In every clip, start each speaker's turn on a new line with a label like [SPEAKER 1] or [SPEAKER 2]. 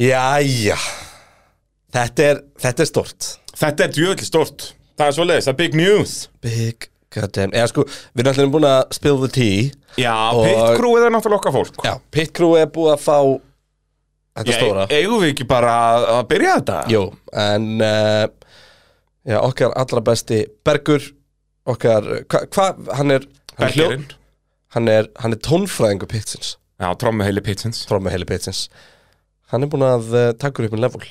[SPEAKER 1] Jæja Þetta er, þetta er stort
[SPEAKER 2] Þetta er djöðli stort Það er svoleiðis, það er big news
[SPEAKER 1] Big goddamn Eða sko, við erum allir búin að spill the tea
[SPEAKER 2] Já,
[SPEAKER 1] Og-
[SPEAKER 2] og... pitkrúið er náttúrulega okkar fólk
[SPEAKER 1] Já, Pit Crew er búið að fá Þetta stóra
[SPEAKER 2] Ég, e- eigum við ekki bara að, að byrja þetta?
[SPEAKER 1] Jú, en uh, Já, okkar allra besti Bergur Okkar, hvað, hva, hann er hann er, hljó-
[SPEAKER 2] Bergerinn
[SPEAKER 1] hann, er, hann er tónfræðingu Pitsins
[SPEAKER 2] Já, trommu heili pitsins
[SPEAKER 1] Trómi heili Pitsins Hann er búin að uh, taka upp einn level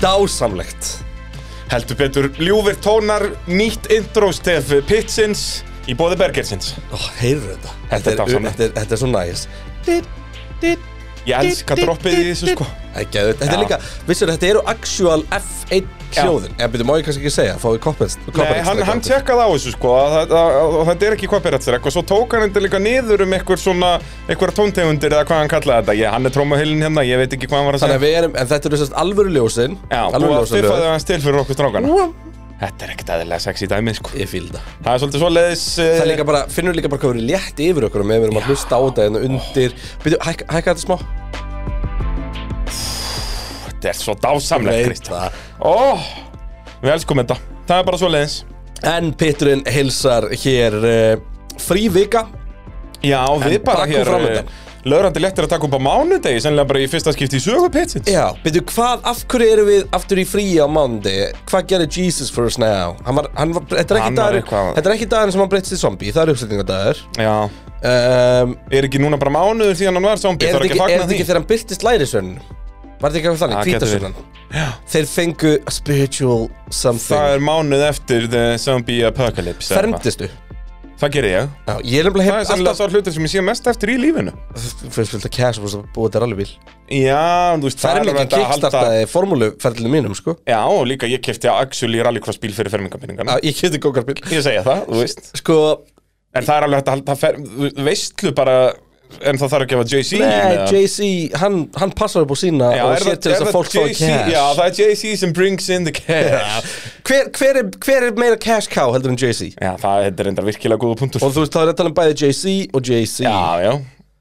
[SPEAKER 1] Dásamlegt
[SPEAKER 2] Heldur betur ljúfir tónar, nýtt intro-stef pitsins í bóði Bergersins
[SPEAKER 1] Ó, heyrðu þetta
[SPEAKER 2] Þetta er
[SPEAKER 1] þetta er,
[SPEAKER 2] dásamlegt.
[SPEAKER 1] þetta er, þetta er svo næs Ditt, ditt
[SPEAKER 2] Ég elska droppið í þessu sko
[SPEAKER 1] Það er geðvægt, þetta er
[SPEAKER 2] Já.
[SPEAKER 1] líka, vissur þetta eru actual F1 hljóðin En byrju, má ég kannski ekki segja, fá við copyright
[SPEAKER 2] Nei,
[SPEAKER 1] copyright
[SPEAKER 2] hann,
[SPEAKER 1] strike á
[SPEAKER 2] hann
[SPEAKER 1] þetta.
[SPEAKER 2] tjekkaði á þessu sko að, að, að, að, að þetta er ekki copyright-strek og svo tók hann þetta líka niður um einhver svona einhverja tóntegundir eða hvað hann kallaði þetta ég, hann er trómuheilin hérna, ég veit ekki hvað hann var að
[SPEAKER 1] Þannig að
[SPEAKER 2] segja
[SPEAKER 1] við erum, en þetta eru sérst alvöru ljósin
[SPEAKER 2] Já,
[SPEAKER 1] alvöru
[SPEAKER 2] og að
[SPEAKER 1] ljósin
[SPEAKER 2] stiffaði hans til fyrir okkur strákana
[SPEAKER 1] ljósin
[SPEAKER 2] Þetta er ekkert aðeinslega sexy dæmi sko
[SPEAKER 1] Ég fíl það
[SPEAKER 2] Það er svolítið svoleiðis
[SPEAKER 1] Það er
[SPEAKER 2] eh,
[SPEAKER 1] líka bara, finnur líka bara hvað verið létt yfir okkur með við erum að hlusta á þetta en undir Byrju, hækka hækka þetta smá
[SPEAKER 2] Þetta er svo
[SPEAKER 1] Veit
[SPEAKER 2] dásamlegt Kristján
[SPEAKER 1] það.
[SPEAKER 2] Ó, við elskum þetta Það er bara svoleiðis
[SPEAKER 1] En Peturinn heilsar hér uh, frí vika
[SPEAKER 2] Já, við bara
[SPEAKER 1] bakku
[SPEAKER 2] hér
[SPEAKER 1] framundan.
[SPEAKER 2] Laurandi léttir að taka upp á mánudegi Sennilega bara í fyrsta skipti í sögu pitsins
[SPEAKER 1] Já, byrju, hvað, af hverju erum við aftur í frí á mándi? Hvað gerir Jesus for us now? Hann var, hann var, þetta er ekki
[SPEAKER 2] Hann var
[SPEAKER 1] dagur,
[SPEAKER 2] eitthvað-
[SPEAKER 1] þetta er ekki dagur sem hann breytist í zombie, það er uppsetningadagur
[SPEAKER 2] Já
[SPEAKER 1] um,
[SPEAKER 2] Er ekki núna bara mánuður síðan hann var zombie
[SPEAKER 1] Er
[SPEAKER 2] Það
[SPEAKER 1] þetta
[SPEAKER 2] er ekki
[SPEAKER 1] ekki, er
[SPEAKER 2] að fagna
[SPEAKER 1] þetta
[SPEAKER 2] því
[SPEAKER 1] ekki þegar hann byrtist lærisönnum? Var þetta ekki eitthvað þannig,
[SPEAKER 2] Það getur verið.
[SPEAKER 1] tvítasönnan? Þeir fengu a spiritual
[SPEAKER 2] Það
[SPEAKER 1] something
[SPEAKER 2] er mánuð eftir The Zombie Apocalypse eða eitthvað.
[SPEAKER 1] Fermdistu?
[SPEAKER 2] Það gerir ég
[SPEAKER 1] Já, ég er nefnilega
[SPEAKER 2] Það er
[SPEAKER 1] hef
[SPEAKER 2] sennilega
[SPEAKER 1] alltaf
[SPEAKER 2] svo hlutir sem ég sé mest eftir í lífinu
[SPEAKER 1] Fyrst fylgta cash og búið að búa þetta alveg bíl
[SPEAKER 2] Já, þú veist
[SPEAKER 1] Það er
[SPEAKER 2] alveg
[SPEAKER 1] nefnilega
[SPEAKER 2] hægt að halda-
[SPEAKER 1] kickstartaði formúluferðlinu mínum, sko
[SPEAKER 2] Já, og líka ég kefti actually rallycross bíl fyrir fermingapinningana
[SPEAKER 1] Já, Ég kefti gókarbíl
[SPEAKER 2] Ég segja það, þú veist
[SPEAKER 1] Sko,
[SPEAKER 2] En það er alveg hægt að halda fer, veistlu bara En það þarf ekki að gefa Jay-Z í
[SPEAKER 1] nei,
[SPEAKER 2] með það.
[SPEAKER 1] Jay-Z, hann, hann passar upp á sína
[SPEAKER 2] Já,
[SPEAKER 1] og
[SPEAKER 2] er
[SPEAKER 1] sér
[SPEAKER 2] það-
[SPEAKER 1] til
[SPEAKER 2] er
[SPEAKER 1] þess að
[SPEAKER 2] það
[SPEAKER 1] fólk fái
[SPEAKER 2] Jay-Z?
[SPEAKER 1] cash
[SPEAKER 2] Já, það er Jay-Z sem brings in the cash
[SPEAKER 1] hver, hver, er, hver er meira cash cow heldur en Jay-Z?
[SPEAKER 2] Já, það þetta er reyndar virkilega góða punktur
[SPEAKER 1] Og þú veist, það er að tala um bæði Jay-Z og Jay-Z
[SPEAKER 2] Já, já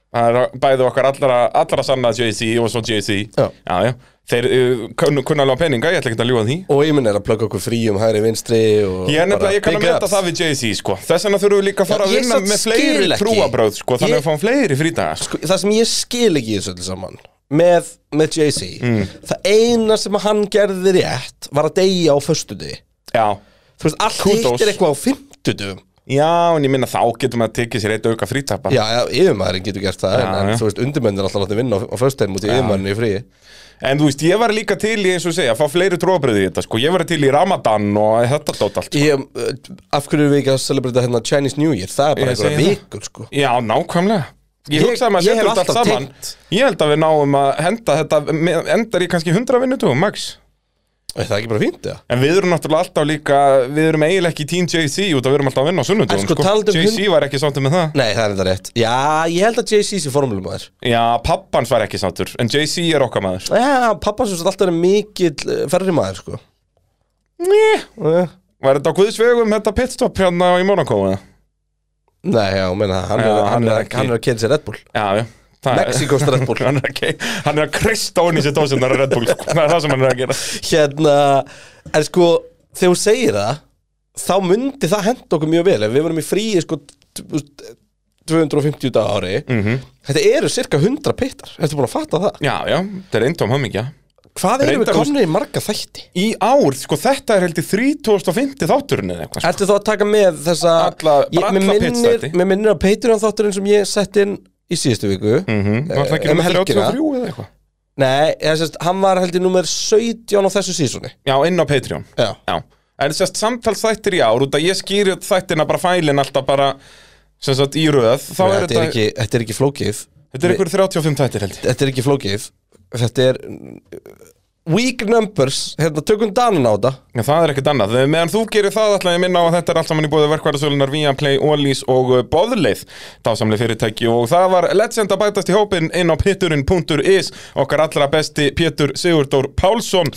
[SPEAKER 2] Það er bæði okkar allra, allra sanna Jay-Z og svo Jay-Z
[SPEAKER 1] Já.
[SPEAKER 2] já, já Þeir uh, kunna kunna alveg á peninga, ég ætla ekki að ljúga því
[SPEAKER 1] Og ég minn er að plugga okkur fríum hægri vinstri og
[SPEAKER 2] Ég er nefnilega, ég kann að
[SPEAKER 1] big
[SPEAKER 2] meta
[SPEAKER 1] ups.
[SPEAKER 2] það við Jay-Z, sko Þess vegna þurfum við líka að fara
[SPEAKER 1] Já,
[SPEAKER 2] að
[SPEAKER 1] ég
[SPEAKER 2] vinna
[SPEAKER 1] samt
[SPEAKER 2] með
[SPEAKER 1] skil
[SPEAKER 2] fleiri
[SPEAKER 1] ekki.
[SPEAKER 2] trúabröð, sko Þannig
[SPEAKER 1] Ég-
[SPEAKER 2] að við fáum fleiri frídagar sko.
[SPEAKER 1] Sko, Það sem ég skil ekki í þessu öllu saman Með, með Jay-Z
[SPEAKER 2] Mm.
[SPEAKER 1] Það eina sem hann gerði rétt Var að deyja á föstudi
[SPEAKER 2] Já,
[SPEAKER 1] Þú veist, allt
[SPEAKER 2] Kudos.
[SPEAKER 1] hitt er eitthvað á fimmtudum
[SPEAKER 2] já, en ég minna þá getum við að tekið sér eitt auka frítapa
[SPEAKER 1] Já, já, yfirmaðurinn getur gert það En,
[SPEAKER 2] Já,
[SPEAKER 1] en
[SPEAKER 2] já.
[SPEAKER 1] þú veist, undirmennir alltaf látið vinna á, á föstudin Mútið yfirmaðurinn í fríi
[SPEAKER 2] En þú veist, ég var líka til í, eins og segja, að fá fleiri tróðabröði í þetta, sko. Ég var til í Ramadan og þetta dót allt.
[SPEAKER 1] ég, uh, Af hverju erum við ekki að celebrita hérna Chinese New Year Það er bara
[SPEAKER 2] Ég segi
[SPEAKER 1] einhverja vikur, sko
[SPEAKER 2] Já, nákvæmlega. Ég,
[SPEAKER 1] Ég-
[SPEAKER 2] hugsaði maður
[SPEAKER 1] ég
[SPEAKER 2] að setja
[SPEAKER 1] hef
[SPEAKER 2] þetta allt
[SPEAKER 1] alltaf
[SPEAKER 2] saman. Ég held að við náum að henda þetta, með- endar í kannski 100 vinnutugum, max.
[SPEAKER 1] Er það ekki bara fínt, eða?
[SPEAKER 2] En við erum náttúrulega alltaf líka, við erum eiginlega ekki í Team JC út að við erum alltaf að vinna á sunnudugum,
[SPEAKER 1] En sko, talandi um
[SPEAKER 2] JC var ekki sáttur með það.
[SPEAKER 1] Nei, það er þetta rétt Já, ég held að Jay-Z sé formulumæður
[SPEAKER 2] Já, pappans var ekki sáttur, en JC er okkar maður.
[SPEAKER 1] Já, pappa sem sagt alltaf er mikill eh, ferri maður, sko
[SPEAKER 2] Né,
[SPEAKER 1] Eh,
[SPEAKER 2] var þetta á guðsvegum þetta pitstop hérna í Monaco, eða?
[SPEAKER 1] Nei, já, menna, hann,
[SPEAKER 2] Já,
[SPEAKER 1] er, hann, er,
[SPEAKER 2] ekki-
[SPEAKER 1] hann er að kynna sér Red Bull
[SPEAKER 2] Já, já. Það er-
[SPEAKER 1] Mexikos Red Bull
[SPEAKER 2] hann er að, ke- hann er að kreista ofan í sér dósinnar að Red Bull sko. það er það sem hann er að gera
[SPEAKER 1] Hérna, en sko, þegar hún segir það Þá myndi það henda okkur mjög vel Ef við varum í fríi, sko, t- þú veist, 250 dag á ári
[SPEAKER 2] Mhm.
[SPEAKER 1] -hmm. Þetta eru cirka 100 pittar Ertu búin að fatta það?
[SPEAKER 2] já, já, þetta er eintóm hamingja
[SPEAKER 1] Hvað erum við
[SPEAKER 2] Reyndar, þú veist-
[SPEAKER 1] komnir í marga þætti?
[SPEAKER 2] í ár, sko þetta er heldur 3050 þátturinn eða eitthvað sko.
[SPEAKER 1] Ertu þá að taka með þessa
[SPEAKER 2] Alla-
[SPEAKER 1] ég,
[SPEAKER 2] bara
[SPEAKER 1] mér
[SPEAKER 2] alla
[SPEAKER 1] minnir,
[SPEAKER 2] pitstætti.
[SPEAKER 1] mér minnir á Patreon þátturinn sem ég sett inn í síðustu viku
[SPEAKER 2] Mhm, var það ekki
[SPEAKER 1] um
[SPEAKER 2] um
[SPEAKER 1] helgina.
[SPEAKER 2] 33 eða eitthvað
[SPEAKER 1] Nei, ég, sérst, hann var heldur nummer 17 á þessu sísoni
[SPEAKER 2] já, inn á Patreon
[SPEAKER 1] Já
[SPEAKER 2] já. en sérst samtals þættir í ár út að ég skýri þættina bara fælin alltaf bara sem sagt í röð
[SPEAKER 1] Þetta
[SPEAKER 2] þá er
[SPEAKER 1] er,
[SPEAKER 2] þetta,
[SPEAKER 1] ekki, þetta er ekki flókið
[SPEAKER 2] þetta er ykkur 35 þættir heldur
[SPEAKER 1] Þetta er ekki flókið Þetta er mm, weak numbers hérna, tökum danan á þetta
[SPEAKER 2] En það er ekkert annað. Eh, Meðan þú gerir það ætla ég að minna á að þetta er allt saman í búið verkvarðasölunar Viaplay, Ólís og uh, Boðleið dásamlega fyrirtæki og það var legend að bætast í hópin inn á péturinn.is okkar allra besti Pétur Sigurdór Pálsson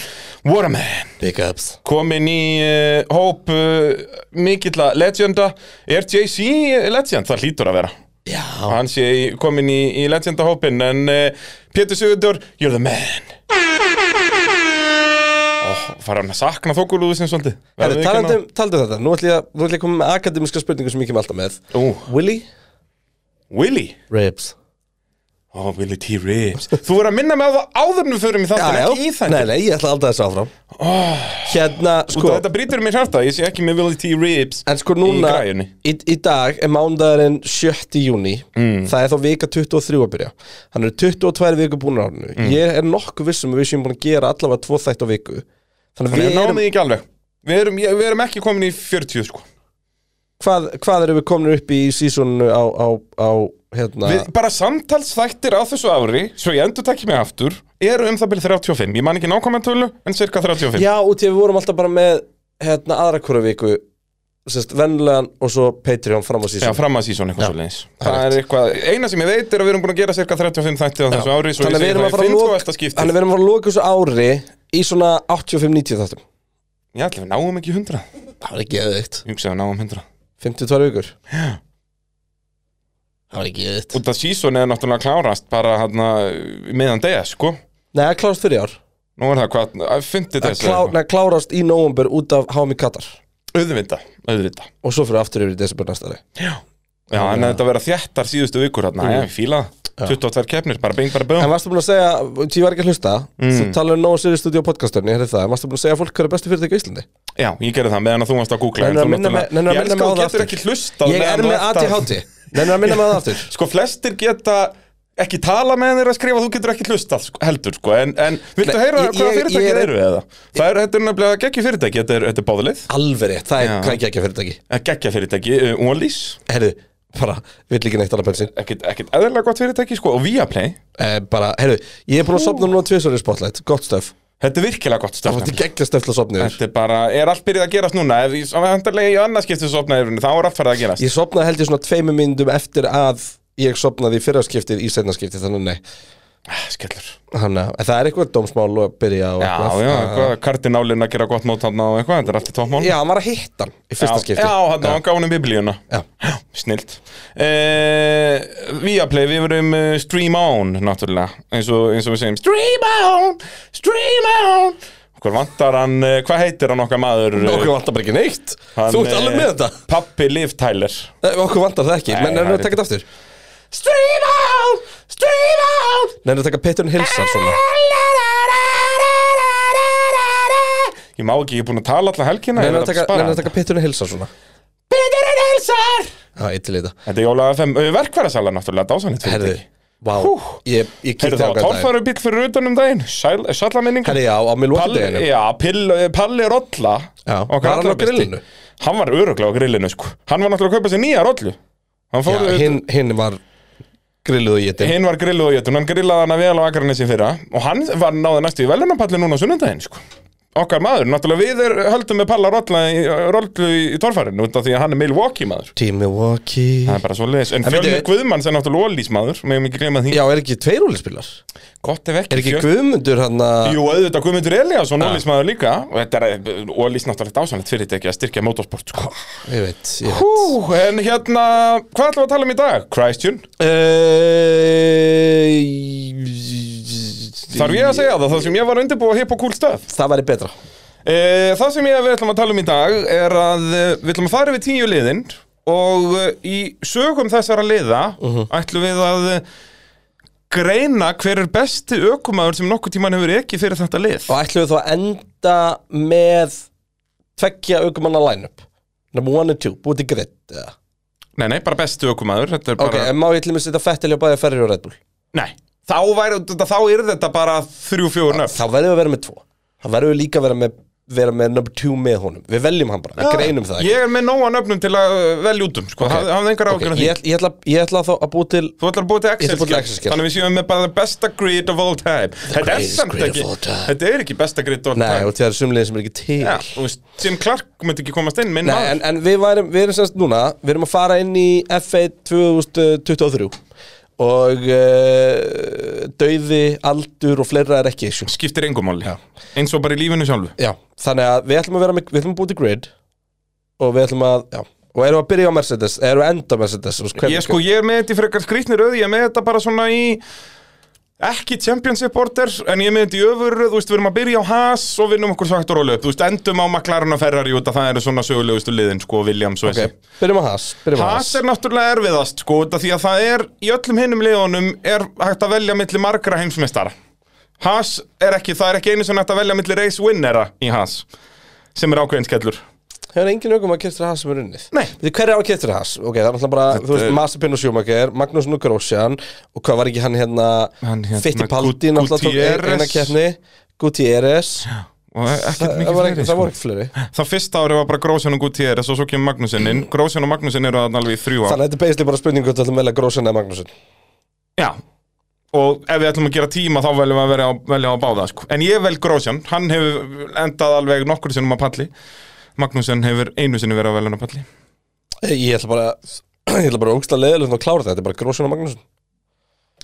[SPEAKER 2] Warman
[SPEAKER 1] Big ups
[SPEAKER 2] komin í uh, hóp uh, mikilla legenda er JC legend? Það hlýtur að vera
[SPEAKER 1] Já,
[SPEAKER 2] hann sé í- komin í, í legendahópin en uh, Pétur Sigurður, you're the man Ó, fara hann að sakna þókulúðu sem svolítið
[SPEAKER 1] Herri,
[SPEAKER 2] Verður
[SPEAKER 1] talandi,
[SPEAKER 2] ekki
[SPEAKER 1] um, talandi um þetta, nú ætlum ég, að- nú ætla ég að koma með akademiska spurningu sem ég kem alltaf með
[SPEAKER 2] ná- Ú,
[SPEAKER 1] Willy
[SPEAKER 2] Willy
[SPEAKER 1] Ribs
[SPEAKER 2] Ó, Willy T. Ribs Þú verður að minna mig á það áður en við förum í
[SPEAKER 1] Já,
[SPEAKER 2] þáttan,
[SPEAKER 1] já,
[SPEAKER 2] ekki í þangin
[SPEAKER 1] nei, nei, ég ætla alltaf þessu áfram Hérna,
[SPEAKER 2] Sko,
[SPEAKER 1] sko,
[SPEAKER 2] þetta brýtur mér hjarta, ég sé ekki með Willy T. Ribs
[SPEAKER 1] en sko núna
[SPEAKER 2] í græjunni.
[SPEAKER 1] í, í dag er mándagurinn 7. júni
[SPEAKER 2] Mm.
[SPEAKER 1] Það er þá vika 23 að byrja Hann er 22 viku búin á árinu
[SPEAKER 2] Mm.
[SPEAKER 1] Ég er nokkuð vissum að við séum búin að gera allavega tvo þætt á viku Þannig að
[SPEAKER 2] Við
[SPEAKER 1] við
[SPEAKER 2] náðum
[SPEAKER 1] erum,
[SPEAKER 2] því ekki alveg Við erum, ég- við erum ekki komin í 40 sko
[SPEAKER 1] hvað, hvað erum við komin upp í sísonu á, á, á hérna
[SPEAKER 2] Við, bara samtalsþættir á þessu ári, svo ég endur takk mig aftur, eru um það byrja 35. Ég man ekki nákvæmlega tölu, en cirka 35.
[SPEAKER 1] Já, út í að við vorum alltaf bara með hérna, aðra hverju viku sérst, venlegan og svo Patreon fram á
[SPEAKER 2] Já,
[SPEAKER 1] síðan
[SPEAKER 2] fram að sísón eitthvað svo leiðis. Það
[SPEAKER 1] Korrekt.
[SPEAKER 2] er eitthvað, eina sem ég veit er að við erum búin að gera cirka 35 þætti á þessu ári, svo
[SPEAKER 1] Þannig að
[SPEAKER 2] ég
[SPEAKER 1] við erum að
[SPEAKER 2] segi það
[SPEAKER 1] fara
[SPEAKER 2] í
[SPEAKER 1] að
[SPEAKER 2] 50 og
[SPEAKER 1] loka
[SPEAKER 2] eftir
[SPEAKER 1] Þannig
[SPEAKER 2] skiptið.
[SPEAKER 1] að við erum að fara að loka þessu ári í svona 85-90 þáttum
[SPEAKER 2] Ég ætla við náum ekki 100.
[SPEAKER 1] Það var ekki eðvikt
[SPEAKER 2] Ég hugsa að við náum 100.
[SPEAKER 1] 52 vikur
[SPEAKER 2] Já.
[SPEAKER 1] Það var ekki eðvikt
[SPEAKER 2] Út af sísón er náttúrulega að klárast bara hérna hann meðan dega, sko.
[SPEAKER 1] Nei, að klárast fyrir ár
[SPEAKER 2] Nú er það hvað, að 50
[SPEAKER 1] að
[SPEAKER 2] þessu.
[SPEAKER 1] klá, nei, klárast í nóvumber út af HM í Katar
[SPEAKER 2] Auðvita, auðvita.
[SPEAKER 1] og svo fyrir aftur yfir í desember næsta ári
[SPEAKER 2] Já. Já, en þetta verða þjættar síðustu vikur hérna, mm. ég fíla það. 22 keppnir, bara bing, bara bum.
[SPEAKER 1] En varstu búin að segja, ég var ekki að hlusta
[SPEAKER 2] Mm.
[SPEAKER 1] þú talaðu um Nóa Sirius Studio podcastunni, hér er það en varstu búin að segja fólk hverju bestu fyrirtæki í Íslandi
[SPEAKER 2] Já, ég gerði það meðan að þú varst að googla
[SPEAKER 1] Nennirðu
[SPEAKER 2] en
[SPEAKER 1] að
[SPEAKER 2] þú
[SPEAKER 1] minna mig-
[SPEAKER 2] náttúrulega-
[SPEAKER 1] nennirðu að
[SPEAKER 2] Ég
[SPEAKER 1] minna
[SPEAKER 2] elska
[SPEAKER 1] mig á
[SPEAKER 2] að þú
[SPEAKER 1] það
[SPEAKER 2] getur
[SPEAKER 1] aftur?
[SPEAKER 2] ekki hlustað
[SPEAKER 1] Ég
[SPEAKER 2] meðan
[SPEAKER 1] er
[SPEAKER 2] þú
[SPEAKER 1] með
[SPEAKER 2] ert að-
[SPEAKER 1] ADHD Nennir að minna með það aftur
[SPEAKER 2] Sko, flestir geta ekki tala með þeir að skrifa Þú getur ekki hlustað sko, heldur, sko En, en viltu
[SPEAKER 1] Nei,
[SPEAKER 2] heyra
[SPEAKER 1] ég-
[SPEAKER 2] hvaða
[SPEAKER 1] ég-
[SPEAKER 2] fyrirtæki
[SPEAKER 1] ég er-
[SPEAKER 2] eru eða? Það er, þetta er nefnilega geggju fyrirtæki Þetta er, þetta er báðlið
[SPEAKER 1] Alveg rétt, það
[SPEAKER 2] Já.
[SPEAKER 1] er krækja ekki að fyrirtæki
[SPEAKER 2] Geggja fyrirtæki, eh, Ólís
[SPEAKER 1] Herðu, bara, vill ekki neitt annað bensin
[SPEAKER 2] Ekkert, ekkert eðlilega gott fyrirtæki, sko Og Viaplay
[SPEAKER 1] eh, Bara, herðu, ég er búin að sopna núna tvisvar í spotlight Gott stöf,
[SPEAKER 2] Þetta er virkilega gott
[SPEAKER 1] það
[SPEAKER 2] stöfn
[SPEAKER 1] fótti geggja stöf til að sopna yfir
[SPEAKER 2] Þetta er bara, er allt byrjað að gerast núna Ef ég hendarlega í annarskipti sopna yfirinu Þá er allt farið að gerast
[SPEAKER 1] Ég sopnaði held ég svona tveimur myndum eftir að ég sopnaði í fyrraskiptið í setnaskiptið Þannig nei,
[SPEAKER 2] Ah, Skellur
[SPEAKER 1] hann að það er eitthvað dómsmál að byrja og
[SPEAKER 2] Já,
[SPEAKER 1] eitthvað
[SPEAKER 2] já,
[SPEAKER 1] Ah.
[SPEAKER 2] hvað, kardinálinn að gera gott mót hann og eitthvað, þetta er allt í toppmál
[SPEAKER 1] Já, hann var að hitta hann í fyrsta
[SPEAKER 2] Já,
[SPEAKER 1] skipti
[SPEAKER 2] Já, hann hann gaf hann um biblíuna
[SPEAKER 1] Já.
[SPEAKER 2] Snilt uh, Viaplay, við verum uh, Stream On Náttúrulega, eins og, eins og við segjum Stream On, Stream On Hver vantar hann, uh, hvað heitir hann okkar maður eh,
[SPEAKER 1] Okkur vantar bara ekki neitt
[SPEAKER 2] hann,
[SPEAKER 1] Þú ert alveg
[SPEAKER 2] eh,
[SPEAKER 1] með þetta
[SPEAKER 2] Pappi Liv Tyler
[SPEAKER 1] Eh, Okkur vantar það ekki,
[SPEAKER 2] Nei,
[SPEAKER 1] menn
[SPEAKER 2] það
[SPEAKER 1] erum
[SPEAKER 2] er
[SPEAKER 1] við að taka þetta aftur
[SPEAKER 2] Stream On, Stream On
[SPEAKER 1] Nei, erum við að taka Peturinn Hilsar svona
[SPEAKER 2] Ég má ekki, ég er búin að tala allan helgina
[SPEAKER 1] Nei,
[SPEAKER 2] ég
[SPEAKER 1] erum
[SPEAKER 2] verð
[SPEAKER 1] við að taka-
[SPEAKER 2] spara
[SPEAKER 1] nei, erum við að
[SPEAKER 2] þetta.
[SPEAKER 1] taka Peturinn Hilsar svona
[SPEAKER 2] Peter and Elsar
[SPEAKER 1] Já, eitt til í þetta
[SPEAKER 2] Þetta er Jólaga 5, verkværasalega eh, náttúrulega, dásanlegt
[SPEAKER 1] Herðu,
[SPEAKER 2] fyrirtæki.
[SPEAKER 1] vá
[SPEAKER 2] Hú.
[SPEAKER 1] Ég, ég kíkti
[SPEAKER 2] Heyrðu það,
[SPEAKER 1] ákveðan dag
[SPEAKER 2] tólfaru bíl fyrir utan um daginn Sæl- Sælla minningar
[SPEAKER 1] Herðu, já, á
[SPEAKER 2] Palli,
[SPEAKER 1] Milwaukee-deginu
[SPEAKER 2] já, pill, Palli Rolla
[SPEAKER 1] Já,
[SPEAKER 2] okkar
[SPEAKER 1] var hann á
[SPEAKER 2] allra besti.
[SPEAKER 1] grillinu?
[SPEAKER 2] Hann var öruglega á grillinu sko Hann var náttúrulega að kaupa sér nýja rollu Hann fór,
[SPEAKER 1] Já, hinn, hinn var grilluð og
[SPEAKER 2] hinn
[SPEAKER 1] étin
[SPEAKER 2] var grilluð og jötun Hann grillaði hana vel á Akranesi í fyrra Og hann var náði næstu í velunarpalli núna á sunnundaginn sko Okkar maður, náttúrulega við er, höldum með Palla Rolla í, Rollu í, í torfarinu Út af því að hann er Milwaukee maður
[SPEAKER 1] Team Milwaukee
[SPEAKER 2] Það er bara svo leiðis En
[SPEAKER 1] En
[SPEAKER 2] fjölnir
[SPEAKER 1] veitu-
[SPEAKER 2] Guðmanns er náttúrulega ólís maður Megum ekki gleyma því
[SPEAKER 1] Já, er ekki tveir úlispilar?
[SPEAKER 2] Gott ef
[SPEAKER 1] Er ekki
[SPEAKER 2] fjölnir-
[SPEAKER 1] Guðmundur hann að
[SPEAKER 2] Jú, auðvitað Guðmundur Eliasson, Ólís maður líka og þetta er Ólís náttúrulega dásanlegt fyrirtæki að styrkja motorsport sko.
[SPEAKER 1] Ég veit, ég veit
[SPEAKER 2] Hú, en hérna, hvað ætlum við að tala um í dag? Christian,
[SPEAKER 1] Eh,
[SPEAKER 2] þarf ég að segja það, það sem ég var að undirbúa hip og cool stuff
[SPEAKER 1] Það væri betra
[SPEAKER 2] e, Það sem ég við ætlum að tala um í dag er að eh, við ætlum að fara yfir tíu liðin og eh, í sögum þessara liða ætlum við að eh, greina hver er besti ökumaður sem nokkuð tíman hefur ekki fyrir þetta lið
[SPEAKER 1] Og ætlum við þá að enda með tveggja aukumanna line-up Number one and two, búið til grid eða?
[SPEAKER 2] Nei, nei, bara besti ökumaður þetta er bara...
[SPEAKER 1] Ok, en má ég til mig setja Fettil og bæði Ferri og Red Bull
[SPEAKER 2] Nei, þá, væri, þetta- þá er þetta bara þrjú, fjóru nöfn
[SPEAKER 1] Þá verðum við að vera með tvo Þá verðum við líka að vera með vera með number two með honum Við veljum hann bara, við greinum það ekki
[SPEAKER 2] Ég er með nóga nöfnum til að uh, velja út um sko. okay. Hafði engar
[SPEAKER 1] Ok,
[SPEAKER 2] ágjörn
[SPEAKER 1] ég, ætl- ég, ætla, ég ætla þá að búi til
[SPEAKER 2] Þú ætlar að búa til
[SPEAKER 1] ætla að búa til
[SPEAKER 2] Excel-skjál
[SPEAKER 1] Excel-skjal.
[SPEAKER 2] Þannig við séum með bara the besta grid of all time Þetta er
[SPEAKER 1] greatest
[SPEAKER 2] samt
[SPEAKER 1] grid of
[SPEAKER 2] ekki
[SPEAKER 1] all time.
[SPEAKER 2] Þetta er ekki besta grid of all
[SPEAKER 1] Nei,
[SPEAKER 2] time
[SPEAKER 1] og það er sumlegin sem er ekki til
[SPEAKER 2] Já, þú veist, Jim Clark myndi ekki komast inn minn
[SPEAKER 1] Nei,
[SPEAKER 2] maður.
[SPEAKER 1] en, en við, værum, við erum semst núna Við erum að fara inn í F1 2023 Og uh, Dauði, aldur og fleira er ekki issue
[SPEAKER 2] skiptir engum máli eins og bara í lífinu sjálfu
[SPEAKER 1] Já, þannig að við ætlum að vera með, Við ætlum að búi til grid Og við ætlum að, já Og erum við að byrja á Mercedes, erum við að enda á Mercedes þú veist, hvernig-
[SPEAKER 2] ég sko, ég er með þetta í frekar skrýtni röð ég er með þetta bara svona í ekki championship order, en ég er með þetta í öfur þú veist, við erum að byrja á Haas og vinnum okkur svagt og rólu upp, þú veist, endum á McLaren og Ferrari út að það eru svona sögulegustu liðin, sko, Williams og
[SPEAKER 1] Ok,
[SPEAKER 2] þessi
[SPEAKER 1] byrjum á Haas Byrjum á
[SPEAKER 2] Haas er náttúrulega erfiðast sko, út af því að það er, í öllum hinnum liðunum er hægt að velja milli margra heimsmeistara Haas er ekki, það er ekki einu sem hægt að velja milli race winnera í Haas, sem er ákveðinskellur
[SPEAKER 1] Hefur engin aukum að keftur Haas sem er unnið?
[SPEAKER 2] Nei.
[SPEAKER 1] Veitir, Hver er á keftur Haas? Ok, það er alltaf bara, þú veist,
[SPEAKER 2] er-
[SPEAKER 1] Masipin og Schumacher, Magnússon og Grósjan og hvað var ekki hann hérna,
[SPEAKER 2] Hann hérna,
[SPEAKER 1] Fittipaldi
[SPEAKER 2] Gut-
[SPEAKER 1] náttúrulega tók ein-
[SPEAKER 2] Gutierrez.
[SPEAKER 1] eina keppni, Gutierrez
[SPEAKER 2] og ekkert
[SPEAKER 1] Það
[SPEAKER 2] mikið
[SPEAKER 1] var
[SPEAKER 2] fleiri
[SPEAKER 1] ekki- það
[SPEAKER 2] sko.
[SPEAKER 1] voru ekki Mm. fleiri
[SPEAKER 2] Það fyrsta ári var bara Grósjan og Gutierrez og svo kemur Magnúsin inn Grósjan og Magnúsin eru þarna alveg í þrjú
[SPEAKER 1] Þannig að
[SPEAKER 2] ár
[SPEAKER 1] þetta er basically bara spurning hvort þú ætlum að velja Grósjan eða Magnússon
[SPEAKER 2] Já Og ef við ætlum að gera tíma þá veljum við að vera á, velja á báða sko. En ég vel Grósjan, hann hefur endað alveg nokkur sinnum á palli Magnúsin hefur einu sinni verið að velja á palli
[SPEAKER 1] Ég ætla bara, ég ætla bara að ógsta leðilegt og klára þetta, þetta er bara Grósjan og Magnússon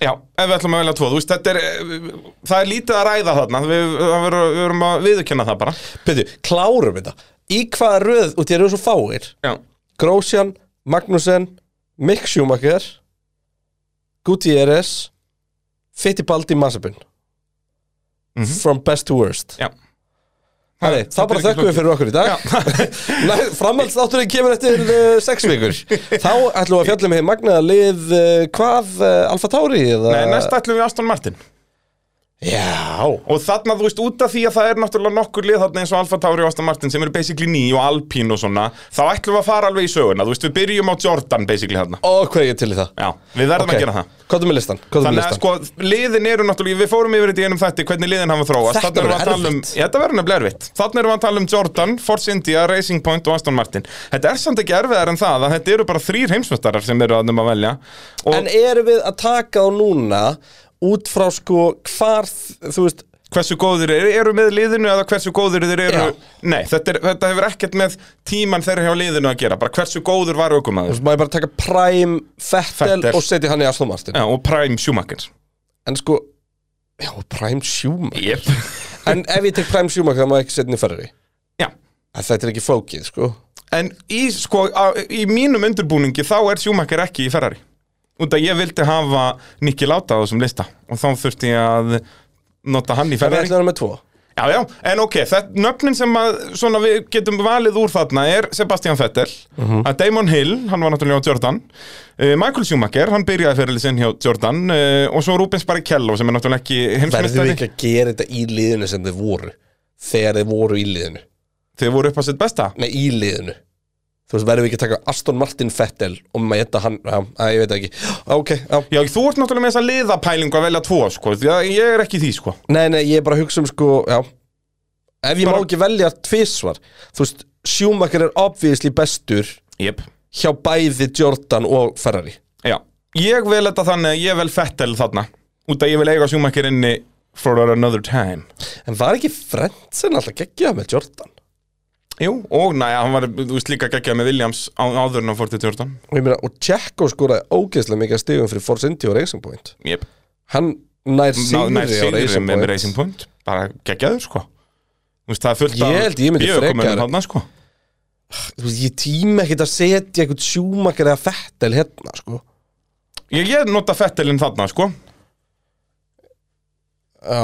[SPEAKER 2] Já, ef við ætlum að velja tvo, þú veist, þetta er eh, það er lítið að ræða þarna við, það verður- við verum að viðurkenna það bara
[SPEAKER 1] Byrju, klárum þetta Í hvaða röð, og þér eru svo fáir
[SPEAKER 2] Já,
[SPEAKER 1] Grósjan, Magnúsen Mick Schumacher Gutierrez Fittipaldi Mazepin
[SPEAKER 2] Mhm.
[SPEAKER 1] From best to worst
[SPEAKER 2] já
[SPEAKER 1] Hæri, þá bara þökkum við fyrir okkur í dag Framhaldsdátturinn kemur eftir uh, sex vikur Þá ætlum við að fjalla með magnaða lið uh, hvað, uh, Alfa Tauri eða...
[SPEAKER 2] Nei, næst ætlum við Aston Martin
[SPEAKER 1] Já,
[SPEAKER 2] Og þarna, þú veist, út af því að það er náttúrulega nokkur lið þarna eins og Alfa Tauri og Aston Martin sem eru basically ný og Alpín og svona þá ætlum við að fara alveg í söguna, þú veist, við byrjum á Jordan basically þarna
[SPEAKER 1] og hvað er ég til í það?
[SPEAKER 2] Já, við verðum að gera það
[SPEAKER 1] Kottum með listan, kottum með
[SPEAKER 2] Þannig að
[SPEAKER 1] listan
[SPEAKER 2] sko, liðin eru náttúrulega, við fórum yfir þetta í einum þætti, hvernig liðin hafa þróast
[SPEAKER 1] Þetta verður
[SPEAKER 2] Þarna erum við að tala um,
[SPEAKER 1] erfitt.
[SPEAKER 2] ja, þetta verður nefnilega erfitt Þannig erum við að tala um Jordan, Force India, Racing Point og Aston Martin Þetta er samt ekki erfiðar en það, að þetta eru bara þrýr heimsmestarar sem eru að um að velja Og
[SPEAKER 1] En erum við að taka á núna út frá sko hvar, þú veist
[SPEAKER 2] hversu góður þeir eru með liðinu eða hversu góður þeir eru
[SPEAKER 1] Já.
[SPEAKER 2] Nei, þetta, er, þetta hefur ekkert með tíman þeirra hjá liðinu að gera Bara hversu góður var aukumæður
[SPEAKER 1] Svo má ég bara taka Prime Fettel
[SPEAKER 2] Vettel.
[SPEAKER 1] og setja hann í Aston Martin
[SPEAKER 2] Já, og Prime Schumacher
[SPEAKER 1] En sko, já, Prime Schumacher
[SPEAKER 2] yep.
[SPEAKER 1] En ef ég tek Prime Schumacher þá má ég ekki setja hann í Ferrari
[SPEAKER 2] Já
[SPEAKER 1] En þetta er ekki flókið, sko
[SPEAKER 2] En í, sko, á, í mínum undirbúningi þá er Schumacher ekki í Ferrari Út að ég vildi hafa Nicky Láta á þessum lista Og þá þurfti ég að nota hann í
[SPEAKER 1] En við
[SPEAKER 2] Ferrari
[SPEAKER 1] ætlum að vera með tvo
[SPEAKER 2] Já, já, en ok, það, nöfnin sem að, svona, við getum valið úr þarna er Sebastian Vettel að Damon Hill, hann var náttúrulega á Jordan uh, Michael Schumacher, hann byrjaði ferðalið sinn hjá Jordan uh, og svo Rubens Barrichello sem er náttúrulega ekki
[SPEAKER 1] Verðum við
[SPEAKER 2] heimsmeistari
[SPEAKER 1] ekki að gera þetta í liðinu sem þið voru Þegar þið voru í liðinu
[SPEAKER 2] Þeir voru upp á sitt besta
[SPEAKER 1] Nei, í liðinu Þú veist, verðum við ekki að taka Aston Martin Fettel Og maður geta hann, já, að, ég veit það ekki Ok, já
[SPEAKER 2] Já, þú ert náttúrulega með þessa liðapælingu að velja tvo, sko, því að ég er ekki í því, sko
[SPEAKER 1] Nei, nei, ég er bara að hugsa um, sko, já Ef ég
[SPEAKER 2] Bara-
[SPEAKER 1] má ekki velja tvisvar Þú veist, Schumacher er obviously bestur
[SPEAKER 2] Jep
[SPEAKER 1] hjá bæði Jordan og Ferrari
[SPEAKER 2] Já, ég vel þetta þannig að ég vel Fettel þarna Út að ég vil eiga sjúmakir inni for another time
[SPEAKER 1] En var ekki Frentzen alltaf geggjað með Jordan?
[SPEAKER 2] Jú, og næja, hann var þú veist, líka geggjað með Williams á, áður en hann fór til 14
[SPEAKER 1] Og ég meina, og Tjekko skoraði ógeðslega mikið af stigum fyrir Force India og Racing Point
[SPEAKER 2] yep.
[SPEAKER 1] Hann nær sigri,
[SPEAKER 2] Nær
[SPEAKER 1] á
[SPEAKER 2] sigri
[SPEAKER 1] Racing
[SPEAKER 2] með
[SPEAKER 1] Point,
[SPEAKER 2] Racing Point Bara geggjaður, sko Þú veist, það er fullt
[SPEAKER 1] Ég held ég myndi
[SPEAKER 2] bjögumönnum
[SPEAKER 1] frekar-
[SPEAKER 2] þarna, sko.
[SPEAKER 1] Þú veist, ég tíma ekkert að setja eitthvað sjúmakar eða fettel hérna, sko
[SPEAKER 2] Ég, ég nota Fettelin þarna, sko
[SPEAKER 1] Já,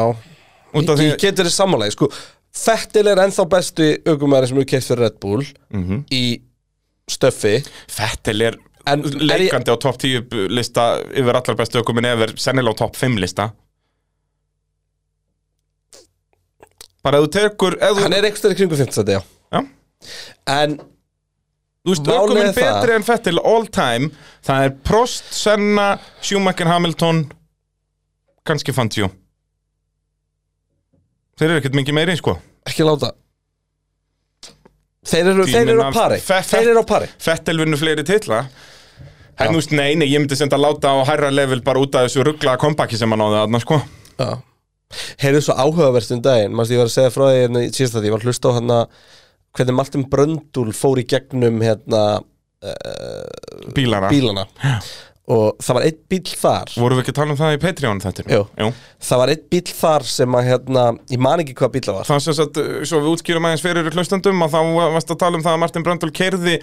[SPEAKER 2] Út af því
[SPEAKER 1] ég getur þið samanlega, sko Fettel er ennþá bestu aukumæri sem eru keitt fyrir Red Bull í stöffi
[SPEAKER 2] Mhm. Fettel er
[SPEAKER 1] En er ég-
[SPEAKER 2] leikandi á topp 10 lista yfir allar bestu ökumin efer sennilega á topp 5 lista bara ef þú tekur ef þú,
[SPEAKER 1] Hann er eitthvað í kringu 50, já
[SPEAKER 2] Já.
[SPEAKER 1] En
[SPEAKER 2] þú veist,
[SPEAKER 1] málið
[SPEAKER 2] ökumin
[SPEAKER 1] er það-
[SPEAKER 2] betri en Fettil all time það er Prost, Senna, Schumacher, Hamilton kannski Fantio þeir eru ekkert mikið meiri sko
[SPEAKER 1] ekki láta Þeir eru, þeir eru á pari Þeir eru á pari
[SPEAKER 2] Fettel vinnur fleiri titla En þú veist, nei, nei, ég myndi senda að láta á hærra level bara út af þessu rugglaða kompaki sem hann náði aðna, sko
[SPEAKER 1] Já Heyrðu svo áhugavert um daginn Manst ég var að segja frá því hérna í síðasta því Ég var að hlusta á hérna Hvernig Martin Bröndul fór í gegnum hérna
[SPEAKER 2] Bílara
[SPEAKER 1] bílana Og það var einn bíl þar
[SPEAKER 2] Vorum við ekki að tala um það í Patreon þetta?
[SPEAKER 1] Jú. Það var einn bíl þar sem að hérna Ég man ekki hvað bíl það var
[SPEAKER 2] Það sem sagt, uh, svo við útskýrum aðeins fyrir hlustendum og þá varst að tala um það að Martin Bröndul keirði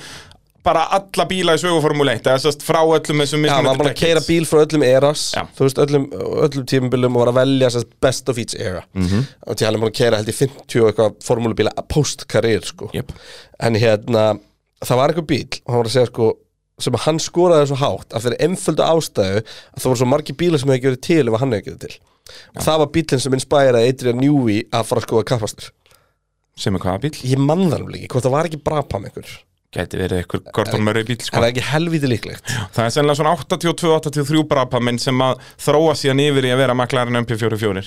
[SPEAKER 2] bara alla bíla í söguformule 1 eða sérst frá öllum þessum
[SPEAKER 1] Já, hann var búin að keira bíl frá öllum eras
[SPEAKER 2] Já.
[SPEAKER 1] Þú veist, öllum, öllum tímabilum og var að velja sérst best of each era mm -hmm. Og því hann er búin að keira held í 50 og eitthvað formúlubíla post-karriér sko
[SPEAKER 2] Jep.
[SPEAKER 1] En hérna, það var einhver bíl og hann var að segja sko sem að hann skoraði svo hátt af þeirri einföldu ástæðu að það voru svo margir bílar sem hefði ekki verið til ef hann hefði ekki verið til og það var bílinn sem inspæraði Adrian Newey að fara að skoða kappastur
[SPEAKER 2] Sem er hvaða bíl?
[SPEAKER 1] ég mann það um líki, hvort það var ekki brapam ykkur
[SPEAKER 2] Gæti verið eitthvað Gordon Murray bíl, sko
[SPEAKER 1] það er ekki helviti líklegt
[SPEAKER 2] Það er sennilega svona 82-83 brapamenn sem að þróa síðan yfir í að vera maklarinn um MP44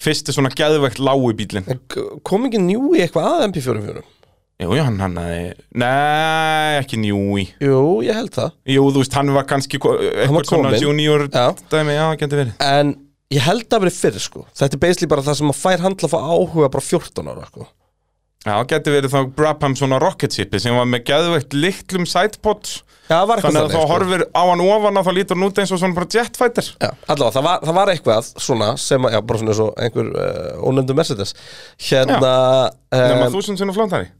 [SPEAKER 2] Fyrsti svona geðvegt lágu bílinn
[SPEAKER 1] En kom ekki Newey eitthvað að MP44?
[SPEAKER 2] Jú, jú, hann hann aði Nei, ekki njúi
[SPEAKER 1] Jú, ég held það
[SPEAKER 2] Jú, þú veist, hann var kannski ko-
[SPEAKER 1] var
[SPEAKER 2] eitthvað svona
[SPEAKER 1] kominn.
[SPEAKER 2] junior
[SPEAKER 1] Já.
[SPEAKER 2] dæmi, já, gæti verið
[SPEAKER 1] En ég held að verið fyrir sko Þetta er basically bara það sem að fær handla að fá áhuga bara 14 ára sko
[SPEAKER 2] Já, gæti verið þá Brabham svona rocket shipi sem var með geðveikt litlum sidepod
[SPEAKER 1] Já, það var eitthvað sko.
[SPEAKER 2] þannig að þá horfir á hann ofan og þá lítur hann út eins og svona bara jetfighter
[SPEAKER 1] Já, allavega, það var, það var eitthvað svona sem að, já, bara svona eins og einhver uh, ónefndu Mercedes Hérna
[SPEAKER 2] nema
[SPEAKER 1] um,
[SPEAKER 2] þú sem sinna flóntari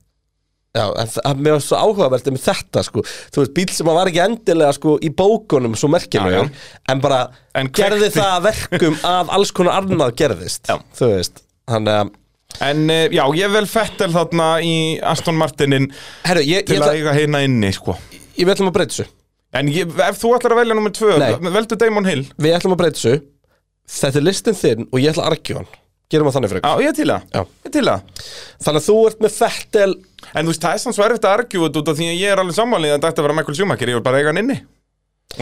[SPEAKER 1] Já, en það, mér var svo áhugavert með þetta sko Þú veist, bíl sem að var ekki endilega sko í bókunum svo merkilegur
[SPEAKER 2] Já, já.
[SPEAKER 1] En bara
[SPEAKER 2] En
[SPEAKER 1] gerði
[SPEAKER 2] kveikti-
[SPEAKER 1] það að verkum að alls konar annað gerðist
[SPEAKER 2] Já.
[SPEAKER 1] Þú veist, hann um,
[SPEAKER 2] En eh, já, ég vel fettel þarna í Aston Martinin
[SPEAKER 1] Herru, ég,
[SPEAKER 2] til
[SPEAKER 1] ég,
[SPEAKER 2] að
[SPEAKER 1] ætla-
[SPEAKER 2] eiga hérna inni, sko
[SPEAKER 1] ég vil um að breyta þessu
[SPEAKER 2] En ég, ef þú ætlar að velja nummer tvö,
[SPEAKER 1] Nei.
[SPEAKER 2] veldu Damon Hill
[SPEAKER 1] við ætlum að breyta þessu þetta er listin þinn og ég ætla að argjú hann gerum að þannig fyrir
[SPEAKER 2] Já, ég er til það
[SPEAKER 1] Já.
[SPEAKER 2] Ég er til það
[SPEAKER 1] þannig að þú ert með Fettel
[SPEAKER 2] En þú veist, það er sann svo erfitt að argjúa út af því að ég er alveg sammálið að þetta vera Michael Schumacher, ég vil bara eiga hann inni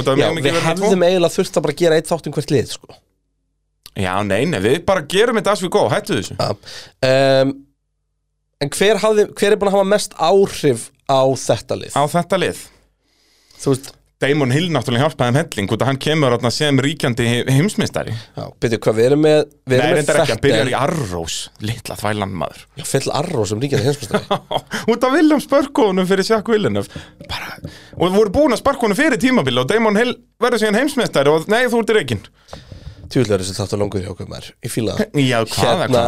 [SPEAKER 2] Út af
[SPEAKER 1] já,
[SPEAKER 2] mjög mikið
[SPEAKER 1] við
[SPEAKER 2] verið tvo
[SPEAKER 1] hefðum eiginlega þurft að bara gera eitt þátt um hvert lið sko.
[SPEAKER 2] Já, nei, nei, við bara gerum þetta as we go, hættu þessu
[SPEAKER 1] um, en hver, hafði, hver er búin að hafa mest áhrif á þetta lið
[SPEAKER 2] Á þetta lið
[SPEAKER 1] þú veist,
[SPEAKER 2] Damon Hill náttúrulega hjálpaði um helling út að hann kemur þarna sem ríkjandi he- heimsmeistari
[SPEAKER 1] já, byrju hvað við erum með við
[SPEAKER 2] Nei,
[SPEAKER 1] erum með
[SPEAKER 2] reyndar ekki, hann byrjar
[SPEAKER 1] Fettel,
[SPEAKER 2] í Arrós, litla þvælan maður
[SPEAKER 1] já, fyll Arró sem ríkjandi hinsmestari
[SPEAKER 2] Út af Willem spörkónum fyrir Jack Villeneuve bara, Og voru búin að spörkónum fyrir tímabili og Damon Hill verður síðan heimsmeistari og nei, þú ert í reikinn
[SPEAKER 1] tjúðlega þessi þáttu langur hjá okkur maður ég fíla það
[SPEAKER 2] Já, hvað,
[SPEAKER 1] hérna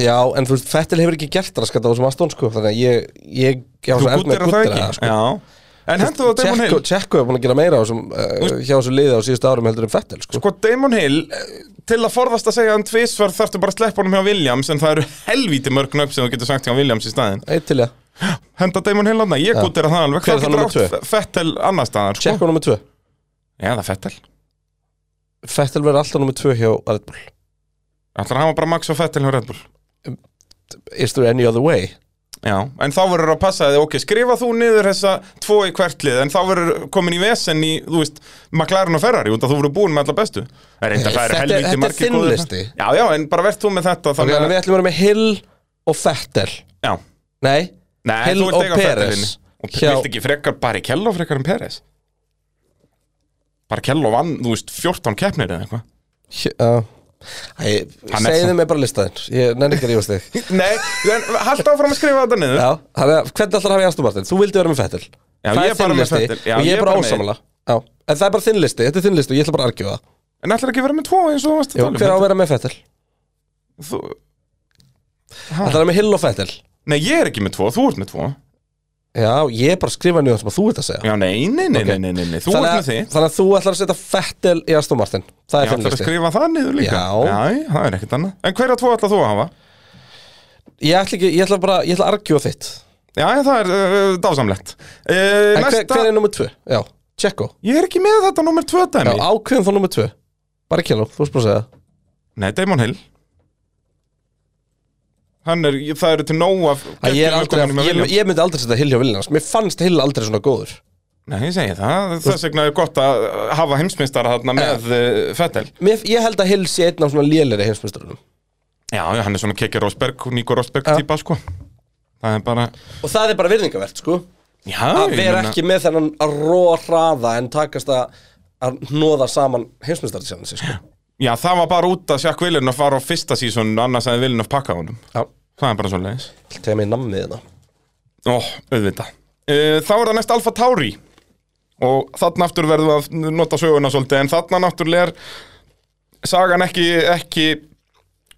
[SPEAKER 1] Já, en þú veist, Fettil hefur ekki gert raskat á þessum Aston, sko, þannig að ég, ég, ég á
[SPEAKER 2] Þú
[SPEAKER 1] svo erfitt með að
[SPEAKER 2] gúttir að það
[SPEAKER 1] guddera
[SPEAKER 2] ekki
[SPEAKER 1] það, sko.
[SPEAKER 2] Já. En hendur þú að Damon
[SPEAKER 1] Tjekko,
[SPEAKER 2] Hill
[SPEAKER 1] Tjekko er búin að gera meira á þessum, uh, hjá þessu liði á síðustu árum heldur en Fettel sko.
[SPEAKER 2] Sko Damon Hill, eh, til að forðast að segja hann tvisvar þarftu bara að sleppa honum hjá Williams en það eru helvíti mörg nöfn sem þú getur sagt hjá Williams í staðin
[SPEAKER 1] Eitt til ég
[SPEAKER 2] Henda Damon Hill hann, ég gúttir að það alveg
[SPEAKER 1] Hver er
[SPEAKER 2] Hvað
[SPEAKER 1] þá
[SPEAKER 2] getur
[SPEAKER 1] númer
[SPEAKER 2] átt Fettel annar staðar sko?
[SPEAKER 1] Tjekko nummer 2
[SPEAKER 2] Já, það er Fettel
[SPEAKER 1] Fettel verður alltaf nummer 2 hjá Red Bull
[SPEAKER 2] Ætlar að hafa bara Max og Fettel hjá Red Bull
[SPEAKER 1] Is there any other way?
[SPEAKER 2] Já, en þá verður að passa þig, ok, skrifa þú niður þessa tvo í hvert lið, en þá verður komin í vesen í, þú veist, McLaren og Ferrari út að þú verður búin með alla bestu Er
[SPEAKER 1] Nei,
[SPEAKER 2] reynda það
[SPEAKER 1] þetta er-
[SPEAKER 2] eru
[SPEAKER 1] þetta er
[SPEAKER 2] helvíti margir
[SPEAKER 1] þinn
[SPEAKER 2] góðir.
[SPEAKER 1] listi.
[SPEAKER 2] Já, já, en bara verð þú með þetta
[SPEAKER 1] Þannig
[SPEAKER 2] þannig
[SPEAKER 1] að
[SPEAKER 2] að-
[SPEAKER 1] við ætlum að vera með Hill og Fettel
[SPEAKER 2] Já,
[SPEAKER 1] Nei,
[SPEAKER 2] Nei,
[SPEAKER 1] Hill
[SPEAKER 2] þú vilt
[SPEAKER 1] og
[SPEAKER 2] eiga
[SPEAKER 1] Perez.
[SPEAKER 2] Fettelinn. Og
[SPEAKER 1] Hjá-
[SPEAKER 2] vilt ekki frekar Barrichello frekar en Peres Barrichello vann, þú veist, 14 keppnir eða eitthvað
[SPEAKER 1] Hjö- já. Æ,
[SPEAKER 2] Hann er
[SPEAKER 1] Segðu
[SPEAKER 2] það.
[SPEAKER 1] mig bara listaðinn Ég nenni ekki að rífast þig
[SPEAKER 2] Nei, en haldt áfram að skrifa þetta niður
[SPEAKER 1] Já, hann er, hvernig alltaf hafa ég Aston Martin? Þú vildi vera með Fettel
[SPEAKER 2] Já,
[SPEAKER 1] Það
[SPEAKER 2] ég
[SPEAKER 1] er
[SPEAKER 2] er bara
[SPEAKER 1] þinn
[SPEAKER 2] með
[SPEAKER 1] listi
[SPEAKER 2] Vettel. Já,
[SPEAKER 1] Og ég er bara
[SPEAKER 2] með-
[SPEAKER 1] ósamala Já, en það er bara þinn listi Þetta er þinn listi og ég ætla bara að argjóða
[SPEAKER 2] En ætlar ekki að vera með tvo eins og þú varst að
[SPEAKER 1] Jú,
[SPEAKER 2] tala um
[SPEAKER 1] hver á að
[SPEAKER 2] þetta?
[SPEAKER 1] vera með Fettel?
[SPEAKER 2] þú... Ah.
[SPEAKER 1] Það er með Hill og Fettel
[SPEAKER 2] Nei, ég er ekki með tvo, þú ert með tvo
[SPEAKER 1] Já, ég er bara að skrifa niður það sem að þú ert að segja
[SPEAKER 2] Já, nei, nei, nei,
[SPEAKER 1] Ok.
[SPEAKER 2] nei, nei, nei, nei. þú ert
[SPEAKER 1] þannig,
[SPEAKER 2] með
[SPEAKER 1] að,
[SPEAKER 2] þitt
[SPEAKER 1] þannig að þú ætlar að setja Fettel í Aston Martin Það
[SPEAKER 2] Ég
[SPEAKER 1] er þinn
[SPEAKER 2] ætlar að
[SPEAKER 1] listi
[SPEAKER 2] skrifa það niður líka
[SPEAKER 1] Já.
[SPEAKER 2] Jæ, það er ekkert annað En hverja tvo ætlar þú að hafa?
[SPEAKER 1] Ég ætla, ekki, ég ætla bara, ég ætla að argjóða þitt
[SPEAKER 2] Já, það er uh, dásamlegt uh,
[SPEAKER 1] En hver,
[SPEAKER 2] Næsta,
[SPEAKER 1] hver er nummer 2? Já, Tjekko
[SPEAKER 2] ég er ekki með þetta nummer tvö
[SPEAKER 1] Já,
[SPEAKER 2] dæmi
[SPEAKER 1] ákveðum þá nummer 2 Bara kjáló, þú veist bara að segja það.
[SPEAKER 2] Nei, Damon Hill Hann er, það eru til nóg af
[SPEAKER 1] að ég, er aldrei,
[SPEAKER 2] geggjum ökumönnum að
[SPEAKER 1] ég,
[SPEAKER 2] velja.
[SPEAKER 1] ég myndi aldrei setja Hill hjá Williams Mér fannst Hill aldrei svona góður
[SPEAKER 2] Nei, ég segi það, þess vegna er gott að hafa heimsmeistara þarna með uh, Fettel
[SPEAKER 1] Mér, Ég held að Hill sé einn af svona lélir í heimsmyndstörunum
[SPEAKER 2] Já, já, hann er svona Kekki Rosberg, Níko Rosberg típa, sko Það er bara
[SPEAKER 1] og það er bara virðingavert sko
[SPEAKER 2] Já,
[SPEAKER 1] að
[SPEAKER 2] ég
[SPEAKER 1] vera
[SPEAKER 2] meina-
[SPEAKER 1] ekki með þennan að róa hraða en takast að að hnoða saman heimsmyndstartisjánansi sko.
[SPEAKER 2] Já, það var bara út að sjakk Villeneuve fara á fyrsta sísón annars að Villeneuve pakka honum
[SPEAKER 1] já,
[SPEAKER 2] Það er bara svo leiðis
[SPEAKER 1] tegja mig í nammið þetta
[SPEAKER 2] Ó, auðvitað uh, Þá er það næst Alfa Tauri og þarna aftur verðum við að nota söguna svolítið en þarna náttúrulega er sagan ekki, ekki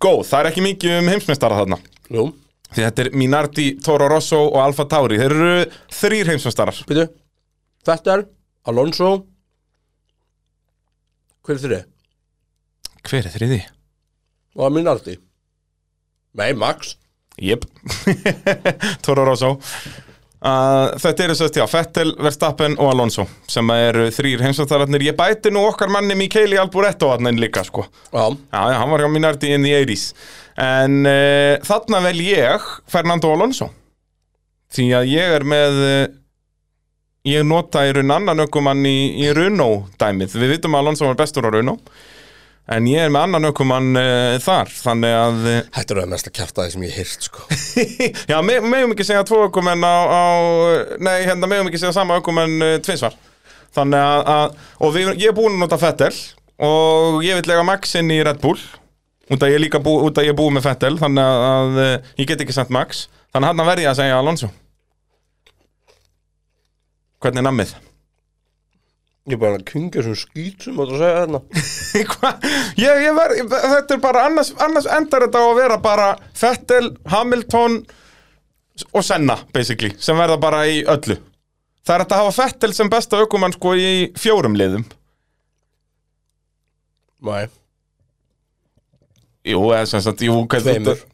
[SPEAKER 2] góð, það er ekki mikið um heimsmeistara þarna
[SPEAKER 1] jú,
[SPEAKER 2] því þetta er Minardi, Toro Rosso og Alfa Tauri þeir eru þrýr heimsmeistarar
[SPEAKER 1] byrju Vettel, Alonso hver er þeirri?
[SPEAKER 2] Hver er þriði?
[SPEAKER 1] og að minna allt í nei, Max
[SPEAKER 2] Jep Toro Rosso Uh, þetta eru sérst, já, Fettel, Verstappen og Alonso sem eru þrýr heimsvæmstararnir ég bæti nú okkar manni Mikeli Alboretto hann líka, sko
[SPEAKER 1] já,
[SPEAKER 2] Já, já, hann var hjá Minardi in the 80s En uh, þarna vel ég Fernando Alonso Því að ég er með uh, Ég nota í raun annan ökumann í, í Runo dæmið Við vitum að Alonso var bestur á Runo En ég er með annan ökumann uh, þar Þannig að uh,
[SPEAKER 1] þetta er það mest að kjarta því sem ég hýrt sko
[SPEAKER 2] Já, me, megum ekki segja tvo ökumenn á, á Nei, hérna megum ekki segja sama ökumenn uh, tvinsvar Þannig að, að Og við, ég er búinn að nota Fettel Og ég vil lega Max inn í Red Bull Út að ég er líka bú, út að ég er búinn með Fettel Þannig að, að uh, ég get ekki sent Max Þannig að hann verði ég að segja Alonso Hvernig er nammið?
[SPEAKER 1] ég er bara að kungja sem skýt sem átt að segja þarna
[SPEAKER 2] Hva? ég, ég ver, þetta er bara annars, annars endar þetta á að vera bara Fettel, Hamilton og Senna basically sem verða bara í öllu það er hægt að hafa Fettel sem besta aukumann sko í fjórum liðum
[SPEAKER 1] nei,
[SPEAKER 2] jú, eða sem sagt, jú, hvað þú
[SPEAKER 1] Tveimur.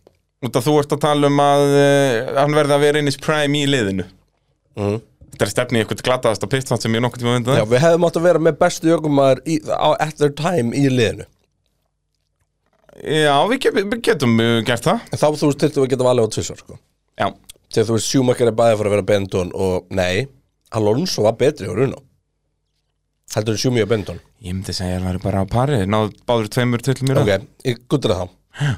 [SPEAKER 2] út að þú ert að tala um að uh, hann verði að vera innis prime í liðinu
[SPEAKER 1] Mhm.
[SPEAKER 2] þetta er stefni í eitthvað glataðasta pitstvann sem ég nokkuð tíma myndið
[SPEAKER 1] já, við hefðum átt að vera með bestu jökumar á at their time í liðinu
[SPEAKER 2] já, við, ge- við getum uh, gert það
[SPEAKER 1] en þá þú veist til þú að geta valið á tvisar sko
[SPEAKER 2] já,
[SPEAKER 1] þegar þú veist sjúmakar er bæðið fyrir að vera Benton og nei, Alonso var betri á Runo heldur þú sjúmi og Benton
[SPEAKER 2] ég myndi segja að það væri bara á pari náðu báður tveimur til mér
[SPEAKER 1] ok, ég guttir það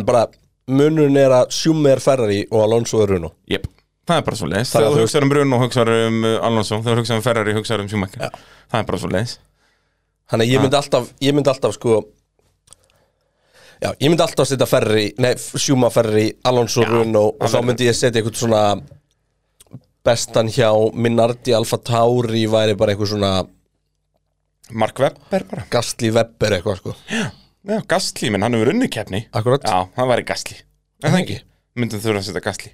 [SPEAKER 1] en bara munurinn er að sjúmi er Ferrari og Alonso er Runo
[SPEAKER 2] Jep, það er bara svo leiðis
[SPEAKER 1] Það er
[SPEAKER 2] Þegar þú
[SPEAKER 1] þú-
[SPEAKER 2] hugsaður um Bruno, hugsaður um uh, Alonso Þegar þú hugsaður um Ferrari, hugsaður um Schumacher Það er bara svo leiðis
[SPEAKER 1] þannig að ég myndi alltaf, ég myndi alltaf sko já, ég myndi alltaf setja Ferrari, nei, sjúma Ferrari Alonso Runo og þá
[SPEAKER 2] verður-
[SPEAKER 1] myndi ég setja eitthvað svona bestan hjá Minardi Alfa Tauri væri bara eitthvað svona
[SPEAKER 2] Mark Webber bara
[SPEAKER 1] Gastli Webber eitthvað sko
[SPEAKER 2] Já, Gastli, menn hann hefur unni keppni
[SPEAKER 1] akkurat,
[SPEAKER 2] Já, hann væri Gastli
[SPEAKER 1] Er það ekki?
[SPEAKER 2] Myndum þurfa að setja Gastli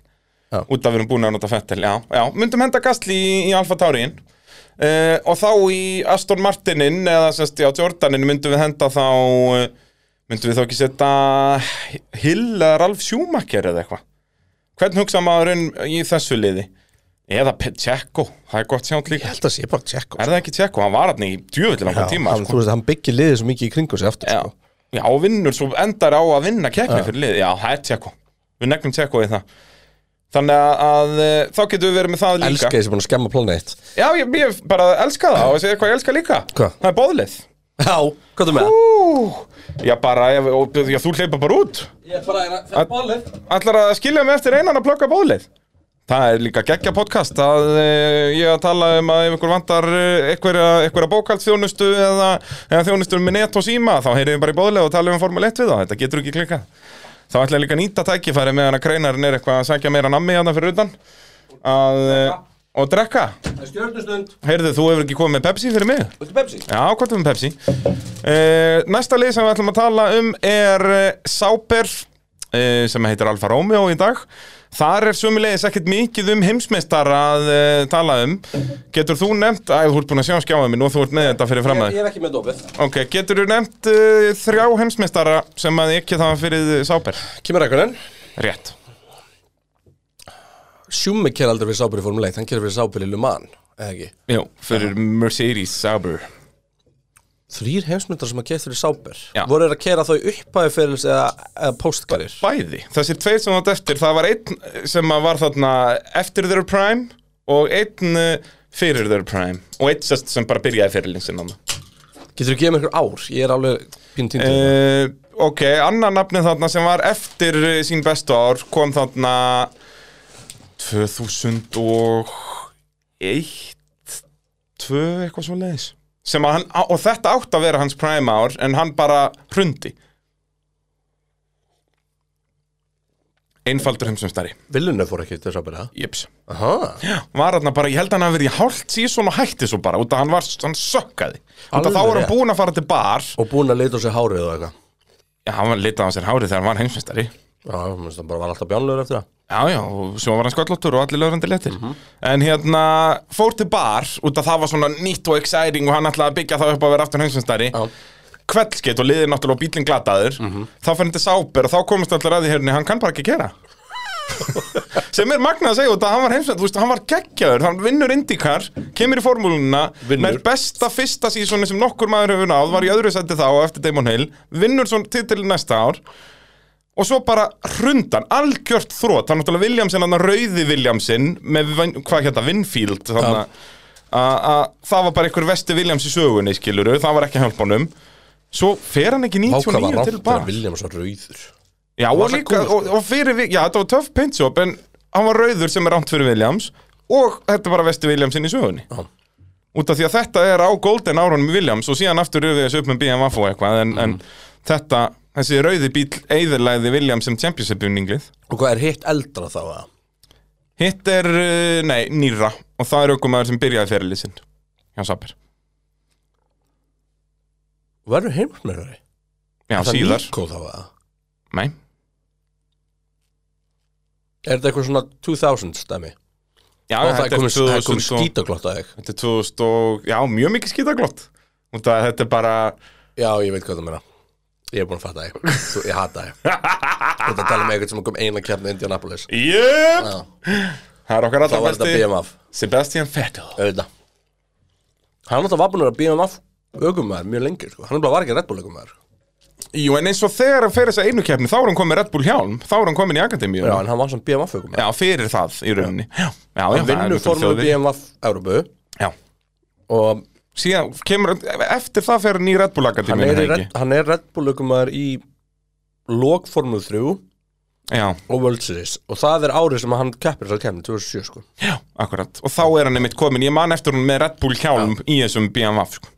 [SPEAKER 1] Já.
[SPEAKER 2] Út af við erum búin að nota Fettel Já, já, myndum henda Gastli í, í Alfa Tauriin uh, Og þá í Aston Martinin Eða semst, já, Jordanin Myndum við henda þá uh, Myndum við þá ekki setja Hill eða Ralf Schumacher eða eitthvað Hvern hugsa maðurinn í þessu liði? Eða Pe- Tjekko, það er gott sjátt
[SPEAKER 1] ég
[SPEAKER 2] líka
[SPEAKER 1] held að sé bara Tjekko
[SPEAKER 2] Er það ekki Tjekko? Hann var hann í djöfulli
[SPEAKER 1] Já,
[SPEAKER 2] langan tíma sko.
[SPEAKER 1] hann, þú veist, hann byggir liðið svo mikið í kringu sig aftur
[SPEAKER 2] Já,
[SPEAKER 1] sko.
[SPEAKER 2] já og vinnur svo endar á að vinna keppni fyrir liði, já, það er tjekko Við neglum tjekko í það Þannig að, að eh, þá getum við verið með það líka
[SPEAKER 1] elska þessi búin að skemma planet
[SPEAKER 2] Já, ég, ég bara elska það og segja hvað ég elska líka
[SPEAKER 1] Hvað?
[SPEAKER 2] Það er bóðlið
[SPEAKER 1] já, hvað er með það?
[SPEAKER 2] Ú, Já, bara, ef- og, já, þú hleypa bara út
[SPEAKER 1] ég er bara að það er bólið
[SPEAKER 2] Ætlar að skilja mig eftir einan að plugga bóðlið Það er líka geggja podcast að e, ég að tala um að ef einhver vantar eh, einhverja, einhverja bókaldsþjónustu eða, eða þjónustu með net og síma þá heyrðum við bara í bóðlega og tala um Formule 1 við þá þetta getur ekki klikkað þá ætla ég líka að nýta tækifæri meðan að kreinarinn er eitthvað að sækja meira nammi hérna fyrir utan að, e, og drekka
[SPEAKER 1] það er stjórnustund
[SPEAKER 2] heyrðu þú hefur ekki komið með Pepsi fyrir mig
[SPEAKER 1] viltu Pepsi?
[SPEAKER 2] Já, hvað er um Pepsi? Uh, næsta lið sem við ætlum að tala um er uh, Sauber uh, sem heitir Alfa Romeo í dag Þar er sömulegis ekkert mikið um heimsmeistar að uh, tala um Getur þú nefnt, að þú ert búin að sjá skjáðum minn og þú ert með þetta fyrir fram að
[SPEAKER 1] er ekki með dópið
[SPEAKER 2] Ok, getur þú nefnt uh, þrjá heimsmeistara sem að ekki það fyrir eh, Sauber?
[SPEAKER 1] Kimi Rækonen
[SPEAKER 2] Rétt
[SPEAKER 1] Sjúmi ker aldrei fyrir sábyrði formuleit hann ker fyrir sábyrði Le Mans eða ekki
[SPEAKER 2] Jú, fyrir Mercedes Sauber
[SPEAKER 1] þrýr heimsmyndar sem að keið fyrir sábyrð
[SPEAKER 2] Já.
[SPEAKER 1] voru þeir að kera þá í upphæði fyrir eða, eða postkarir
[SPEAKER 2] Bæði, þessir tveir sem þú átt eftir Það var einn sem að var þarna eftir þeirra prime og einn eh, fyrir þeirra prime og einn sest sem bara byrjaði fyrirlin sinna
[SPEAKER 1] getur þú gefið mér einhver ár? ég er alveg pín tíndið
[SPEAKER 2] uh, ok, annar nafnið þarna sem var eftir eh, sín bestu ár kom þarna 2001 2 eitthvað svo leiðis sem að hann, og þetta átt að vera hans prime ár en hann bara hrundi einfaldur heimsum stærri
[SPEAKER 1] Villunni fór ekki til þess að byrja
[SPEAKER 2] Jips.
[SPEAKER 1] Aha,
[SPEAKER 2] var hann bara, ég held að hann hafi verið í hálft síðan og hætti svo bara, út að hann var, hann sökkaði út að þá
[SPEAKER 1] Alveg
[SPEAKER 2] var hann
[SPEAKER 1] rétt.
[SPEAKER 2] búinn að fara til bar
[SPEAKER 1] og búin að leita á sig hárið og eitthvað
[SPEAKER 2] já, hann var litað á sér hárið þegar hann var heimsmyndstari
[SPEAKER 1] Já, mér finnst það bara var alltaf bjánlegur eftir það
[SPEAKER 2] Já, já, og svo var hann sköllóttur og allir lögrandi letir En hérna, fór til bar Út að það var svona nýtt og exciting Og hann ætlaði að byggja það upp að vera aftur heimsumstæri
[SPEAKER 1] Já.
[SPEAKER 2] Kveldskeitt og liðið náttúrulega og bílinn glataður Þá fann þetta sáber og þá komist allir að því hérna Hann kann bara ekki gera Sem er magnað að segja út að hann var heimsumstæri Þú veist, hann var geggjaður, hann vinnur indikar Kemur í formúluna
[SPEAKER 1] Vinnur.
[SPEAKER 2] Með besta fyrsta sísoni sem nokkur maður hefur náð Var í öðru seti þá og eftir Damon Hill Vinnur svo titil næsta ár og svo bara hrundan, algjört þrótt það er náttúrulega Williamson, hann rauði Williamson með, vin- hvað hérna, Winfield þannig að að það var bara einhver vesti Williams í sögunni, skiluru það var ekki að hjálpa honum svo fer hann ekki
[SPEAKER 1] Háka var
[SPEAKER 2] 99 til
[SPEAKER 1] rátt þegar
[SPEAKER 2] bara
[SPEAKER 1] Williams var rauður
[SPEAKER 2] já,
[SPEAKER 1] var sko.
[SPEAKER 2] og,
[SPEAKER 1] það
[SPEAKER 2] líka,
[SPEAKER 1] gult,
[SPEAKER 2] og, og fyrir, Vi- já, þetta var töff pintsjóp en hann var rauður sem er rámt fyrir Williams og þetta er bara vesti Williamson í sögunni
[SPEAKER 1] Já.
[SPEAKER 2] út af því að þetta er á golden árunum í Williams og síðan aftur röfið þessu upp með BMW og eitthvað en,
[SPEAKER 1] Mm.
[SPEAKER 2] en þetta, þessi rauði bíl eðurlæði Williams sem championship unninglið
[SPEAKER 1] Og hvað er hitt eldra þá að
[SPEAKER 2] Hitt er, uh, nei, nýra og það er okkur maður sem byrjaði fyrirlið sinn hjá Saber,
[SPEAKER 1] Verður heimsmeirari?
[SPEAKER 2] já, síðar
[SPEAKER 1] Nico þá að
[SPEAKER 2] Nei,
[SPEAKER 1] Er þetta eitthvað svona 2000 stæmi?
[SPEAKER 2] já,
[SPEAKER 1] og það
[SPEAKER 2] þetta
[SPEAKER 1] er komið, það er komið
[SPEAKER 2] 2000 og-
[SPEAKER 1] skítaglott að þig
[SPEAKER 2] Þetta er 2000 og, já, mjög mikið skítaglott og það, þetta er bara
[SPEAKER 1] Já, ég veit hvað það meina Ég er búin að fatta þig Þú- Ég hata þig Þetta tala með eitthvað sem kom eina kjarni Indianapolis
[SPEAKER 2] Jöp,
[SPEAKER 1] Já,
[SPEAKER 2] það er okkar
[SPEAKER 1] þá
[SPEAKER 2] allra
[SPEAKER 1] var þetta
[SPEAKER 2] besti
[SPEAKER 1] BMF
[SPEAKER 2] Sebastian Vettel
[SPEAKER 1] Auðvitað Hann alltaf var búin að vera BMF aukumæður mjög lengi sko. Hann er bara var ekki Red Bull aukumæður
[SPEAKER 2] Jú, en eins og þegar hann fer þessa einu keppni þá er hann komið Red Bull hjálm, þá er hann komin í Akademíu
[SPEAKER 1] Já,
[SPEAKER 2] já.
[SPEAKER 1] en hann var sem BMF aukumæður
[SPEAKER 2] fyrir það í rauninni Já, já, já
[SPEAKER 1] Hann vinnur formúlu BMF Európu
[SPEAKER 2] Já,
[SPEAKER 1] Og
[SPEAKER 2] síðan kemur, e- eftir það fer hann í Red Bull
[SPEAKER 1] hann
[SPEAKER 2] Akademíu
[SPEAKER 1] er, í Red, hann er Red Bull aukumæður í Lokformulu 3
[SPEAKER 2] Já,
[SPEAKER 1] og World Series Og það er árið sem hann keppir þess að kemni 2007 sko.
[SPEAKER 2] Já, akkurat, og þá er hann einmitt komin ég man eftir hún með Red Bull hjálm í þessum BMW sko.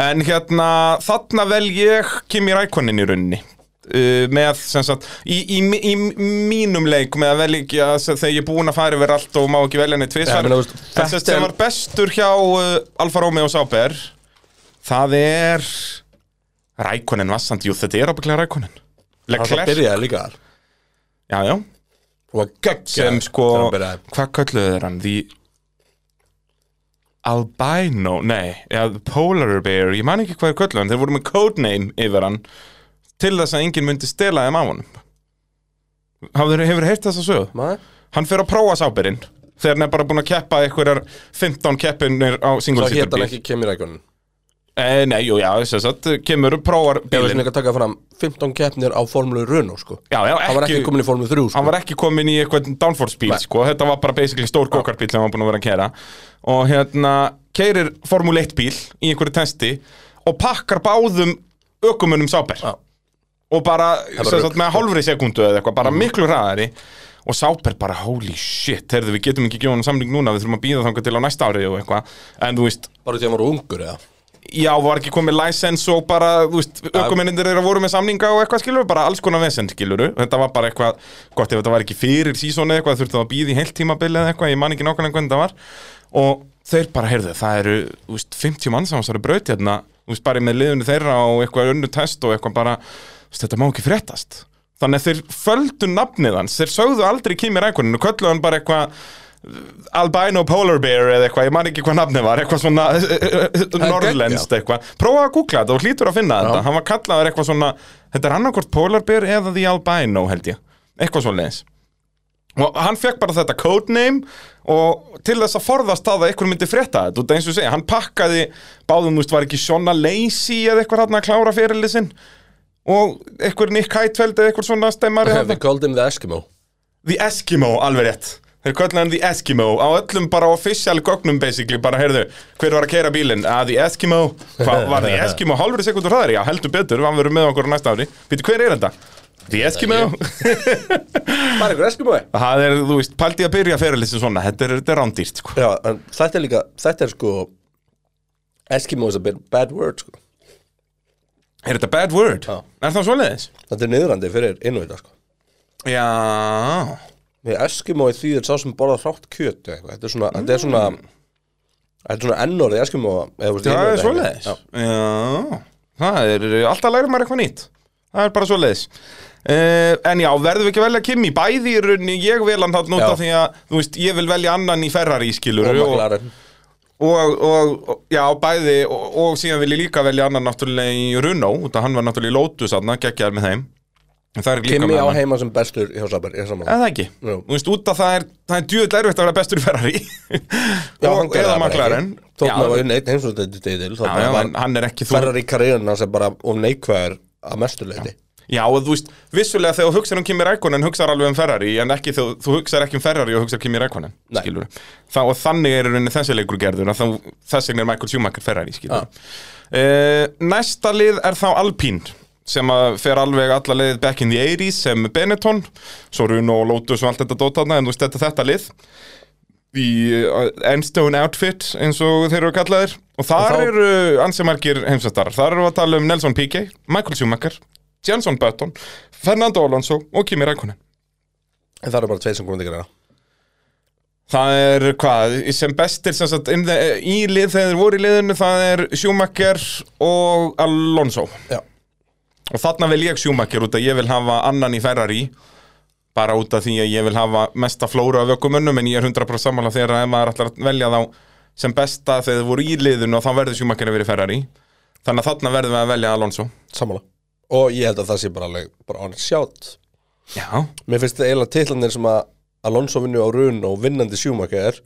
[SPEAKER 2] en hérna, þarna vel ég Kimi Rækonin í rauninni uh, með, sem sagt, í, í, mi- í mínum leik með að velja þegar ég er búinn að fara yfir allt og má ekki velja henni
[SPEAKER 1] Já,
[SPEAKER 2] tvisar,
[SPEAKER 1] ég meina, þú veist,
[SPEAKER 2] en sem,
[SPEAKER 1] þetta er-
[SPEAKER 2] sem var bestur hjá uh, Alfa Romeo og Sauber það er Rækonin vassand, jú þetta er ábygglega Rækonin
[SPEAKER 1] Hann alltaf
[SPEAKER 2] Leclerc,
[SPEAKER 1] byrjaði líka þar
[SPEAKER 2] já, já
[SPEAKER 1] Og var gegn
[SPEAKER 2] sem sko,
[SPEAKER 1] byrjaði
[SPEAKER 2] hvað kölluðu þeir hann? The Albino, nei, ja, the Polar Bear, ég man ekki hvað er kölluðu hann, þeir voru með codename yfir hann til þess að enginn myndi stela þeim á honum. Hafður, hefur heyrt þess að sögðu?
[SPEAKER 1] Maður?
[SPEAKER 2] Hann fer að prófa sábyrinn þegar hann er bara búin að keppa einhverjar 15
[SPEAKER 1] Svo
[SPEAKER 2] keppinir á
[SPEAKER 1] hétt hann
[SPEAKER 2] singulsýtturbíl.
[SPEAKER 1] ekki Kimi Rækonin
[SPEAKER 2] Eh, nei, jú, já, þess að kemur og prófar
[SPEAKER 1] Ég veist
[SPEAKER 2] bílinn.
[SPEAKER 1] ekki að taka fram 15 keppnir á formúlu Renault sko.
[SPEAKER 2] Já, já,
[SPEAKER 1] Hann var ekki komin í formúlu 3 sko.
[SPEAKER 2] hann var ekki komin í eitthvað downforce bíl
[SPEAKER 1] Nei.
[SPEAKER 2] sko, þetta var bara basically stór gokartbíl sem hann var búin að vera að kæra og hérna, kærir Formule 1 bíl í einhverju testi og pakkar báðum ökumunum sáber
[SPEAKER 1] Já.
[SPEAKER 2] og bara,
[SPEAKER 1] bara
[SPEAKER 2] sem sagt,
[SPEAKER 1] rugl. Mhm.
[SPEAKER 2] með hálfri sekundu eða eitthvað, bara miklu hraðari og sáber bara, holy shit, heyrðu, við getum ekki gefið hann samling núna, við þurfum að býða þangað til á næsta ári og eitthvað, en þú veist
[SPEAKER 1] Bara því að hann var ungur eða
[SPEAKER 2] já, var ekki komið license og bara, þú veist, ökumennindir eru að voru með samninga og eitthvað skilur, bara alls konar vesend skilur þetta var bara eitthvað, gott ef þetta var ekki fyrir sísónu eitthvað, þurftu að býða í heilt tímabili eða eitthvað, ég man ekki nákvæmlega hvernig það var og þeir bara, heyrðu, það eru þú veist, 50 manns á þessari braut hérna þú veist, bara með liðunni þeirra og eitthvað önnu test og eitthvað bara, þú veist, þetta má ekki fréttast þannig að þeir földu nafnið hans þeir sögðu aldrei Kimi Rækonin og kölluðu hann bara eitthvað albino polar bear eða eitthvað, ég man ekki hvað nafnið var eitthvað eh, svona norðlenskt eitthvað prófaðu að googla þetta og hlýtur að finna þetta hann var kallaður eitthvað svona þetta er annarkort polar bear eða the albino held ég eitthvað svona leins og hann fekk bara þetta codename og til þess að forðast það að eitthvað myndi frétta þetta og eins og ég segja, hann pakkaði báðum, þú veist, var ekki Shona Lacey eða eitthvað hann að klára fyrirlisinn og eitthvað Nick Heitfeld eða eitthvað svona stemmari
[SPEAKER 1] They called him the Eskimo
[SPEAKER 2] The Eskimo, alveg rétt Þeir kölluðu hann The Eskimo á öllum bara official gögnum basically, bara heyrðu, hver var að keira bílinn? Að The Eskimo, hvað var The Eskimo halvur sekundur hraðari? Já, heldur betur, hann verður með okkur á næsta ári. Býttu, hver er þetta? The Eskimo?
[SPEAKER 1] Bara einhver eskimói
[SPEAKER 2] Það er, þú veist, paldi að byrja fyrirlið sem svona, þetta er, þetta er rándýrt, sko.
[SPEAKER 1] Já, en þetta er líka, þetta er sko Eskimo is a bit bad word sko.
[SPEAKER 2] Er þetta bad word?
[SPEAKER 1] Já.
[SPEAKER 2] Er það svoleiðis?
[SPEAKER 1] Þetta er niðrandi fyrir innvita sko.
[SPEAKER 2] Já,
[SPEAKER 1] Við Eskimoi því er sá sem borðar hrátt kjöt eða eitthvað. Þetta er svona, þetta er svona Þetta er svona ennorði Eskimo
[SPEAKER 2] það er svoleiðis. Já, það er, eh, alltaf lærir maður eitthvað nýtt. Það er bara svoleiðis. Uh, en já, verðum við ekki að velja Kimi bæði í rauninni, ég vel hann þarna út af
[SPEAKER 1] Já.
[SPEAKER 2] því að, þú veist, ég vil velja annan í Ferrari skilur
[SPEAKER 1] Og
[SPEAKER 2] og,
[SPEAKER 1] maklarinn
[SPEAKER 2] og, og, já, bæði og, og síðan vil ég líka velja annan náttúrulega í Renault, út af hann var náttúrulega í Lotus þarna, geggjaður með þeim En það er líka
[SPEAKER 1] Kimi á
[SPEAKER 2] með annan.
[SPEAKER 1] heima sem bestur hjá Saber, ég er saman
[SPEAKER 2] Eða ekki,
[SPEAKER 1] Jú.
[SPEAKER 2] þú veist, út af það er, það er djöðlega erfitt að vera bestur í Ferrari
[SPEAKER 1] Já, hann
[SPEAKER 2] og,
[SPEAKER 1] gerði
[SPEAKER 2] eða
[SPEAKER 1] það bara
[SPEAKER 2] maklarinn
[SPEAKER 1] ekki.
[SPEAKER 2] Já,
[SPEAKER 1] Þótt maður var inn eitt heimsvöldið titil Þá
[SPEAKER 2] já, já,
[SPEAKER 1] var
[SPEAKER 2] hann, hann er ekki þú
[SPEAKER 1] ferrar í karriðuna sem bara um neikvæður að mestuleiti
[SPEAKER 2] Já, og þú veist, vissulega þegar þú hugsar um Kimi Rækonen hugsar alveg um Ferrari, en ekki þú, þú hugsar ekki um Ferrari og hugsar Kimi Rækonen,
[SPEAKER 1] Nei.
[SPEAKER 2] skilur Þa, og þannig er í rauninni þessi leikur gerður og þá- þess vegna er Michael Schumacher Ferrari, skilur
[SPEAKER 1] Já.
[SPEAKER 2] Næsta lið er þá Alpine sem að fer alveg alla leiðið back in the 80s sem Benetton, svo Runo og Lotus og allt þetta dótarna, en þú veist, þetta, þetta lið í uh, Enstone Outfit eins og þeir eru kallaðir og þar
[SPEAKER 1] þá-
[SPEAKER 2] eru ansi margir heimsvæstarar þar eru að tala um Nelson Piquet, Michael Schumacher Jansson Button, Fernando Alonso og Kimi Rækonen
[SPEAKER 1] En það eru bara tveir sem komið til greina
[SPEAKER 2] Það er hvað, sem bestir sem sagt, in the, í lið þegar þeir voru í liðinu það er Schumacher og Alonso
[SPEAKER 1] Já,
[SPEAKER 2] og þarna vil ég Schumacher út að ég vil hafa annan í Ferrari bara út af því að ég vil hafa mesta flóru af ökumönnum en ég er 100% sammála þegar að ef maður ætlar að velja þá sem besta þegar þau voru í liðinu og þá verður Schumacher að vera í Ferrari þannig að þarna verðum við að velja Alonso
[SPEAKER 1] samanlega Og ég held að það sé bara alveg, bara on sjátt
[SPEAKER 2] Já,
[SPEAKER 1] Mér finnst það eiginlega titlanir sem að Alonso vinnu á run og vinnandi sjúmakar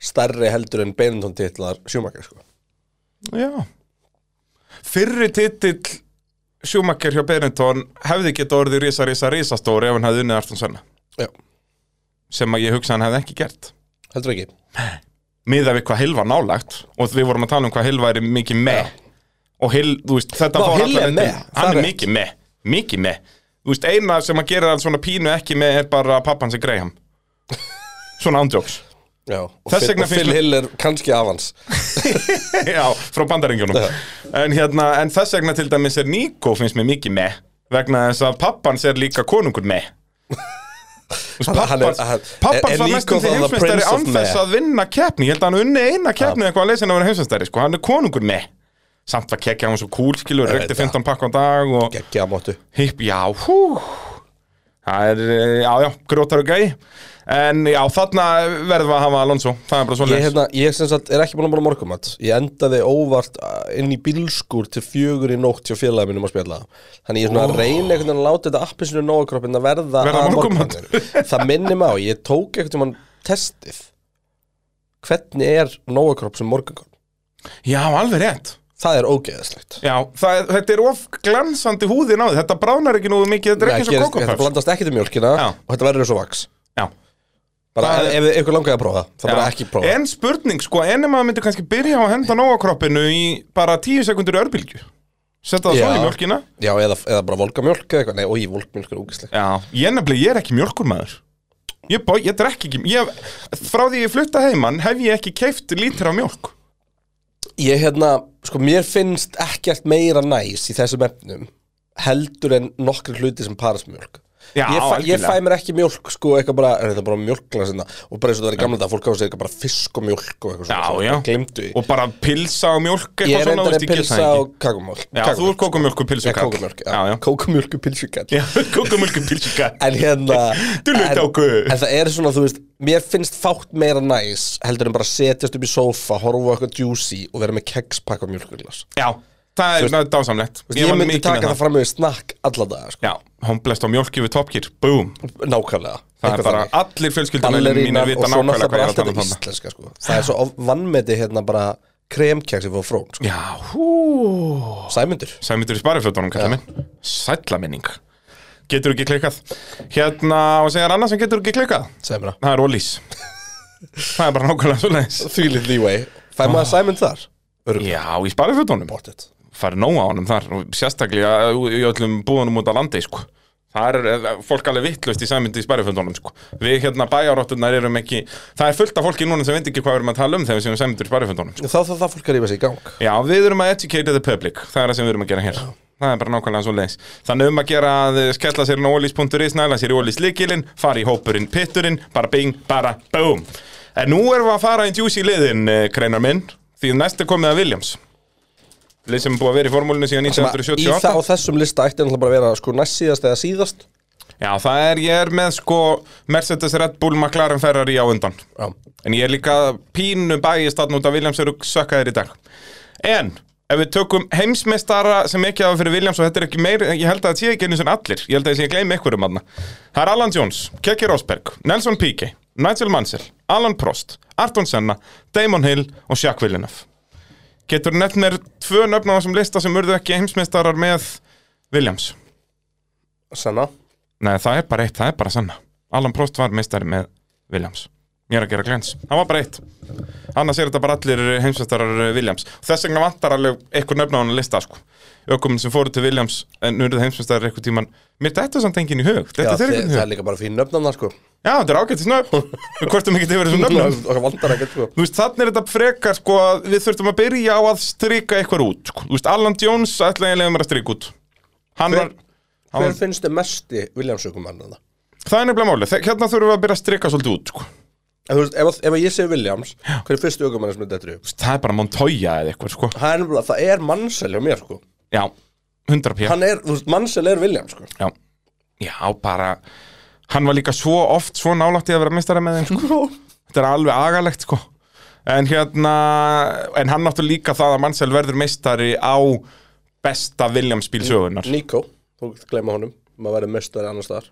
[SPEAKER 1] stærri heldur en Benetton titlar sjúmakar sko.
[SPEAKER 2] já Fyrri titill Schumacher hjá Benetton hefði geta orðið risa, risa, risa stóri ef hann hefði unnið Arston Senna
[SPEAKER 1] Já,
[SPEAKER 2] sem að ég hugsa hann hefði ekki gert
[SPEAKER 1] heldur ekki
[SPEAKER 2] miðað við hvað Hill var nálægt og við vorum að tala um hvað Hill væri mikið með og Hill, þú veist, þetta
[SPEAKER 1] Vá,
[SPEAKER 2] fór
[SPEAKER 1] Hill
[SPEAKER 2] allar
[SPEAKER 1] er
[SPEAKER 2] undir.
[SPEAKER 1] með, það
[SPEAKER 2] hann
[SPEAKER 1] er
[SPEAKER 2] er
[SPEAKER 1] rétt.
[SPEAKER 2] mikið með, mikið með þú veist, eina sem að gera hann svona pínu ekki með er bara pappan sem Graham svona ándjóks
[SPEAKER 1] Já, og
[SPEAKER 2] Þess
[SPEAKER 1] Phil-
[SPEAKER 2] vegna
[SPEAKER 1] og
[SPEAKER 2] finnst
[SPEAKER 1] Phil
[SPEAKER 2] mér-
[SPEAKER 1] Hill er kannski avans
[SPEAKER 2] já, frá bandaringunum en, hérna, en þess vegna til dæmis er Nico finnst mér mikið með vegna þess að pappan er líka konungur með
[SPEAKER 1] Hann er-
[SPEAKER 2] Pappans
[SPEAKER 1] hann- er- er
[SPEAKER 2] pappans var
[SPEAKER 1] Nico
[SPEAKER 2] næstum
[SPEAKER 1] þá
[SPEAKER 2] því
[SPEAKER 1] the
[SPEAKER 2] heimsmeistari
[SPEAKER 1] prince of
[SPEAKER 2] án þess
[SPEAKER 1] meh?
[SPEAKER 2] að vinna keppni Ég held að hann unni eina keppni eitthvað að leysin að vera heimsmeistari sko. Hann er konungur með Samt var kekkja hann svo cool skilur
[SPEAKER 1] Ég veit
[SPEAKER 2] Rökti
[SPEAKER 1] það.
[SPEAKER 2] 15 pakk á dag og
[SPEAKER 1] Gekkja á móttu
[SPEAKER 2] hipp, já, hú Það er, eh, já, já, grótar og gæi En já, þarna verðum við að hafa Alonso Það er bara
[SPEAKER 1] Ég,
[SPEAKER 2] svona
[SPEAKER 1] hérna, ég sem sagt er ekki búin að búin morgumat Ég endaði óvart uh, inn í bílskur til fjögur í nótt hjá félagi mínum að spjalla Þannig ég er svona að reyna einhvern veginn að láta þetta appisinu nógakroppin að verða
[SPEAKER 2] Verða
[SPEAKER 1] að
[SPEAKER 2] morgunmat.
[SPEAKER 1] morgunmatnum. Það minnir mig á, ég tók einhvern veginn testið Hvernig er nógakropp sem morgunkropp?
[SPEAKER 2] Já, alveg rétt
[SPEAKER 1] Það er ógeðslegt
[SPEAKER 2] Já, það, er- þetta er of glansandi húðin á því, þetta bránar ekki nú mikið, þetta er ekki
[SPEAKER 1] Nei,
[SPEAKER 2] svo
[SPEAKER 1] gerist- Þetta
[SPEAKER 2] kokopöps
[SPEAKER 1] blandast ekki til mjólkina
[SPEAKER 2] Já.
[SPEAKER 1] og þetta verður svo vaks
[SPEAKER 2] Já,
[SPEAKER 1] Bara ef,
[SPEAKER 2] Það er-
[SPEAKER 1] ef ykkur langaði að prófa það, það bara
[SPEAKER 2] já.
[SPEAKER 1] ekki prófa
[SPEAKER 2] En spurning, sko, en ef maður myndi kannski byrja á að henda nóg á kroppinu í bara tíu sekundur örbylgju Setta það
[SPEAKER 1] Já.
[SPEAKER 2] svona í mjölkina
[SPEAKER 1] Já, eða, eða bara volgamjólk eða eitthvað Nei, oi, volgamjólk er ógeðslegt
[SPEAKER 2] Já, ég nefnilega, ég er ekki mjölkurmaður Ég, bó, ég drekk ekki, ég, frá því ég flutta heimann hef ég ekki keift lítra af mjölk
[SPEAKER 1] Ég hérna, sko, mér finnst ekkert meira næs í þessum efnum heldur en nokkri hluti sem parasmjólk
[SPEAKER 2] Já,
[SPEAKER 1] ég, fæ, ég
[SPEAKER 2] algjörlega.
[SPEAKER 1] fæ mér ekki mjólk, sko, eitthvað bara er þetta bara mjólkla sinna og bara eins og það er gamla þetta fólk á sig eitthvað bara fisk og mjólk og eitthvað
[SPEAKER 2] Já,
[SPEAKER 1] svona,
[SPEAKER 2] já.
[SPEAKER 1] glemdu því
[SPEAKER 2] og bara pilsa og
[SPEAKER 1] Ég
[SPEAKER 2] mjólk eitthvað
[SPEAKER 1] er
[SPEAKER 2] svona,
[SPEAKER 1] endan
[SPEAKER 2] veist,
[SPEAKER 1] en
[SPEAKER 2] ég get
[SPEAKER 1] pilsa
[SPEAKER 2] það ekki
[SPEAKER 1] og kakumjólk
[SPEAKER 2] Já, þú er kókumjölk og pilsu
[SPEAKER 1] Já, kókumjólk, já,
[SPEAKER 2] já, já.
[SPEAKER 1] kókumjólk og pilsukall
[SPEAKER 2] Já, kókumjölk og pilsu kall
[SPEAKER 1] En hérna en,
[SPEAKER 2] Dullutáku.
[SPEAKER 1] en það er svona, þú veist Mér finnst fátt meira næs heldur en bara setjast upp í sófa, horfa á eitthvað juicy og vera með kegspakka mjölkuglas
[SPEAKER 2] Já, það er ná- dásamlegt
[SPEAKER 1] Ég, ég
[SPEAKER 2] var hérna.
[SPEAKER 1] myndi
[SPEAKER 2] mikið með
[SPEAKER 1] taka það fram yfir snakk alla daga sko.
[SPEAKER 2] Já, hún blest á mjólki við topkir, boom
[SPEAKER 1] Nákvæmlega
[SPEAKER 2] Það er
[SPEAKER 1] Eitthvað
[SPEAKER 2] bara
[SPEAKER 1] þannig.
[SPEAKER 2] allir fjölskyldunar mínir
[SPEAKER 1] Ballerínar og
[SPEAKER 2] vita
[SPEAKER 1] svo
[SPEAKER 2] nákvæmlega
[SPEAKER 1] náttúrulega bara
[SPEAKER 2] hvað ég er að
[SPEAKER 1] allt
[SPEAKER 2] tala
[SPEAKER 1] þetta
[SPEAKER 2] um þarna
[SPEAKER 1] íslenska sko. Það er svo of- vannmeti hérna bara kremkjaksi frá frón sko.
[SPEAKER 2] Já, hú
[SPEAKER 1] Sæmundur
[SPEAKER 2] Sæmitur í spariflötunum, kallar minn Sælla minning Getur ekki klikkað Hérna, og segja annað sem getur ekki klikkað
[SPEAKER 1] Sæmra
[SPEAKER 2] Það er Ólís það er bara nákvæmlega svo leiðis
[SPEAKER 1] Þvílið leeway Fær
[SPEAKER 2] Ah.
[SPEAKER 1] maður Simon þar? Örugg
[SPEAKER 2] Já, í sparið fötunum
[SPEAKER 1] Bortett
[SPEAKER 2] farið nóg á honum þar og sérstaklega eh, í í öllum búðunum út á landi sko. Það er eh, fólk alveg vittlust í sæmyndi í spæriföndunum sko. Við hérna bæjarottunar erum ekki Það er fullt af fólki núna sem veit ekki hvað við erum að tala um þegar við séum sæmyndur í spæriföndunum sko.
[SPEAKER 1] Þá þarf það fólk að rífa sig í gang
[SPEAKER 2] Já, við erum að educate the public Það er það sem við erum að gera hér Það er bara nákvæmlega svo leins Þannig um að gera að eh, skella sér inn á olís.is Næla sér í olís likilinn, fara í hópurinn pitturinn Bara bing, bara boom En nú erum við að fara í juicy liðin, eh, kreinar minn Því næst er komið að Williams Lið sem er búið að vera í formúlinu síðan
[SPEAKER 1] Sem að Í
[SPEAKER 2] 1978
[SPEAKER 1] það á þessum lista ætti náttúrulega bara að vera sko næst síðast eða síðast
[SPEAKER 2] Já, það er, ég er með sko Mercedes, Red Bull, McLaren, Ferrari á undan
[SPEAKER 1] Já
[SPEAKER 2] En ég er líka pínu bæist þarna út af Williams eru sökkaðir í dag En, ef við tökum heimsmeistara sem ekki hafa fyrir Williams og þetta er ekki meir Ég held að þetta sé ekki einu sem allir, ég held að ég sé að gleymi einhverjum aðna Það er Alan Jones, Kekki Rosberg, Nelson Piquet, Nigel Mansell, Alan Prost, Arton Senna, Damon Hill og Jacques Villeneuve Getur nefnt mér tvö nöfn á þessum lista sem urðu ekki heimsmeistarar með Williams?
[SPEAKER 1] Senna
[SPEAKER 2] Nei, það er bara eitt, það er bara sanna Alan Prost var meistari með Williams Ég er að gera glens, það var bara eitt Annars er þetta bara allir heimsveistarar Williams Þess vegna vantar alveg eitthvað nöfn á hann að lista sko. Ökum sem fóru til Williams En nú eru það heimsveistarar eitthvað tíman Mér þetta er samt enginn í hug
[SPEAKER 1] Já,
[SPEAKER 2] Þetta
[SPEAKER 1] þe-
[SPEAKER 2] er eitthvað í
[SPEAKER 1] það
[SPEAKER 2] hug
[SPEAKER 1] er líka bara fín nöfnana sko
[SPEAKER 2] Já, þetta er ágættis nöfn Við hvortum ekki til verið þessum nöfnum
[SPEAKER 1] Það vandar ekkert sko
[SPEAKER 2] Þú veist, þannig er þetta frekar sko að Við þurftum að byrja á að strika eitthvað út sko. Þú veist, Alan Jones ætla ég að leiða mér að strika út Hann
[SPEAKER 1] Hver-
[SPEAKER 2] var hann
[SPEAKER 1] Hver
[SPEAKER 2] var-
[SPEAKER 1] finnst þið mesti Williamsökumannana?
[SPEAKER 2] Það er nefnilega málið, Þe- hérna þurfum við að byrja að strika svolítið út sko.
[SPEAKER 1] En þú veist, ef, ef ég segi Williams, hver er fyrstu ökumann sem þetta er upp?
[SPEAKER 2] það er bara Montoya eða eitthvað sko
[SPEAKER 1] Það er nefnilega, það er mannsel hjá mér, sko.
[SPEAKER 2] já, 100 pjá
[SPEAKER 1] Hann er, þú veist, mannsel er Williams, sko.
[SPEAKER 2] já. já, bara hann var líka svo oft svo nálægt í að vera meistara með þeim sko. þetta er alveg agalegt sko en hérna, en hann áttu líka það að Mansell verður meistari á besta Williams bíl sögunar
[SPEAKER 1] Nico, þú gleyma honum, maður verið mestari annars þar.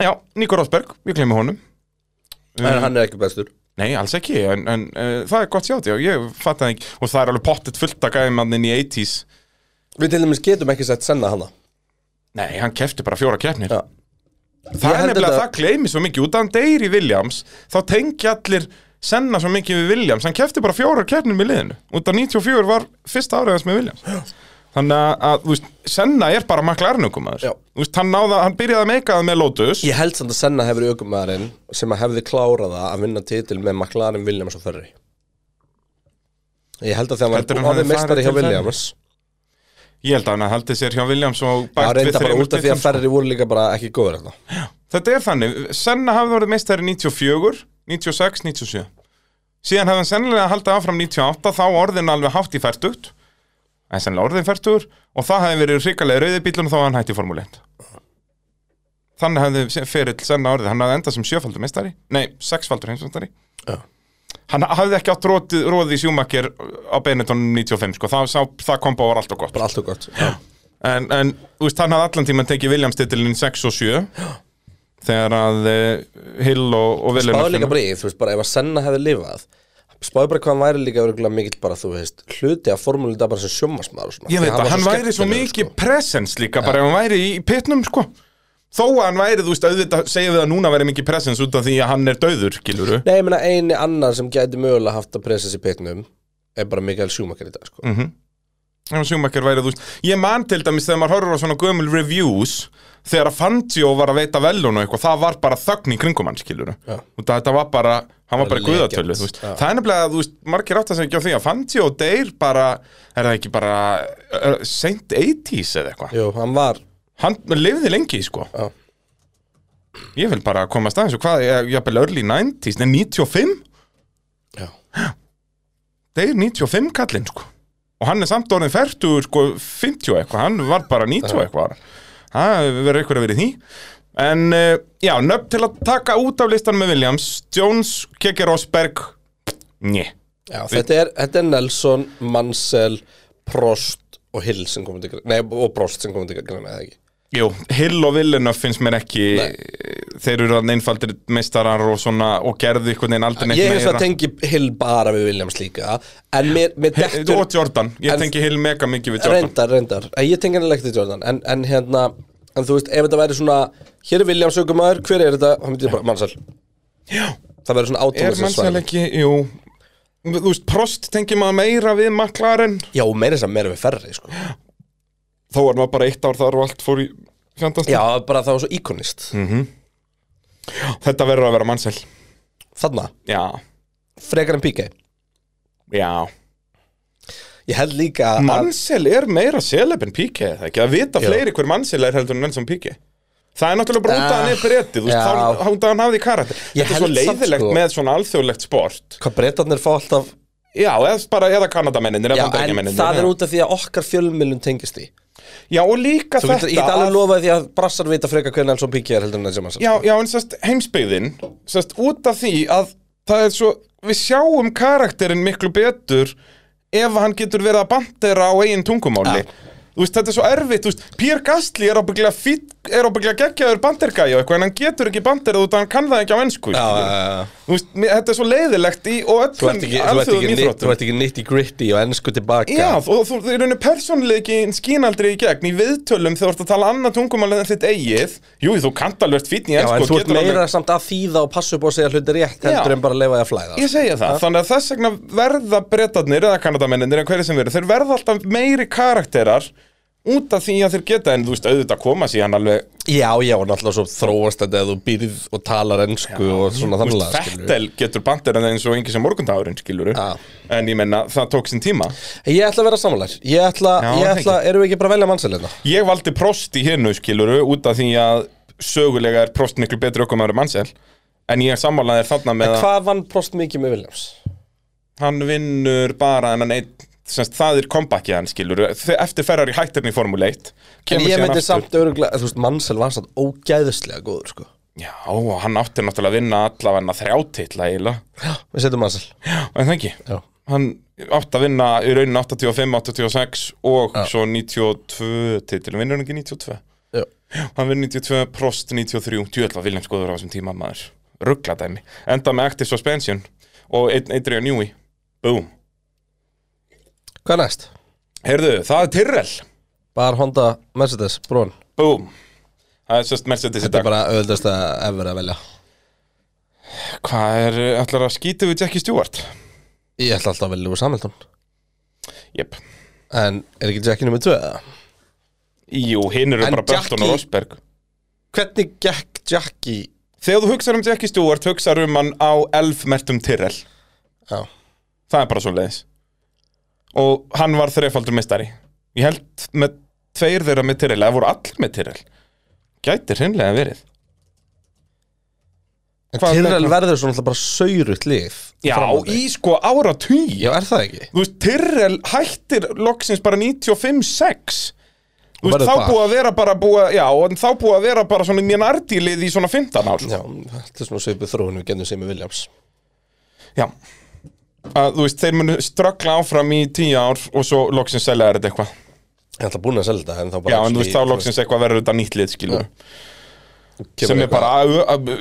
[SPEAKER 2] já, Nico Rosberg, ég gleymi honum Mm.
[SPEAKER 1] En hann er ekki bestur.
[SPEAKER 2] Nei, alls ekki, en, en uh, það er gott sjátt, já, ég fatt það ekki Og það er alveg pottet fullt að gæði mannin í 80s
[SPEAKER 1] Við til dæmis getum ekki sett senna hana.
[SPEAKER 2] Nei, hann kefti bara fjóra keppnir
[SPEAKER 1] Já.
[SPEAKER 2] Það
[SPEAKER 1] Ég
[SPEAKER 2] er
[SPEAKER 1] held
[SPEAKER 2] nefnilega að
[SPEAKER 1] þetta-
[SPEAKER 2] það gleymi svo mikið út af hann deyr í Williams þá tengja allir senna svo mikið við Williams hann kefti bara fjórar keppnir með liðinu út af 94 var fyrsta áriðans með Williams þannig að, að þú veist, senna er bara makla ernugum
[SPEAKER 1] Já.
[SPEAKER 2] veist, hann, náða, hann byrjaði að meika það með Lotus
[SPEAKER 1] Ég held samt að senna hefur ökumæðarinn sem að hefði kláraða að vinna titil með McLaren Williams og Ferri. Ég held að þegar hann
[SPEAKER 2] Heldurðu hann
[SPEAKER 1] var
[SPEAKER 2] hafi
[SPEAKER 1] orðið meistari hjá
[SPEAKER 2] farið til
[SPEAKER 1] Williams,
[SPEAKER 2] ég held að hann haldi sér hjá Williams og
[SPEAKER 1] það
[SPEAKER 2] bætt
[SPEAKER 1] var reynda bara
[SPEAKER 2] þremur
[SPEAKER 1] út
[SPEAKER 2] sko.
[SPEAKER 1] af því
[SPEAKER 2] titlum,
[SPEAKER 1] að Ferri voru líka bara ekki góður þetta.
[SPEAKER 2] Þetta er þannig, Senna hafði orðið meistari 94, 96, 97 Síðan hafði hann sennilega haldið áfram 98, þá orðin alveg hátt í færtugt En sennilega orðin færtugur Og það hefði verið hrikalega rauði bílun og þá hafði hann hætti Formule 1 Þannig hafði ferill Senna orðið, hann hafði endað sem sjöfaldur meistari Nei, sexfaldur heimsmeistari
[SPEAKER 1] Já.
[SPEAKER 2] Hann hafði ekki átt rótið, róðið í sjúmakir á Benetton 95 sko. það, sá, það kom bara var alltaf gott
[SPEAKER 1] Bara allt og gott. Já.
[SPEAKER 2] En, en þú veist, hann hafði allan tíma tekið Williams-titilin 6 og 7 Þegar að uh, Hill og, og Williams
[SPEAKER 1] spáði líka bara í, þú veist, bara ef að Senna hefði lifað spáði bara hvað hann væri líka örgulega mikill bara, þú veist, hluti af formúlu þetta bara sem sjómasmaður og svona.
[SPEAKER 2] Ég
[SPEAKER 1] Því
[SPEAKER 2] veit að
[SPEAKER 1] var
[SPEAKER 2] hann væri svo
[SPEAKER 1] skemmtilegur, sko.
[SPEAKER 2] mikið presence líka Bara ef hann væri í pitnum, sko Þó að hann væri, þú veist, auðvitað segjum við að núna væri mikið presence út af því að hann er döður, skilur
[SPEAKER 1] Nei, ég meina eini annar sem gæti mögulega haft að presa sér pitnum er bara Mikael Schumacher í dag,
[SPEAKER 2] Mm.
[SPEAKER 1] sko.
[SPEAKER 2] Ef sjúmakir væri, þú veist Ég man til dæmis þegar maður horfður á svona gömul reviews Þegar að Fangio var að veita velun og eitthvað Það var bara þögn í kringum hann, skilur
[SPEAKER 1] Já.
[SPEAKER 2] Og þetta var bara, hann var bara í
[SPEAKER 1] Legend.
[SPEAKER 2] guðatölu þú veist.
[SPEAKER 1] Já.
[SPEAKER 2] Það er nefnilega, þú veist, margir átt að segja á því að Fangio deyr bara, er það ekki bara uh, Saint 80s eða eitthvað
[SPEAKER 1] Jú, hann var,
[SPEAKER 2] Hann lifði lengi, sko
[SPEAKER 1] Já.
[SPEAKER 2] Ég vil bara komast aðeins og hvað, ég, ég bel early 90s, nei 95
[SPEAKER 1] já,
[SPEAKER 2] deyr 95 kallinn sko og hann er samt orðin 40 sko 50 eitthvað, hann var bara 90 eitthvað það verður eitthvað að verið í því en eh, já, nöfn til að taka út af listan með Williams Jones, Kekki Rosberg njö,
[SPEAKER 1] já þetta, er, þetta er Nelson, Mansell, Prost og Hill sem komið til greina, nei, og Prost sem komið til greina, eða ekki.
[SPEAKER 2] jú, Hill og Villeneuve finnst mér ekki eh,
[SPEAKER 1] Nei.
[SPEAKER 2] þeir eru þannig einfaldir meistarar og svona og gerðu einhvern veginn aldrei
[SPEAKER 1] Ég
[SPEAKER 2] neitt
[SPEAKER 1] hefst að tengi Hill bara við Williams líka, en mér, mér dettur...
[SPEAKER 2] og Jordan, ég
[SPEAKER 1] En-
[SPEAKER 2] tengi Hill mega mikið við Jordan
[SPEAKER 1] Reyndar, reyndar, En ég tengi hann ekki til Jordan en, en hérna, en þú veist, ef þetta væri svona Hér er Williams aukumæður, hver er þetta? Hann myndi bara mannsal
[SPEAKER 2] já,
[SPEAKER 1] Það verður svona
[SPEAKER 2] Er
[SPEAKER 1] átónlega
[SPEAKER 2] mannsæl ekki, jú Þú veist, Prost tengir maður meira við McLaren
[SPEAKER 1] Já, og meira þess að meira við ferri sko.
[SPEAKER 2] Þó var maður bara eitt ár þar og allt fór í sko. fjandast
[SPEAKER 1] Já, bara það var svo íkonist
[SPEAKER 2] Mm. Þetta verður að vera mannsæl
[SPEAKER 1] Þarna,
[SPEAKER 2] Já,
[SPEAKER 1] frekar en píkei
[SPEAKER 2] já
[SPEAKER 1] Ég held líka að
[SPEAKER 2] Mannsæl er meira seleb en píki eða ekki Að vita
[SPEAKER 1] Já.
[SPEAKER 2] fleiri hver mannsæl er heldur en enn sem píki Það er náttúrulega bara út að hann er breyti Þú veist,
[SPEAKER 1] Já.
[SPEAKER 2] þá- þá út að hann hafði karakter
[SPEAKER 1] Ég
[SPEAKER 2] Þetta er svo
[SPEAKER 1] held samt,
[SPEAKER 2] leiðilegt
[SPEAKER 1] sko.
[SPEAKER 2] með svona alþjóðlegt sport
[SPEAKER 1] hvað breytarnir fá alltaf
[SPEAKER 2] Já, eða bara, eða Kanadamenninir,
[SPEAKER 1] Já,
[SPEAKER 2] eða
[SPEAKER 1] en
[SPEAKER 2] Bandaríkjamenninir
[SPEAKER 1] það
[SPEAKER 2] já.
[SPEAKER 1] er út af því að okkar fjölmiðlum tengist því
[SPEAKER 2] Já, og líka
[SPEAKER 1] Þú
[SPEAKER 2] þetta
[SPEAKER 1] getur, ég get
[SPEAKER 2] að-
[SPEAKER 1] alveg lofaði því að brassar vita frekar hvernig alls og píkja er heldur en þessi mann
[SPEAKER 2] Já, já, en sérst heimsbyggðin sérst út af því að það er svo, við sjáum karakterinn miklu betur ef hann getur verið að bandera á eigin tungumáli Þú veist, þetta er svo erfitt, þú veist, Pér Gastli er ábygglega fýtt, er ábygglega geggjaður bandergæja og eitthvað, en hann getur ekki banderað út að hann kann það ekki á ennsku,
[SPEAKER 1] Já,
[SPEAKER 2] skilur.
[SPEAKER 1] já, já.
[SPEAKER 2] Þú veist, mér- þetta er svo leiðilegt í og
[SPEAKER 1] Þú ert
[SPEAKER 2] öllum
[SPEAKER 1] ekki, þú ert
[SPEAKER 2] alþjóðum
[SPEAKER 1] ekki, nit- þú
[SPEAKER 2] íþróttum.
[SPEAKER 1] ert ekki nitty gritty og ennsku tilbaka
[SPEAKER 2] Já, og þú þú- í rauninni persónuleikin skín aldrei í gegn í viðtölum þegar þú ert að tala annað tungumál en þitt eigið Jú, þú kannt alveg ert fínn í
[SPEAKER 1] Já,
[SPEAKER 2] ennsku
[SPEAKER 1] en þú
[SPEAKER 2] og
[SPEAKER 1] ert
[SPEAKER 2] sko, getur
[SPEAKER 1] meira
[SPEAKER 2] alveg
[SPEAKER 1] samt að þýða og passa upp á að segja hluti rétt heldur
[SPEAKER 2] Já.
[SPEAKER 1] en bara að leifa því að flæða
[SPEAKER 2] Ég segja það, þannig að þess vegna verða bretarnir eða kanadamenninir eða hverju sem verður, þeir verða alltaf meiri karakterar út af því að þeir geta en þú veist auðvitað koma síðan alveg
[SPEAKER 1] Já, já, og náttúrulega svo þróast þetta að þú býrð og talar ennsku og svona
[SPEAKER 2] þú
[SPEAKER 1] þannig
[SPEAKER 2] veist,
[SPEAKER 1] lagað, skilurðu.
[SPEAKER 2] Fettel getur bandir en eins og engi sem morgundagurinn skilur
[SPEAKER 1] Já.
[SPEAKER 2] en ég menna það tók sinn tíma
[SPEAKER 1] Ég ætla að vera samanlær Ég ætla,
[SPEAKER 2] Já,
[SPEAKER 1] ég
[SPEAKER 2] það
[SPEAKER 1] ætla, erum við ekki bara að velja hérna? mannsælinna?
[SPEAKER 2] Ég valdi prost í hinnu skilur út af því að sögulega er prost miklu betri okkur maður mannsel en ég sammálaði þér þarna með að
[SPEAKER 1] Hvað vann Prost mikið með Williams?
[SPEAKER 2] hann vinnur bara en hann eitt Semst, það er comebackið hann skilur eftir ferrar í hættirni í Formule 1
[SPEAKER 1] En
[SPEAKER 2] kemur
[SPEAKER 1] ég
[SPEAKER 2] síðan
[SPEAKER 1] myndi
[SPEAKER 2] aftur.
[SPEAKER 1] samt öruglega, þú veist, mannsæl var samt ógæðislega góður, sko
[SPEAKER 2] Já, og hann átti náttúrulega að vinna allavega þrjátitla eiginlega.
[SPEAKER 1] Já, við setjum mannsæl
[SPEAKER 2] En það ekki.
[SPEAKER 1] Já,
[SPEAKER 2] Hann átti að vinna í raunin 85, 86 og svo 92 titil. Vinnur hann ekki 92?
[SPEAKER 1] já
[SPEAKER 2] Hann vinn 92, Prost 93. Djöðla Viljans góður á þessum tíma maður. Ruggla dæmi. Enda með Active Suspension og einn Adrian Newey. Búm.
[SPEAKER 1] Hvað næst?
[SPEAKER 2] Heyrðu, það er Tyrrell.
[SPEAKER 1] Bar Honda Mercedes, brón
[SPEAKER 2] Búm. Það er sérst Mercedes í
[SPEAKER 1] Þetta er
[SPEAKER 2] dag.
[SPEAKER 1] bara auðvitaðst að efver að velja
[SPEAKER 2] Hvað er, ætlar að skýta við Jackie Stewart?
[SPEAKER 1] Ég ætla alltaf að velja úr samhildun
[SPEAKER 2] Jep.
[SPEAKER 1] En er ekki Jackie nummið 2?
[SPEAKER 2] Jú, hinn eru
[SPEAKER 1] En
[SPEAKER 2] bara Burton og
[SPEAKER 1] Jackie-
[SPEAKER 2] Rosberg.
[SPEAKER 1] Hvernig gekk Jackie?
[SPEAKER 2] Þegar þú hugsar um Jackie Stewart, hugsar um hann á elf mertum Tyrrell.
[SPEAKER 1] Já,
[SPEAKER 2] Það er bara svo leiðis. Og hann var þrefaldur meistari. Ég held með tveir þeirra með Tyrrell, eða voru allir með Tyrrell. Gæti hreinlega verið.
[SPEAKER 1] en
[SPEAKER 2] Hvað-
[SPEAKER 1] Tyrrell verður svona alltaf bara saurut lið
[SPEAKER 2] Já,
[SPEAKER 1] fram á þig.
[SPEAKER 2] í sko áratug.
[SPEAKER 1] Já, er það ekki?
[SPEAKER 2] Þú veist, Tyrrell hættir loksins bara 95-6. Þú veist,
[SPEAKER 1] Verður
[SPEAKER 2] þá
[SPEAKER 1] bara.
[SPEAKER 2] búið að vera bara búið, að- já, en þá búið að vera bara svona mjög nardílið í svona 15 ár.
[SPEAKER 1] Já, þetta er svona svipið þróun við gennum sem með Williams
[SPEAKER 2] Já að, Þú veist, þeir munu ströggla áfram í tíu ár og svo loksins selja er þetta eitthvað
[SPEAKER 1] Ég ætla búin að selja þetta en þá bara
[SPEAKER 2] Já, en þú veist, þá loksins eitthvað verður þetta nýtt lið, skilur
[SPEAKER 1] kemur
[SPEAKER 2] sem er
[SPEAKER 1] eitthvað-
[SPEAKER 2] bara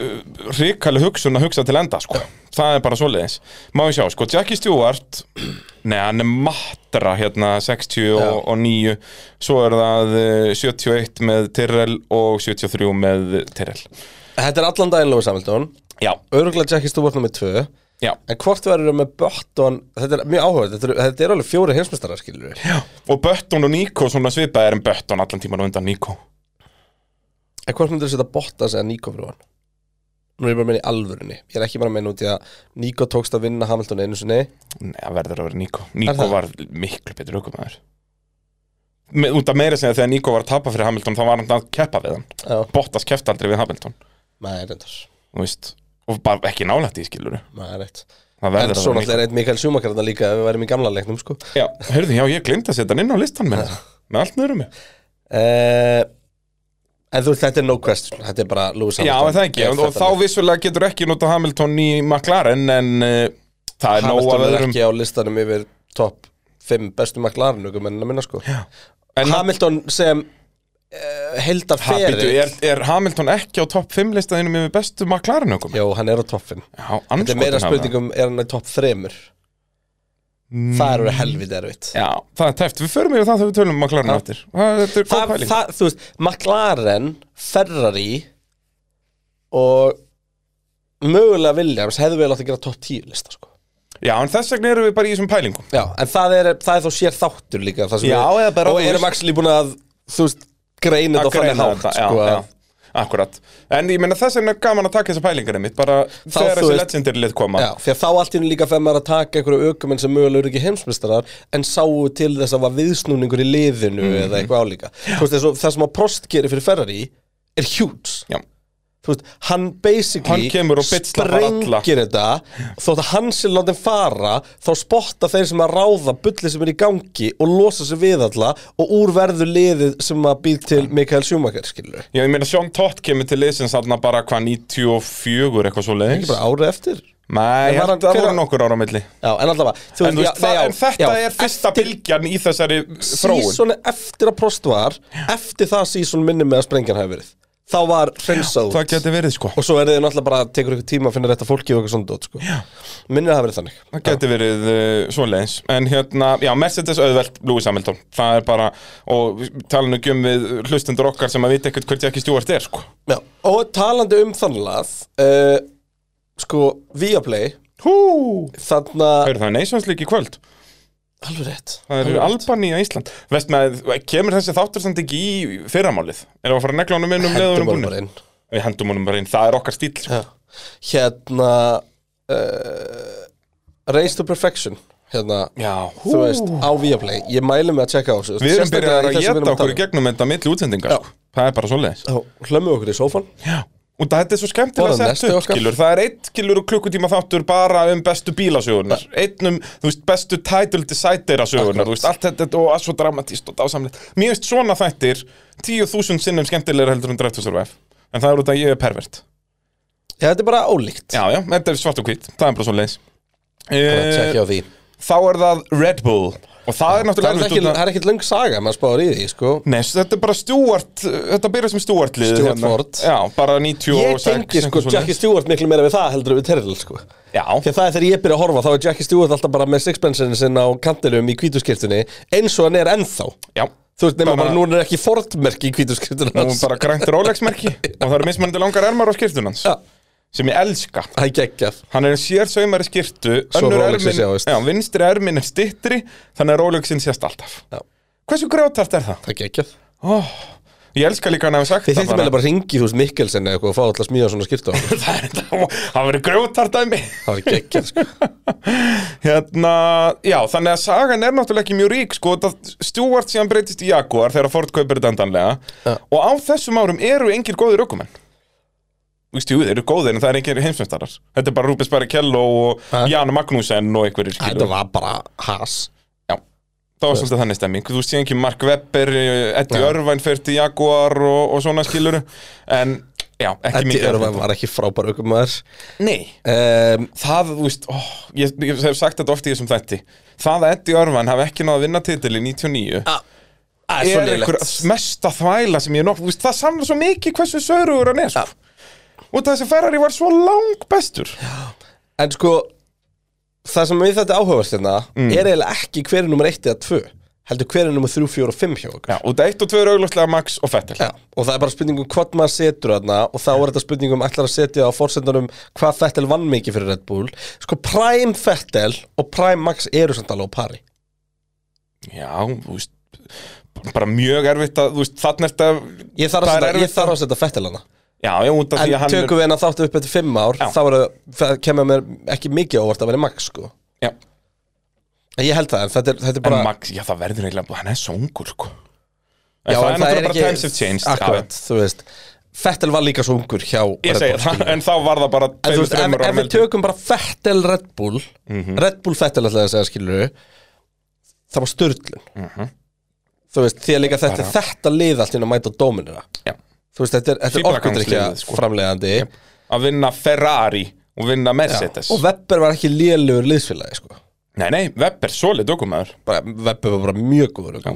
[SPEAKER 2] ríkali hugsun að hugsa til enda, sko Það er bara svoleiðis Má við sjá, sko, Jackie Stewart Nei, hann er matra, hérna, 60 og,
[SPEAKER 1] Já.
[SPEAKER 2] og 9 Svo er það eh, 71 með Tyrrell og 73 með Tyrrell
[SPEAKER 1] Þetta er allan daginn Lói Samhildun
[SPEAKER 2] Já,
[SPEAKER 1] Öruglega Jackie Stewart nummið 2
[SPEAKER 2] já
[SPEAKER 1] En hvort verður með Bötton Þetta er mjög áhugað, þetta, er- þetta er alveg fjóri heimsmestarar skilur við
[SPEAKER 2] Og Bötton og Nico, svona svipað er en Bötton allan tíman og undan Nico
[SPEAKER 1] En hvort myndir þetta Bottas eða Nico fyrir hann? Nú er ég bara að meina í alvörunni Ég er ekki bara að meina út í að Nico tókst að vinna Hamilton einu sinni
[SPEAKER 2] Nei, það verður að vera Nico Nico
[SPEAKER 1] það?
[SPEAKER 2] var miklu betur aukumæður Me, Út af meira segja þegar Nico var að tapa fyrir Hamilton þá var hann að keppa við hann
[SPEAKER 1] Já,
[SPEAKER 2] Bottas kefti aldrei við Hamilton
[SPEAKER 1] maður er reyndar
[SPEAKER 2] þú veist, og bara ekki nálætt í skiluru
[SPEAKER 1] Maður er rétt
[SPEAKER 2] Það
[SPEAKER 1] En
[SPEAKER 2] verður að
[SPEAKER 1] svo
[SPEAKER 2] vera Nico
[SPEAKER 1] náttúrulega er eitt Mikael Sjúmakar þarna líka ef við værim í gamla leiknum sko
[SPEAKER 2] já, Hörðu, já, ég glemt að setja hann inn á listan með það með allt nöðrum mig
[SPEAKER 1] uh, En þú veist, þetta er no question Þetta er bara Lewis
[SPEAKER 2] Já, en það ekki,
[SPEAKER 1] er
[SPEAKER 2] og, og þá
[SPEAKER 1] þetta-
[SPEAKER 2] vissulega getur ekki nota Hamilton í McLaren en uh, það er nóg
[SPEAKER 1] Hamilton
[SPEAKER 2] að
[SPEAKER 1] er
[SPEAKER 2] öðrum
[SPEAKER 1] ekki á listanum yfir topp 5 bestu McLaren ykkur mennina minna sko
[SPEAKER 2] En hann-
[SPEAKER 1] Hamilton sem uh, held að
[SPEAKER 2] Ha, býtu,
[SPEAKER 1] feri
[SPEAKER 2] er, er Hamilton ekki á topp 5 listaðinum yfir bestu McLaren okkur?
[SPEAKER 1] Jó, hann er á toppin
[SPEAKER 2] Já,
[SPEAKER 1] Þetta er meira spurningum, er hann á topp 3
[SPEAKER 2] um-
[SPEAKER 1] Það eru helvið erfitt
[SPEAKER 2] Já, það er tæft, við förum yfir það þegar við tölum um McLaren eftir Það þetta er góð
[SPEAKER 1] það,
[SPEAKER 2] pæling
[SPEAKER 1] það, þú veist, McLaren, Ferrari og mögulega Williams hefðu vel átt að gera topp 10 lista sko.
[SPEAKER 2] Já, en þess vegna erum við bara í þessum pælingum
[SPEAKER 1] Já, en það er, það er þá sér þáttur líka það sem
[SPEAKER 2] Já,
[SPEAKER 1] við-
[SPEAKER 2] eða bara-
[SPEAKER 1] Og erum actually búin að, þú veist, greina þetta á þannig hátt
[SPEAKER 2] þetta,
[SPEAKER 1] sko,
[SPEAKER 2] já,
[SPEAKER 1] að-
[SPEAKER 2] já, akkurat En ég meina þess vegna er gaman að taka þessar pælingar mitt Bara þegar
[SPEAKER 1] þú
[SPEAKER 2] þessi
[SPEAKER 1] veist-
[SPEAKER 2] legendary lið koma
[SPEAKER 1] Já, því að þá allt í henni líka fyrir maður að taka einhverju aukumenn sem mögulega eru ekki heimsmyndstarar en sáu til þess að var viðsnúningur í liðinu
[SPEAKER 2] Mhm.
[SPEAKER 1] eða eitthvað álíka Þú veist, þessu, það sem að Prost gerir fyrir Ferrari er huge
[SPEAKER 2] Já.
[SPEAKER 1] Þú veist, hann basically
[SPEAKER 2] Hann kemur og bitslapar alla.
[SPEAKER 1] sprengir þetta þótt að hann sér látin fara þá spotta þeir sem að ráða bulli sem er í gangi og losa sig við alla og úr verður liðið sem að býr til Mikael Schumacher skilur
[SPEAKER 2] Já, ég meina Sean Todd kemur til liðsins þarna bara hvað 94 eitthvað svo
[SPEAKER 1] ekki
[SPEAKER 2] leiðis
[SPEAKER 1] bara árið eftir
[SPEAKER 2] Nei,
[SPEAKER 1] En
[SPEAKER 2] ég
[SPEAKER 1] var
[SPEAKER 2] held
[SPEAKER 1] hann-
[SPEAKER 2] að það
[SPEAKER 1] hver-
[SPEAKER 2] voru nokkur ára á milli
[SPEAKER 1] Já, en allavega þú
[SPEAKER 2] En, þú
[SPEAKER 1] já,
[SPEAKER 2] veist, það,
[SPEAKER 1] nei, já,
[SPEAKER 2] en þetta
[SPEAKER 1] já,
[SPEAKER 2] er fyrsta
[SPEAKER 1] eftir-
[SPEAKER 2] bylgjan í þessari þróun
[SPEAKER 1] sísoni eftir að Prost var eftir það síson minni með að sprengjan hafi verið þá var hreinsað
[SPEAKER 2] Það
[SPEAKER 1] út
[SPEAKER 2] geti verið sko
[SPEAKER 1] og svo er þið náttúrulega bara tekur ykkur tíma að finna rétt að fólki og eitthvað svona dót sko. minnir að hafa verið þannig
[SPEAKER 2] Það geti verið uh, svoleiðis En hérna, já, Mercedes auðvelt Lewis Hamilton Það er bara, og talinu gjum um við hlustendur okkar sem að vita ekkert hvert ekki stjúart er sko
[SPEAKER 1] Já. og talandi um þannlega uh, sko Viaplay
[SPEAKER 2] Hú
[SPEAKER 1] þarna
[SPEAKER 2] Það eru það Nations League í kvöld
[SPEAKER 1] alveg rétt
[SPEAKER 2] Það eru Albaníu í Ísland Vest með, kemur þessi þáttur samt ekki í fyrramálið Erum við að fara að negla honum inn um leðurum
[SPEAKER 1] Hendum
[SPEAKER 2] búinu?
[SPEAKER 1] bara inn.
[SPEAKER 2] Við hendum honum bara inn, það er okkar stíl sko.
[SPEAKER 1] Já. hérna uh, Race to Perfection hérna
[SPEAKER 2] Já,
[SPEAKER 1] Þú veist, á Viaplay, ég mæli mig að checka á þessu
[SPEAKER 2] Við erum
[SPEAKER 1] Sérstaklega
[SPEAKER 2] byrjað
[SPEAKER 1] í
[SPEAKER 2] að
[SPEAKER 1] þessu við erum
[SPEAKER 2] geta
[SPEAKER 1] tala
[SPEAKER 2] okkur í gegnum þetta milli útsendingar
[SPEAKER 1] Já.
[SPEAKER 2] sko. Það er bara svoleiðis
[SPEAKER 1] um. Já, Hlömmu okkur í sófan
[SPEAKER 2] Já Og þetta er svo skemmtilega
[SPEAKER 1] Borðum
[SPEAKER 2] að
[SPEAKER 1] nesti,
[SPEAKER 2] setja upp,
[SPEAKER 1] Óskar.
[SPEAKER 2] skilur, það er eitt skilur og klukkutíma þáttur bara um bestu bílasögunar, einn um, þú veist, bestu title decidera sögunar, þú veist, allt þetta og allt svo dramatíst og dásamlega. Mér veist svona þættir, 10.000 sinnum skemmtilega heldur en Drive to Survive, en það er út af að ég er pervert.
[SPEAKER 1] Já, þetta er bara ólíkt
[SPEAKER 2] Já, já, þetta er svart og hvít, það er bara svo leis.
[SPEAKER 1] Bara að tjekkja á því
[SPEAKER 2] Þá er það Red Bull, og það er
[SPEAKER 1] Það er
[SPEAKER 2] náttúrulega erfitt
[SPEAKER 1] ekki,
[SPEAKER 2] út af-
[SPEAKER 1] það er ekki löng saga, maður spáður í því, sko
[SPEAKER 2] Nei, s- þetta er bara Stuart, þetta byrjar sem Stuart lið
[SPEAKER 1] Stuart Ford.
[SPEAKER 2] Já, bara 96
[SPEAKER 1] Ég tengi, sko,
[SPEAKER 2] eitthvað
[SPEAKER 1] Jackie
[SPEAKER 2] svoleiðis.
[SPEAKER 1] Stewart miklu meira við það heldur en við Terrell, sko Því
[SPEAKER 2] Já,
[SPEAKER 1] að það er þegar ég byrja að horfa, þá er Jackie Stewart alltaf bara með sixpensinu sinna á kantinum í kvítuskirtunni eins og hann er ennþá
[SPEAKER 2] já
[SPEAKER 1] Þú veist, nema
[SPEAKER 2] Bara-
[SPEAKER 1] bara, núna er ekki Ford-merki í kvítuskirtunum
[SPEAKER 2] Nú er bara grænt Rolex-merki og það eru mismunandi langar ermar á skirtun hans
[SPEAKER 1] Já,
[SPEAKER 2] sem ég elska
[SPEAKER 1] það er geggjað
[SPEAKER 2] Hann er sér saumari skirtu
[SPEAKER 1] Svo
[SPEAKER 2] önnur
[SPEAKER 1] Rolexin
[SPEAKER 2] ermin-
[SPEAKER 1] sjáist.
[SPEAKER 2] Já, vinstri ermin er stittri þannig að Rolexin sést alltaf
[SPEAKER 1] Já.
[SPEAKER 2] Hversu grjótart er það?
[SPEAKER 1] Það er geggjað
[SPEAKER 2] Oh, ég elska líka hann að hafa sagt
[SPEAKER 1] Þið þýttum
[SPEAKER 2] bara.
[SPEAKER 1] meðlega bara ringi hús Mikkelsen eða eitthvað og fá alltaf smíða svona skipta á okkur.
[SPEAKER 2] Það er þetta, það verður grjótart dæmi
[SPEAKER 1] Það er geggjað, sko
[SPEAKER 2] Hérna, já, þannig að sagan er náttúrulega ekki mjög rík, sko, það Stuart síðan breytist í Jaguar þegar Ford kaupir þetta endanlega
[SPEAKER 1] Ja.
[SPEAKER 2] og á þessum árum eru engir góðir ökumenn. Þú veist, jú, þeir eru góðir en það er engir heimsmyndarar. Þetta er bara Rúbens Barrichello og
[SPEAKER 1] Ja.
[SPEAKER 2] Jan Magnúsen og einhverjir,
[SPEAKER 1] Þetta
[SPEAKER 2] skilur.
[SPEAKER 1] var bara has
[SPEAKER 2] Já, það var svolítið þannig stemming. Þú sé ekki Mark Webber, eh, Eddie
[SPEAKER 1] Ja.
[SPEAKER 2] Irvine fyrir til Jaguar og, og svona skilur, en já, ekki
[SPEAKER 1] Eddi
[SPEAKER 2] mikið. af
[SPEAKER 1] Örvæm
[SPEAKER 2] þetta.
[SPEAKER 1] var ekki frábær aukumæður
[SPEAKER 2] Nei.
[SPEAKER 1] um,
[SPEAKER 2] það, þú veist, ó, ég, ég hef sagt þetta oft í þessum þætti það að Eddie Irvine hafi ekki náð að vinna titil í 99
[SPEAKER 1] Ah, Það er svo
[SPEAKER 2] er einhver
[SPEAKER 1] lélegt
[SPEAKER 2] mesta þvæla sem ég nokk, þú veist, það samlar svo mikið hversu sörugur hann er sko. og þessi Ferrari var svo lang bestur
[SPEAKER 1] En sko, það sem við þetta áhugast hérna
[SPEAKER 2] Mm.
[SPEAKER 1] er eiginlega ekki hver er nummer 1 eða 2 heldur hver er nummer 3, 4 og 5 hjá okkur
[SPEAKER 2] Já, og það eitt og tvö er augljóslega Max og Fettel
[SPEAKER 1] Já, og það er bara spurning um hvað maður setur þarna og þá er þetta spurning um ætlar að setja á fórsendunum hvað Fettel vann mikið fyrir Red Bull Sko, Prime Fettel og Prime Max eru samt alveg á pari
[SPEAKER 2] Já, þú veist bara mjög erfitt að, þú veist, þannig er þetta
[SPEAKER 1] Ég þarf að,
[SPEAKER 2] Það er
[SPEAKER 1] setja,
[SPEAKER 2] erfitt
[SPEAKER 1] ég þarf að setja Fettel hana
[SPEAKER 2] Já, já, út af því
[SPEAKER 1] En
[SPEAKER 2] að hann
[SPEAKER 1] tökum við hennar þáttu upp eftir 5 ár
[SPEAKER 2] Já.
[SPEAKER 1] þá er, það kemur mér ekki mikið á óvart að vera Max, sko
[SPEAKER 2] Já,
[SPEAKER 1] En Ég held það, en þetta er, þetta er bara
[SPEAKER 2] en Max, já, það verður eiginlega, hann er songur, sko En
[SPEAKER 1] Já,
[SPEAKER 2] það
[SPEAKER 1] en
[SPEAKER 2] er náttúrulega bara times have changed já, já.
[SPEAKER 1] Akkurat, þú veist Fettel var líka svo ungur hjá Red
[SPEAKER 2] Ég segi
[SPEAKER 1] Bull,
[SPEAKER 2] það,
[SPEAKER 1] skilur.
[SPEAKER 2] en þá var það bara
[SPEAKER 1] En þú
[SPEAKER 2] tveimur,
[SPEAKER 1] veist, ef,
[SPEAKER 2] þremur
[SPEAKER 1] ef
[SPEAKER 2] árum
[SPEAKER 1] við
[SPEAKER 2] eldri.
[SPEAKER 1] tökum bara Fettel Red Bull
[SPEAKER 2] Mhm.
[SPEAKER 1] Red Bull Fettel alltaf að segja skilur Það var störlun
[SPEAKER 2] Mhm.
[SPEAKER 1] Þú veist, því að líka þetta,
[SPEAKER 2] Bara-
[SPEAKER 1] þetta lið allt inn að mæta á dóminina
[SPEAKER 2] Já.
[SPEAKER 1] Þú veist, þetta er, þetta er orkundrykja
[SPEAKER 2] Fíflagangsliðið, sko.
[SPEAKER 1] framlegandi
[SPEAKER 2] að vinna Ferrari og vinna Mercedes
[SPEAKER 1] Og Webber var ekki lélugur liðsfélagi sko.
[SPEAKER 2] Nei, nei, Webb er solid ökumæður
[SPEAKER 1] bara, Webber var bara mjög góður ja.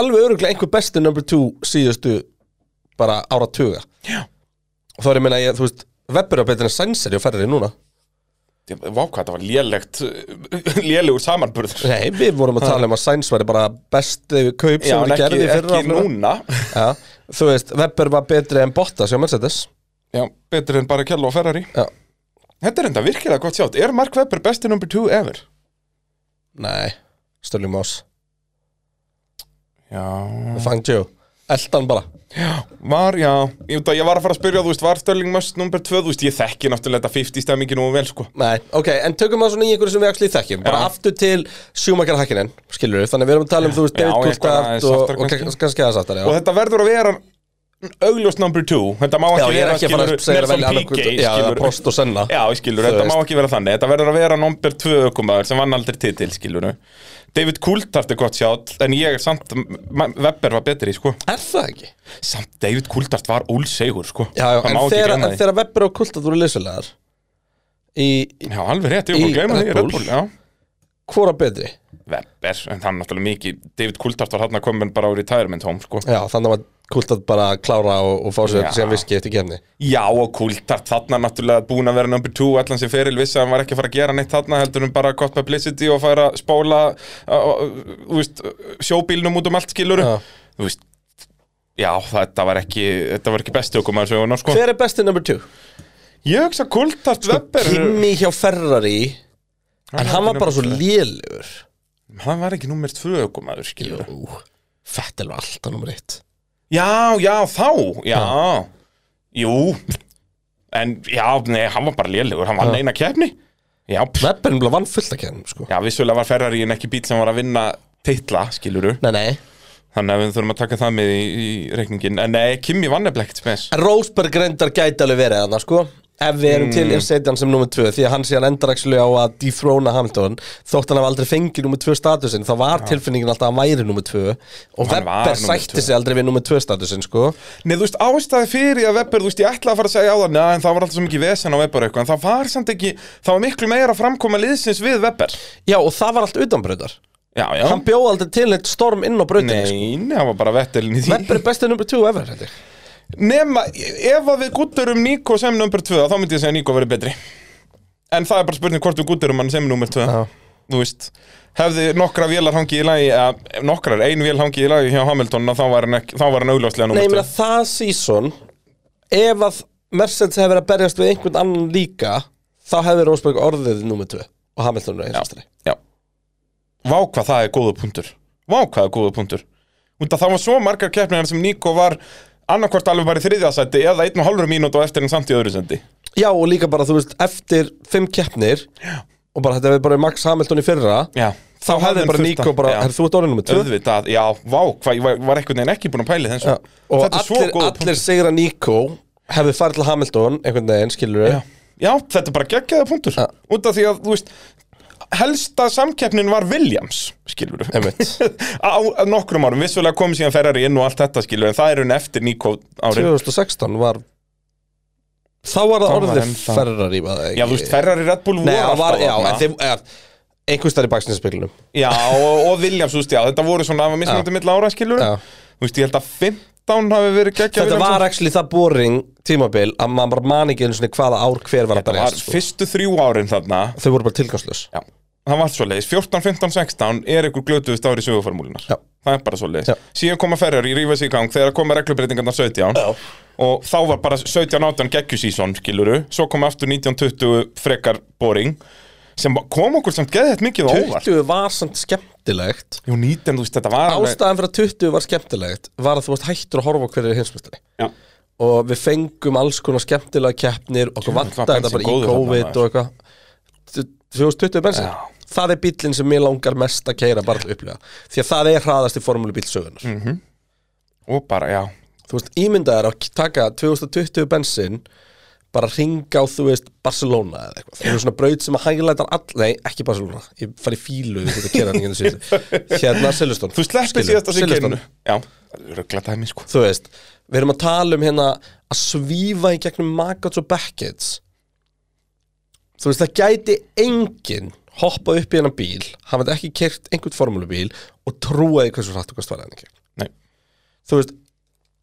[SPEAKER 1] Alveg öruglega einhver besti number two síðustu bara áratuga
[SPEAKER 2] Já.
[SPEAKER 1] Og þá er ég meina, ég, þú veist Webber er betur en Sænseri og ferri núna
[SPEAKER 2] Vá hvað þetta var lélegt lélegur samanburður
[SPEAKER 1] Nei, við vorum að tala um að Sainz væri bara bestu kaup
[SPEAKER 2] Já,
[SPEAKER 1] sem
[SPEAKER 2] en
[SPEAKER 1] við
[SPEAKER 2] ekki,
[SPEAKER 1] gerði fyrir
[SPEAKER 2] ekki núna
[SPEAKER 1] Já, þú veist, Webber var betri en Bottas hjá Mercedes
[SPEAKER 2] Já, betur en bara Kjell og Ferrari
[SPEAKER 1] Já.
[SPEAKER 2] Þetta er enda virkilega gott sjátt Er Mark Webber besti number 2 ever?
[SPEAKER 1] Nei, Stirling Moss
[SPEAKER 2] Já
[SPEAKER 1] Fang Joe, eldan bara
[SPEAKER 2] Var, já Ég, veit að ég var að fara að spyrja, þú veist, var Sterling Must number 2 Þú veist, ég þekki náttúrulega þetta 50 stemmingi nú vel, sko
[SPEAKER 1] Nei, ok, en tökum það svona í einhverju sem við axlið þekkjum Bara
[SPEAKER 2] Já.
[SPEAKER 1] aftur til sjúmakar hakkinin, skilur við Þannig við erum að tala um, þú veist,
[SPEAKER 2] Já,
[SPEAKER 1] David
[SPEAKER 2] eitthvað aðeins
[SPEAKER 1] Coulthard og,
[SPEAKER 2] aftar
[SPEAKER 1] og
[SPEAKER 2] kannski.
[SPEAKER 1] kannski- kannski aðeins aftar,
[SPEAKER 2] Og
[SPEAKER 1] já
[SPEAKER 2] þetta verður að vera augljós number 2 Þetta má
[SPEAKER 1] Já,
[SPEAKER 2] ekki
[SPEAKER 1] ég er
[SPEAKER 2] vera,
[SPEAKER 1] ekki að fara að segja að velja
[SPEAKER 2] Nelson
[SPEAKER 1] annað
[SPEAKER 2] Piquet,
[SPEAKER 1] kvöld Já,
[SPEAKER 2] skilur
[SPEAKER 1] prost og senna
[SPEAKER 2] Já, ég skilur,
[SPEAKER 1] Þú
[SPEAKER 2] þetta má
[SPEAKER 1] veist.
[SPEAKER 2] ekki vera þannig Þetta verður að vera nomber 2 ökumæður sem vann aldrei titil, skilur David Coulthard er gott sjátt En ég er samt, Ma- Webber var betri, sko
[SPEAKER 1] Er það ekki?
[SPEAKER 2] Samt David Coulthard var úlsegur, sko
[SPEAKER 1] Já, já,
[SPEAKER 2] Það
[SPEAKER 1] en
[SPEAKER 2] má ekki
[SPEAKER 1] þegar,
[SPEAKER 2] gleyma
[SPEAKER 1] en
[SPEAKER 2] því.
[SPEAKER 1] þegar Webber og Kultad voru leysulegar Í í-
[SPEAKER 2] Já, alveg rétt, ég var
[SPEAKER 1] Í
[SPEAKER 2] búin að gleyma
[SPEAKER 1] Red
[SPEAKER 2] því Red
[SPEAKER 1] Bull.
[SPEAKER 2] Bull, já
[SPEAKER 1] hvora betri
[SPEAKER 2] Webber, en það er náttúrulega mikið David Coulthard var hann að koma bara á retirement home, sko
[SPEAKER 1] Já, þannig að Kultad bara klára og, og fá sér
[SPEAKER 2] Já.
[SPEAKER 1] síðan viski eftir kemni
[SPEAKER 2] Já, og Coulthard þarna náttúrulega búin að vera number two allan sem feril vissi að hann var ekki að fara að gera neitt þarna heldur hann bara gott publicity og fara að spóla uh, uh, þú veist, sjóbílnum út um allt skilur
[SPEAKER 1] Já.
[SPEAKER 2] Þú veist Já, þetta var ekki, þetta var ekki bestu okkur maður söguna, sko.
[SPEAKER 1] Hver er besti number two?
[SPEAKER 2] Ég hugsa Kultart Webber
[SPEAKER 1] Kimi hjá Ferrari En hann var bara svo lélugur
[SPEAKER 2] Hann var ekki númer tvö okkur maður, skilur
[SPEAKER 1] Fettel var alltaf nummer eitt
[SPEAKER 2] Já, já, þá, já Jú En já, nei, hann var bara lélugur Hann vann
[SPEAKER 1] Já.
[SPEAKER 2] eina keppni Já, pff.
[SPEAKER 1] Webber nefnilega vann fullt að kemni sko.
[SPEAKER 2] já vissulega var Ferrari en ekki bíl sem var að vinna titla, skiluru
[SPEAKER 1] Nei, nei
[SPEAKER 2] Þannig að við þurfum að taka það með í, í reikningin En nei, Kimi vann eða ekkert spes
[SPEAKER 1] En Rósberg reyndar gæti alveg verið hann sko. Ef við erum til að
[SPEAKER 2] Mm.
[SPEAKER 1] setja hann sem nummer 2 Því að hann síðan endar actually á að dethrona Hamilton Þótt hann hafa aldrei fengið nummer 2 statusinn Þá var tilfinningin alltaf að hann væri nummer 2 Og
[SPEAKER 2] Hann var
[SPEAKER 1] Webber
[SPEAKER 2] númer tvö.
[SPEAKER 1] sætti sig aldrei við nummer 2 statusinn sko.
[SPEAKER 2] Nei, þú veist, ástæði fyrir að Webber, þú veist, ég ætlaði að fara að segja á það Nei, en það var alltaf svo mikið vesen á Webber og eitthvað En það var samt ekki, það var miklu meira að framkoma liðsins við Webber
[SPEAKER 1] Já og það var allt utanbröðar
[SPEAKER 2] Já, já
[SPEAKER 1] Hann bjóð aldrei til neitt storm inn á bröðinni sko.
[SPEAKER 2] Nei, nei, það var bara vettelin í því
[SPEAKER 1] Webber er bestið nummer 2 ever held ég.
[SPEAKER 2] Nema, ef að við gutturum Nico sem nummer 2 þá myndi ég segja að Nico verið betri En það er bara spurning hvort við gutturum hann sem nummer 2 Þú veist, hefði nokkra vélar hangið í lagi eða nokkrar, ein vél hangið í lagi hjá Hamilton að þá var hann, ekki, þá var hann augljóslega
[SPEAKER 1] Nei, ég
[SPEAKER 2] nummer
[SPEAKER 1] meina
[SPEAKER 2] 2
[SPEAKER 1] það season Ef að Mercedes hefur verið að berjast við einhvern annan líka Þá hefur Rósberg orðið nummer 2 Og Hamilton er einhverstari
[SPEAKER 2] Já Vá hvað það er góða punktur Vá hvað það er góða punktur Út að það var svo margar keppnir sem Nico var annarkvort alveg bara í þriðjasætti eða einn og hálfur mínútu og eftir en samt í öðru sendi
[SPEAKER 1] Já, og líka bara, þú veist, eftir fimm keppnir
[SPEAKER 2] Já.
[SPEAKER 1] Og bara þetta hefur bara Max Hamilton í fyrra
[SPEAKER 2] Já
[SPEAKER 1] Þá hefði bara Nico bara, herr, þú ert orðið nummer 2
[SPEAKER 2] Öðvitað, já, vá, hvað, ég var- var einhvern veginn ekki búin að pæli þessu
[SPEAKER 1] Já, Og
[SPEAKER 2] Þetta er svo
[SPEAKER 1] allir,
[SPEAKER 2] góð punktur.
[SPEAKER 1] allir sigra Nico Hefði farið til Hamilton, einhvern veginn, skilur
[SPEAKER 2] já. já, þetta er bara geggjaða punktur
[SPEAKER 1] Já.
[SPEAKER 2] Út af því að, þú veist, helsta samkeppnin var Williams, skilur
[SPEAKER 1] Einmitt.
[SPEAKER 2] Á á nokkrum árum, vissulega kom síðan Ferrari inn og allt þetta, skilur En það er hún eftir Nico árin
[SPEAKER 1] 2016 var Þá var það
[SPEAKER 2] Þá var
[SPEAKER 1] orðið
[SPEAKER 2] ennþá-
[SPEAKER 1] Ferrari var það
[SPEAKER 2] Já, þú
[SPEAKER 1] ekki?
[SPEAKER 2] veist, Ferrari Red Bull voru
[SPEAKER 1] Nei, það
[SPEAKER 2] alltaf
[SPEAKER 1] var, já,
[SPEAKER 2] þarna.
[SPEAKER 1] en þeim eh, einhvers staðar í baksinspeglinum
[SPEAKER 2] Já, og, og Williams, þú veist, já, þetta voru svona, það var mismunandi milli ára, skilur
[SPEAKER 1] Já.
[SPEAKER 2] Þú veist, ég held að 15 hafi verið geggjað
[SPEAKER 1] Þetta var actually það boring tímabil að maður bara man ekki einu sinni hvaða ár hver var að
[SPEAKER 2] Þetta var
[SPEAKER 1] berjast sko.
[SPEAKER 2] fyrstu þrjú árin þarna
[SPEAKER 1] Þau voru bara tilgangslös
[SPEAKER 2] Já, það var svo leiðis 14, 15, 16 er einhver glötuðust ári söguformúlunar
[SPEAKER 1] Já.
[SPEAKER 2] Það er bara svo leiðis
[SPEAKER 1] Já.
[SPEAKER 2] Síðan koma Ferrari, rífa sig í gang þegar koma reglubreitingarnar 17
[SPEAKER 1] Já.
[SPEAKER 2] Og þá var bara 17, 18 geggjusísson, skiluru Svo kom aftur 19, 20 frekar boring Sem ba- kom okkur samt geðið mikið á óvart
[SPEAKER 1] 20 var samt skemmtilegt
[SPEAKER 2] Jú, 19, þú veist, þetta var alveg-
[SPEAKER 1] Ástæðan fyrir að 20 var skemmtilegt var að þú varst hættur að horfa á hverju hinsmestari
[SPEAKER 2] Já.
[SPEAKER 1] og við fengum alls konar skemmtilega keppnir okkur
[SPEAKER 2] Djöfull,
[SPEAKER 1] vantaði
[SPEAKER 2] hvað
[SPEAKER 1] þetta bara
[SPEAKER 2] bensín
[SPEAKER 1] í
[SPEAKER 2] góður þarna,
[SPEAKER 1] COVID og eitthvað 2020 bensin
[SPEAKER 2] Já.
[SPEAKER 1] Það er bíllinn sem mér langar mest að keira bara til að upplifa því að það er hraðast í formúlubíl sögunar
[SPEAKER 2] Mm. Og bara, já
[SPEAKER 1] þú veist, ímyndaðar að taka 2020 bensin bara ringa á, þú veist, Barcelona eða eitthvað. Það eru svona braut sem að hæglætar all, nei, ekki Barcelona, ég fari í fílu við þetta kerðninginu síðan, hérna Silveston
[SPEAKER 2] Þú sleppið síðast að sig kynnu Já, ruggla dæmi, sko
[SPEAKER 1] Þú veist, við erum að tala um hérna að svífa í gegnum Maggots og Beckett's Þú veist, það gæti enginn hoppað upp í hennan bíl, hafa þetta ekki kert einhvern formúlubíl og trúaði hversu hratt og hvað stvarði hann ekki
[SPEAKER 2] Nei
[SPEAKER 1] Þú veist,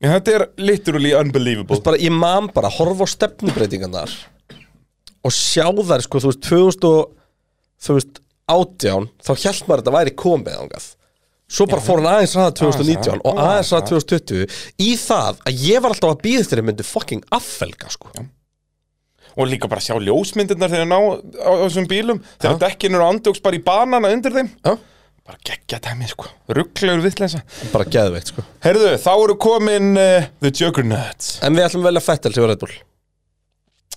[SPEAKER 2] Já, þetta er literally unbelievable
[SPEAKER 1] bara, ég man bara að horfa á stefnubreitingarnar og sjá þær sko, þú veist, 2000 og, þú veist, átján þá hjælt maður að þetta væri komið ángað Svo bara fór hann aðeins ræða 2019
[SPEAKER 2] Aðeins hraðar,
[SPEAKER 1] og aðeins
[SPEAKER 2] aðeins
[SPEAKER 1] ræða 2020 Í það að ég var alltaf að býða þeirri myndu fucking affelga sko
[SPEAKER 2] og líka bara sjá ljósmyndirnar þegar ná á, á þessum bílum þegar dekkin eru andjóks bara í banana undir þeim
[SPEAKER 1] Já.
[SPEAKER 2] bara geggja dæmi sko, rugglegur vittleisa
[SPEAKER 1] Bara geðveikt sko
[SPEAKER 2] Herðu, þá eru komin uh, The Juggernauts
[SPEAKER 1] En við ætlum að velja Fettel sem var Red Bull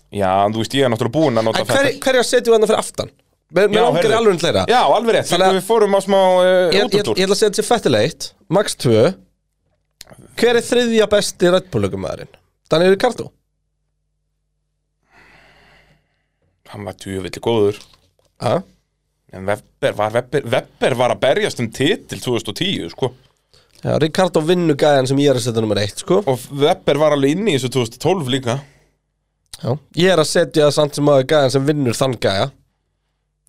[SPEAKER 2] Já, þú veist, ég er náttúrulega búinn að nota
[SPEAKER 1] En hver,
[SPEAKER 2] Fettel.
[SPEAKER 1] hverja setjum við hann fyrir aftan? Mér
[SPEAKER 2] Já,
[SPEAKER 1] langar í
[SPEAKER 2] heyrðu.
[SPEAKER 1] alveg hlera
[SPEAKER 2] Já, alveg rétt,
[SPEAKER 1] Þannig
[SPEAKER 2] þannig
[SPEAKER 1] að-
[SPEAKER 2] við fórum á smá uh,
[SPEAKER 1] ég, ég, ég
[SPEAKER 2] útúr
[SPEAKER 1] ætla að setja sér Fettel 1 Max 2 Hver er þriðja besti Red Bull-lögumæðurinn? Daniel Ricardo
[SPEAKER 2] Hann var tjúvillig góður
[SPEAKER 1] Ha?
[SPEAKER 2] En Webber var, Webber, Webber var að berjast um titil 2010, sko
[SPEAKER 1] Já, Ricardo vinnu gæðan sem ég er að setja nummer 1 sko
[SPEAKER 2] Og Webber var alveg inni í þessu 2012 líka
[SPEAKER 1] Já. Ég er að setja samt sem aður gæðan sem vinnur þann gæja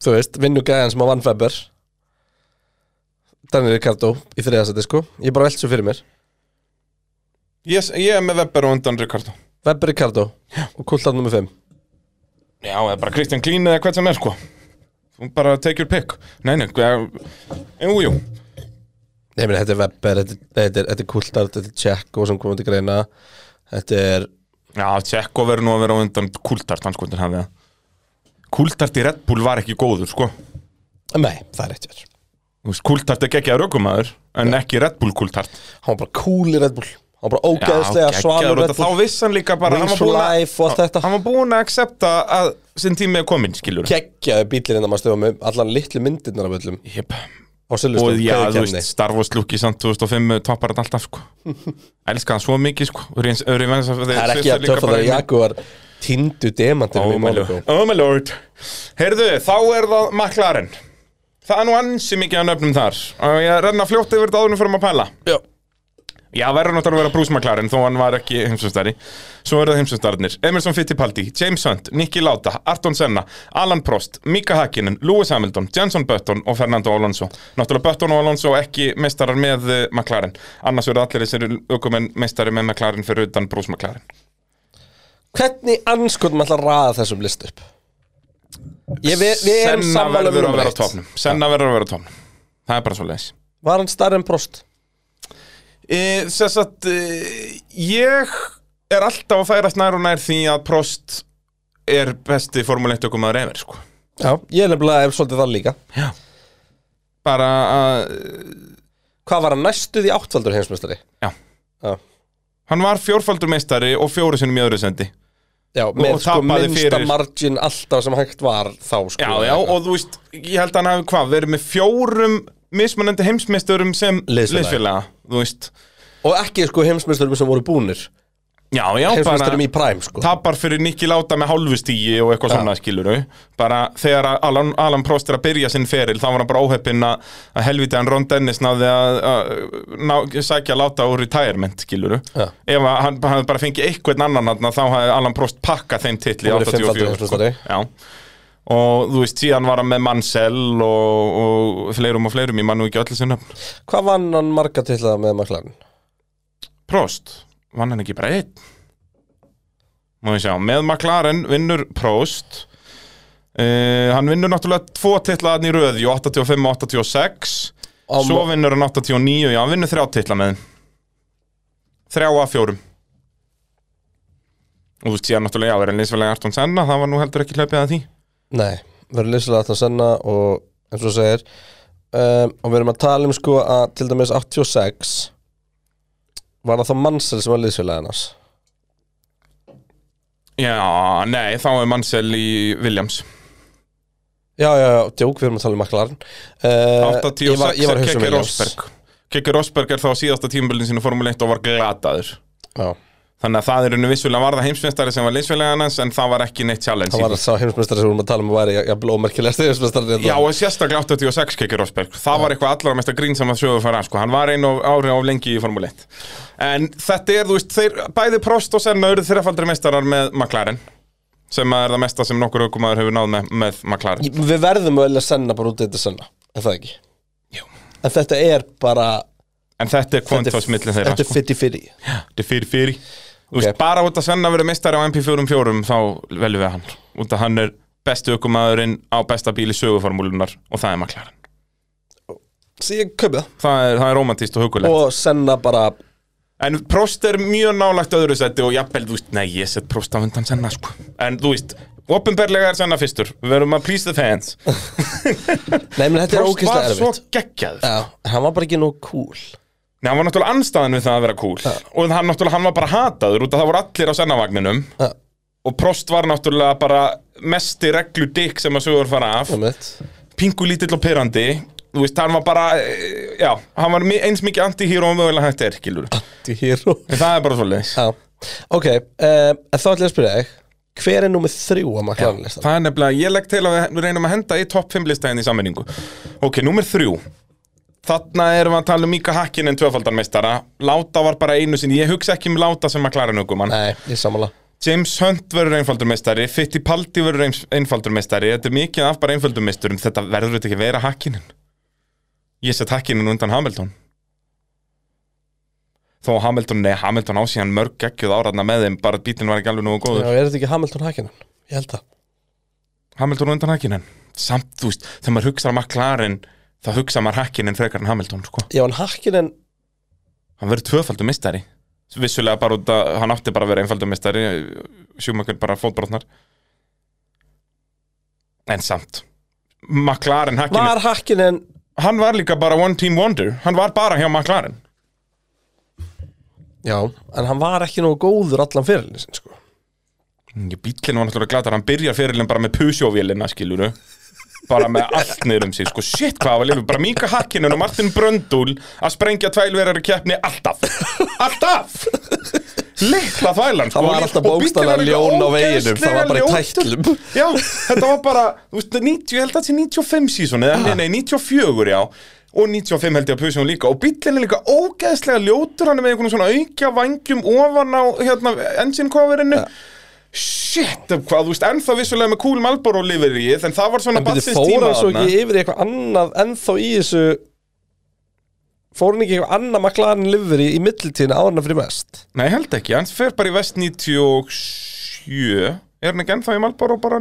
[SPEAKER 1] Þú veist, vinnur gæðan sem að vann Feber Daniel Ricardo í þriðasæti sko Ég bara velt svo fyrir mér
[SPEAKER 2] Ég, ég er með Webber og undan Ricardo
[SPEAKER 1] Weber Ricardo og kultan nummer 5
[SPEAKER 2] Já, eða bara Kristján Klín eða hvað sem er, sko Þú bara take your pick Nei, nei, hvað- jú, jú
[SPEAKER 1] Nei, meni, þetta er Weber, þetta, er- þetta, er- þetta er kultar, þetta er Tjekko sem komum til greina Þetta er,
[SPEAKER 2] Já, Tjekko verður nú að vera á undan Kultart, hann sko, hafði það Kultart í Red Bull var ekki góður, sko
[SPEAKER 1] nei, það er eitt verð
[SPEAKER 2] Þú veist, Kultart er geggjað raukumæður En ekki Red Bull Kultart
[SPEAKER 1] Hann var bara cool í Red Bull Hann var bara ógeðslega
[SPEAKER 2] Já,
[SPEAKER 1] svalur
[SPEAKER 2] geggjaður,
[SPEAKER 1] Red
[SPEAKER 2] og
[SPEAKER 1] Bull
[SPEAKER 2] Þá vissi hann líka bara
[SPEAKER 1] Wings
[SPEAKER 2] hann var
[SPEAKER 1] for
[SPEAKER 2] búinn að-
[SPEAKER 1] life og allt þetta.
[SPEAKER 2] Hann var búinn að accepta að sinn tími er kominn, skilur
[SPEAKER 1] Geggjaði bílirinn að maður stöfa hérna, með allan litlu myndirnar af öllum
[SPEAKER 2] Jep.
[SPEAKER 1] á
[SPEAKER 2] Og
[SPEAKER 1] Silveston,
[SPEAKER 2] já, þú
[SPEAKER 1] kveðukeppni.
[SPEAKER 2] veist, Star Wars lúki samt 2005 toppar hann alltaf, sko Elska hann svo mikið, sko Reyns, reyns,
[SPEAKER 1] Það er ekki að töffa þegar Jaguar tindu demantinum í Monaco
[SPEAKER 2] Oh my lord Herðu, þá er það McLaren Það er nú ansi mikið að nöfnum þar Og ég renna fljótt yfir þetta áðunum fyrir maður að pæla
[SPEAKER 1] Já,
[SPEAKER 2] Já, verður náttúrulega að vera Bruce McLaren þó hann var ekki heimsumstæri Svo eru það heimsumstærinir Emerson Fittipaldi, James Hunt, Nicky Lauda, Arton Senna Alan Prost, Mika Hakkinen, Lewis Hamilton Jenson Button og Fernando Alonso Náttúrulega Button og Alonso ekki meistarar með eh, McLaren Annars eru allir þessir aukumenn meistari með McLaren fyrir utan Bruce McLaren
[SPEAKER 1] Hvernig anskotum ætla að raða þessum list upp? Ég, við, við erum
[SPEAKER 2] Senna
[SPEAKER 1] sammála um
[SPEAKER 2] verður að
[SPEAKER 1] númer
[SPEAKER 2] vera á
[SPEAKER 1] eitt
[SPEAKER 2] topnum Senna verður að vera á topnum Það er bara svo leiðis
[SPEAKER 1] Var hann starri en prost?
[SPEAKER 2] E, Sess að e, ég er alltaf að færast nær og nær því að Prost er besti Formule 1 okkur maður efer sko.
[SPEAKER 1] Já, ég er nefnilega ef svolítið það líka
[SPEAKER 2] bara að
[SPEAKER 1] Hvað var hann næstuð í áttfaldur heimsmeistari?
[SPEAKER 2] já.
[SPEAKER 1] Já,
[SPEAKER 2] hann var fjórfaldur meistari og fjóru sinni mjög öðru sendi
[SPEAKER 1] já með sko
[SPEAKER 2] tapaði
[SPEAKER 1] minnsta
[SPEAKER 2] fyrir-
[SPEAKER 1] margin alltaf sem hægt var þá sko
[SPEAKER 2] já, já, og þú veist, ég held að hann hafi hvað verið með fjórum mismunandi heimsmeisturum sem
[SPEAKER 1] Liðsfélaga.
[SPEAKER 2] liðsfélaga, þú veist
[SPEAKER 1] Og ekki sko heimsmeisturum sem voru búnir
[SPEAKER 2] já, já,
[SPEAKER 1] Heimsmeisturum í Prime sko
[SPEAKER 2] tapar fyrir Nicky Láta með hálfu stíi og eitthvað svona skilur bara þegar að Alan, Alan Prost er að byrja sinn feril þá var hann bara óheppinn að að helviti hann Ron Dennis náði að, að ná, sækja Láta úr retirement skilur
[SPEAKER 1] Já.
[SPEAKER 2] ef að hann hann hefði bara fengið einhvern annan hann þá hefði Alan Prost pakka þeim titli
[SPEAKER 1] Hann verið fimmfaldur
[SPEAKER 2] 84 sko.
[SPEAKER 1] heimsmeistari.
[SPEAKER 2] Já. og þú veist síðan var hann með Mansell og, og fleirum og fleirum ég mann nú ekki öllu sinna
[SPEAKER 1] Hvað vann hann marga til það með McLaren?
[SPEAKER 2] Prost, vann hann ekki bara einn Má ég sjá, með McLaren vinnur Prost uh, Hann vinnur náttúrulega tvo titla hann í röð í 85 og 86
[SPEAKER 1] Á
[SPEAKER 2] Svo
[SPEAKER 1] mo-
[SPEAKER 2] vinnur hann 89, já, hann vinnur þrjá titla með þeim Þrjá að fjórum Og þú veist síðan náttúrulega, já, er hann liðsfélagi Arton Senna Það var nú heldur ekki hlaupið að því
[SPEAKER 1] Nei, verður lýsilega alltaf senna og eins og þú segir um, og við erum að tala um sko að til dæmis 86 var það þá Mansell sem var lýsilega hennas
[SPEAKER 2] Já, nei, þá er Mansell í Williams
[SPEAKER 1] Já, já, já, djók, við erum að tala um McLaren uh,
[SPEAKER 2] 86
[SPEAKER 1] ég var, ég var að
[SPEAKER 2] er
[SPEAKER 1] hugsa um
[SPEAKER 2] Kekki
[SPEAKER 1] Williams.
[SPEAKER 2] Rosberg Kekki Rosberg er þá á síðasta tímabilin sínu Formule 1 og var glataður
[SPEAKER 1] Já,
[SPEAKER 2] Þannig að það er unni vissulega varða heimsmeistari sem var liðsfélagin hans en það var ekki neitt challenge
[SPEAKER 1] það
[SPEAKER 2] í
[SPEAKER 1] var
[SPEAKER 2] því.
[SPEAKER 1] sá heimsmyndstari sem við erum að tala um að væri jafnvel hérna. ómerkilegast heimsmyndstari
[SPEAKER 2] Já og sérstaklega 86 kekir Rosberg Það var eitthvað allra mesta grín sem að sögur fara sko. Hann var einu ári á lengi í Formule 1 En þetta er, þú veist, þeir, bæði Prost og Senna eru þrefaldri meistarar með McLaren sem að er það mesta sem nokkur aukumaður hefur náð með, með McLaren
[SPEAKER 1] Við verðum að velja senna bara út í þetta senna, er það ekki?
[SPEAKER 2] Jú.
[SPEAKER 1] En þetta er bara
[SPEAKER 2] En þetta er
[SPEAKER 1] Þetta
[SPEAKER 2] kvantás millin þeirra
[SPEAKER 1] þetta er
[SPEAKER 2] sko.
[SPEAKER 1] fyrir fyrir
[SPEAKER 2] Þetta er fyrir fyrir Þú veist,
[SPEAKER 1] Ok.
[SPEAKER 2] bara út að Senna verið meistari á MP4-um þá veljum við hann Út að hann er bestu aukumaðurinn á besta bíli söguformúlunar og það er McLaren
[SPEAKER 1] Svo ég kaupi það
[SPEAKER 2] það er, það er romantíst og hugulegt
[SPEAKER 1] Og senna bara
[SPEAKER 2] En Prost er mjög nálægt öðru seti og jafnvel, þú veist, nei, ég set Prost á undan Senna, sko. En þú veist, opinberlega er Senna fyrstur. Við verum að please the fans.
[SPEAKER 1] Nei, menn þetta er
[SPEAKER 2] Prost
[SPEAKER 1] ógeðslega
[SPEAKER 2] var svo
[SPEAKER 1] erfitt
[SPEAKER 2] geggjaður.
[SPEAKER 1] Já, hann var bara ekki nóg cool
[SPEAKER 2] Nei, hann var náttúrulega anstæðan við það að vera cool. Og hann, náttúrulega, hann var bara hataður út að það voru allir á Senna-vagninum.
[SPEAKER 1] Já,
[SPEAKER 2] Og Prost var náttúrulega bara mesti reglu dikk sem að sögur fara af.
[SPEAKER 1] um mitt
[SPEAKER 2] Pingu lítill og pyrrandi. Þú veist, hann var bara, eh, já, hann var mi- eins mikið anti-hero og mögulega hægt er, skilur.
[SPEAKER 1] Anti-hero
[SPEAKER 2] En það er bara svolítið.
[SPEAKER 1] Já, ok um, En þá ætlum ég að spyrja þig Hver er númer þrjú að maður klána listan?
[SPEAKER 2] Það er nefnilega, ég legg til að við reynum að henda í topp 5 listæðin í sammenningu Ok, númer 3 Þarna erum við að tala um Mika Hakkinen tvöfaldarmeistara Láta var bara einu sinni, ég hugsa ekki um Láta sem að klara nögumann
[SPEAKER 1] Nei, ég samanlega
[SPEAKER 2] James Hunt verður einfaldur meistari Fittipaldi verður eins- einfaldur meistari Þetta er mikið af bara einfaldur meisturum Þetta verður þetta ekki að vera Hakkinen Ég set Hakkinen undan Hamilton Þó að Hamilton, nei, Hamilton ásíðan mörg ekkjuð áraðna með þeim Bara bílinn var ekki alveg nógu góður
[SPEAKER 1] Já, er þetta ekki Hamilton Hakkinen? Ég held það
[SPEAKER 2] Hamilton á undan Hakkinen samt, þú veist, þegar maður hugsaðar McLaren þá hugsaðar maður Hakkinen frekar en Hamilton sko.
[SPEAKER 1] Já, en Hakkinen
[SPEAKER 2] hann verður tvöfaldur mistari vissulega bara út að hann átti bara að vera einfaldur mistari sjúmakar bara fótbrotnar en samt McLaren Hakkinen,
[SPEAKER 1] Var Hakkinen
[SPEAKER 2] hann var líka bara one team wonder, hann var bara hjá McLaren
[SPEAKER 1] Já En hann var ekki nógu góður allan fyrirlin sin, sko
[SPEAKER 2] bílinn var náttúrulega glatar, hann byrjar fyrirlin bara með pusjóvélina skiluru bara með allt niður um sig, sko, shit hvað var lefum bara Mika Hakkinen og Martin Bröndúl að sprengja tvælverjar í keppni alltaf alltaf litla þvælan, sko
[SPEAKER 1] Það var
[SPEAKER 2] og-
[SPEAKER 1] alltaf
[SPEAKER 2] og bíllinn
[SPEAKER 1] bókstæðan
[SPEAKER 2] líka
[SPEAKER 1] ljón á veginum Það var bara í
[SPEAKER 2] ógeðslega ljótur.
[SPEAKER 1] tætlum
[SPEAKER 2] já, þetta var bara, þú veist, 90, ég held að þetta sé 95 sísoni, eða nei, nei, 94 já og 95 held ég að pusjónu líka og bíllinn er líka ógeðslega ljótur hann er með einhvern svona aukja vangjum ofan á hérna, engine coverinu Shit, hvað, þú veist, ennþá vissulega með kúl Malboro lifir í, en það var svona
[SPEAKER 1] En byrju,
[SPEAKER 2] batsins
[SPEAKER 1] fór
[SPEAKER 2] tíma
[SPEAKER 1] hann svo
[SPEAKER 2] þarna.
[SPEAKER 1] ekki yfir í eitthvað annað ennþá í þessu Fór hann ekki eitthvað annað McLaren lifur í, í millitíðin áðurna fyrir mest
[SPEAKER 2] Nei, held ekki, hann fer bara í vest 97 Er hann ekki ennþá í Malboro bara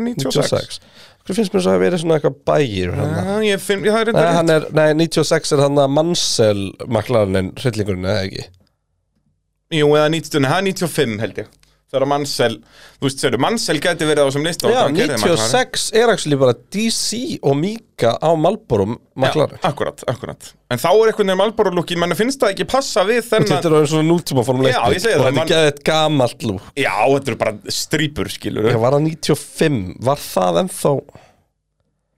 [SPEAKER 1] 96
[SPEAKER 2] 96?
[SPEAKER 1] Hvað finnst mér svo að vera svona eitthvað bægir hann?
[SPEAKER 2] Ah, ég finn, ég, það er
[SPEAKER 1] Nei,
[SPEAKER 2] reyndar
[SPEAKER 1] Eh, hann
[SPEAKER 2] rétt.
[SPEAKER 1] er, nei, 96 er hann að Mansell McLarenin, hryllingurinn eða ekki
[SPEAKER 2] Jú, eða 90, nei, það er 95 held ég Það er að Mansell, þú veist, segir, Mansell gæti verið á þessum lista og
[SPEAKER 1] Já,
[SPEAKER 2] það gerði McLaren.
[SPEAKER 1] 96 er actually bara DC og Mika á Malborum McLaren
[SPEAKER 2] Já, akkurat, akkurat En þá er einhvern veginn Malboro lukki, menn finnst það ekki passa við þennan
[SPEAKER 1] Þetta er orðin svona nútíma formule 1
[SPEAKER 2] Já, ég segi
[SPEAKER 1] Og
[SPEAKER 2] það,
[SPEAKER 1] þetta
[SPEAKER 2] man-
[SPEAKER 1] er geðið gamalt lúk
[SPEAKER 2] Já, þetta eru bara strýpur, skilur
[SPEAKER 1] Já, var það 95? Var það ennþá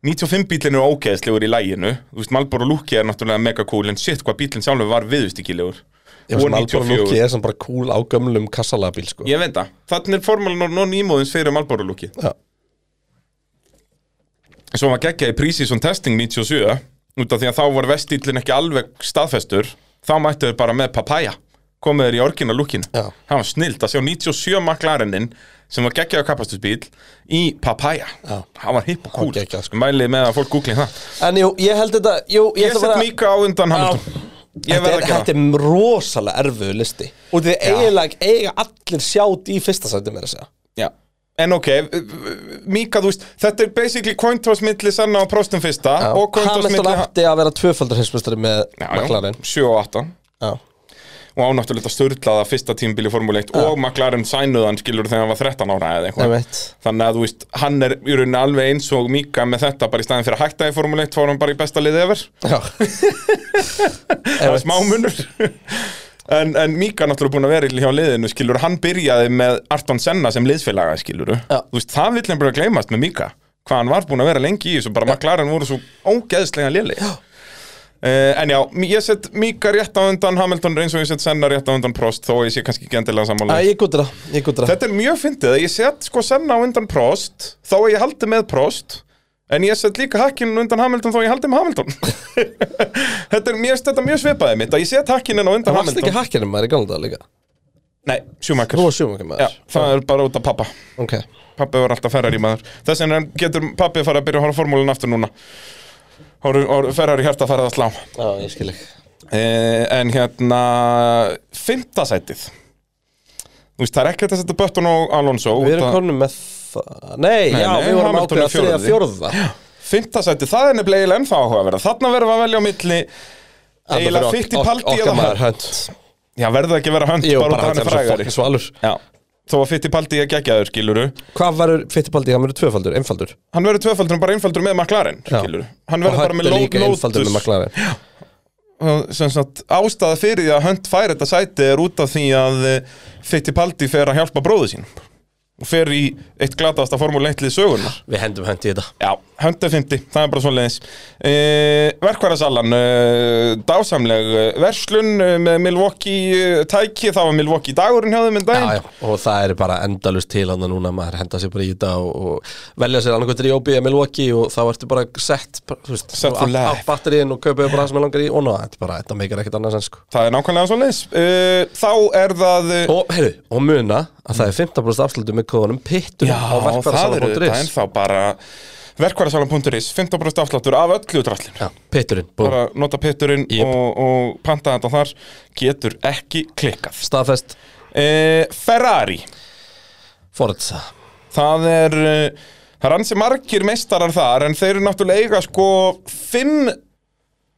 [SPEAKER 2] 95 bílinn er ógeðslegur í læginu Þú veist, Malboro Lukki er náttúrulega mega cool En shit, hvað bílinn sjálfur var viðustikilegur
[SPEAKER 1] Ég veist Malborum lúki er sem bara cool á gömlum kassalega bíl sko
[SPEAKER 2] Ég veit það, þannig er formálin og nýmóðins fyrir Malboro Lukki
[SPEAKER 1] Já.
[SPEAKER 2] Svo var geggjað í Prísísson Testing 97 Út af því að þá var vestýllin ekki alveg staðfestur Þá mættu þau bara með papaya Komið þeir í orginal lúkinu
[SPEAKER 1] Já.
[SPEAKER 2] Það var snilt að sjá 97 maklarennin Sem var geggjaði kapastusbíl Í papaya
[SPEAKER 1] Já.
[SPEAKER 2] Það var hipp og
[SPEAKER 1] var
[SPEAKER 2] cool
[SPEAKER 1] geggjað, sko.
[SPEAKER 2] Mælið með að fólk googli það
[SPEAKER 1] En jú, ég held þetta Jú, ég
[SPEAKER 2] Ég
[SPEAKER 1] ætla
[SPEAKER 2] set
[SPEAKER 1] bara
[SPEAKER 2] Mika á undan Hamilton Ég
[SPEAKER 1] Þetta
[SPEAKER 2] verð
[SPEAKER 1] er,
[SPEAKER 2] að gera
[SPEAKER 1] þetta er rosalega erfiðu listi Og því eiginlega eiga allir sjátt í fyrsta sæti meira að segja
[SPEAKER 2] Já. En ok, Mika, þú veist, þetta er basically coin toss milli Senna og Prostum fyrsta og coin toss
[SPEAKER 1] Hamilton
[SPEAKER 2] milli...
[SPEAKER 1] átti að vera tvöfaldar hinsmestari með
[SPEAKER 2] Já, já,
[SPEAKER 1] McLaren
[SPEAKER 2] 7 og 8
[SPEAKER 1] Já.
[SPEAKER 2] og ánáttúrulega störlaða fyrsta tímabili Formule 1 og McLaren sænuðan skilur þegar hann var 13 ára eða eitthvað
[SPEAKER 1] Einmitt.
[SPEAKER 2] þannig að þú veist, hann er í rauninni alveg eins og Mika með þetta bara í staðin fyrir að hætta í Formule 1 fór hann bara í besta liðið efer
[SPEAKER 1] Já.
[SPEAKER 2] það er smá munur en, en Mika er náttúrulega búin að vera í hjá liðinu skilur, hann byrjaði með Arton Senna sem liðsfélaga skilur,
[SPEAKER 1] Já.
[SPEAKER 2] þú veist, það vill hann bara gleymast með Mika, hvað hann var búin að vera lengi í þessu, bara McLaren voru svo ógeðslega léli já en já, ég set Mika rétt á undan Hamilton eins og ég set Senna rétt á undan Prost þó ég sé kannski ekki endilega sammála
[SPEAKER 1] Æ, ég gútur það, ég gútur það
[SPEAKER 2] Þetta er mjög fyndið að ég set sko Senna á undan Prost þá að ég haldi með Prost en ég set líka Hakkinen undan Hamilton þá að ég haldi með Hamilton Þetta er mjög, þetta er mjög svipaðið mitt að ég set Hakkinen á undan
[SPEAKER 1] Það varst
[SPEAKER 2] Hamilton
[SPEAKER 1] ekki hakkinum maður í gamla dag líka
[SPEAKER 2] Nei, Schumacher
[SPEAKER 1] Þú var sjöfumökkum
[SPEAKER 2] Já,
[SPEAKER 1] maður
[SPEAKER 2] það er bara út af pappa
[SPEAKER 1] Ok
[SPEAKER 2] Pappi var alltaf Ferrari maður Þess vegna getur pappi að fara að byrja að horfa formúlun aftur núna Horf- horf- Ferrari hjarta að fara að slá
[SPEAKER 1] Já, ég skil ekki
[SPEAKER 2] Eh, en hérna Fymtasætið Þú veist, það er ekkert að setja Bötton og Alonso
[SPEAKER 1] Við
[SPEAKER 2] út
[SPEAKER 1] erum
[SPEAKER 2] að-
[SPEAKER 1] konum með það Nei,
[SPEAKER 2] Nei,
[SPEAKER 1] já,
[SPEAKER 2] nei,
[SPEAKER 1] við vorum
[SPEAKER 2] Hamilton er
[SPEAKER 1] ákveða þriða
[SPEAKER 2] fjórði.
[SPEAKER 1] fjórða
[SPEAKER 2] Fymtasæti, það er nefnilega eiginlega ennþá áhugaverða Þarna verðum við að velja á milli Eiginlega Fittipaldi eða
[SPEAKER 1] maður
[SPEAKER 2] Hunt
[SPEAKER 1] hönd
[SPEAKER 2] Já, verður það ekki að vera Hunt
[SPEAKER 1] Jú,
[SPEAKER 2] bara út
[SPEAKER 1] bara
[SPEAKER 2] af hann
[SPEAKER 1] hann
[SPEAKER 2] er
[SPEAKER 1] er svo
[SPEAKER 2] frægari
[SPEAKER 1] fokkin svalur
[SPEAKER 2] Já, þó að Fittipaldi er geggjaður, skiluru
[SPEAKER 1] Hvað var Fittipaldi, hann verður tvöfaldur, einfaldur
[SPEAKER 2] Hann verður tvöfaldur, en bara einfaldur með McLaren,
[SPEAKER 1] Já.
[SPEAKER 2] skiluru Hann
[SPEAKER 1] Og
[SPEAKER 2] verður bara
[SPEAKER 1] Hunt
[SPEAKER 2] með
[SPEAKER 1] er
[SPEAKER 2] Lo-
[SPEAKER 1] líka einfaldur með
[SPEAKER 2] Lotus
[SPEAKER 1] McLaren
[SPEAKER 2] Og sem sagt, ástæða fyrir því að Hunt fær þetta sæti er út af því að eh, Fittipaldi fer að hjálpa bróðu sín og fer í eitt glataðasta formúli 1 lið sögurnar
[SPEAKER 1] Við hendum hönd í þetta
[SPEAKER 2] Já, 150, það er bara svona leiðis e, Verkværasalan e, Dásamleg eh, verslun eh, með Milwaukee eh, tæki það var Milwaukee dagurinn hjá þeim en
[SPEAKER 1] Já,
[SPEAKER 2] daginn
[SPEAKER 1] já, og það er bara endalust til hann núna maður henda sér bara í þetta og, og velja sér annarkvæmt í OB eða Milwaukee og þá ertu bara sett bara, þú veist,
[SPEAKER 2] Set for
[SPEAKER 1] á- á
[SPEAKER 2] life.
[SPEAKER 1] batteriðin og kaupið bara það sem er langar í og ná, þetta er bara, þetta meikar ekkert annars en sko
[SPEAKER 2] Það er nákvæmlega svona leiðis e, Þá er það eh,
[SPEAKER 1] Og, heyrðu, og muna að það er 15% afslutu með kóðunum pittur á
[SPEAKER 2] það eru þetta
[SPEAKER 1] verkfærasalan.is
[SPEAKER 2] ennþá bara Verkværasalan.is, 15% afsláttur af öllu drallinu
[SPEAKER 1] Já, pitturinn, búm,
[SPEAKER 2] bara nota pitturinn
[SPEAKER 1] Jep.
[SPEAKER 2] og, og panta þetta þar getur ekki klikkað
[SPEAKER 1] staðfest
[SPEAKER 2] e, Ferrari
[SPEAKER 1] Forza
[SPEAKER 2] Það er, eh, það er ansi margir meistarar þar en þeir eru náttúrulega eiga sko fimm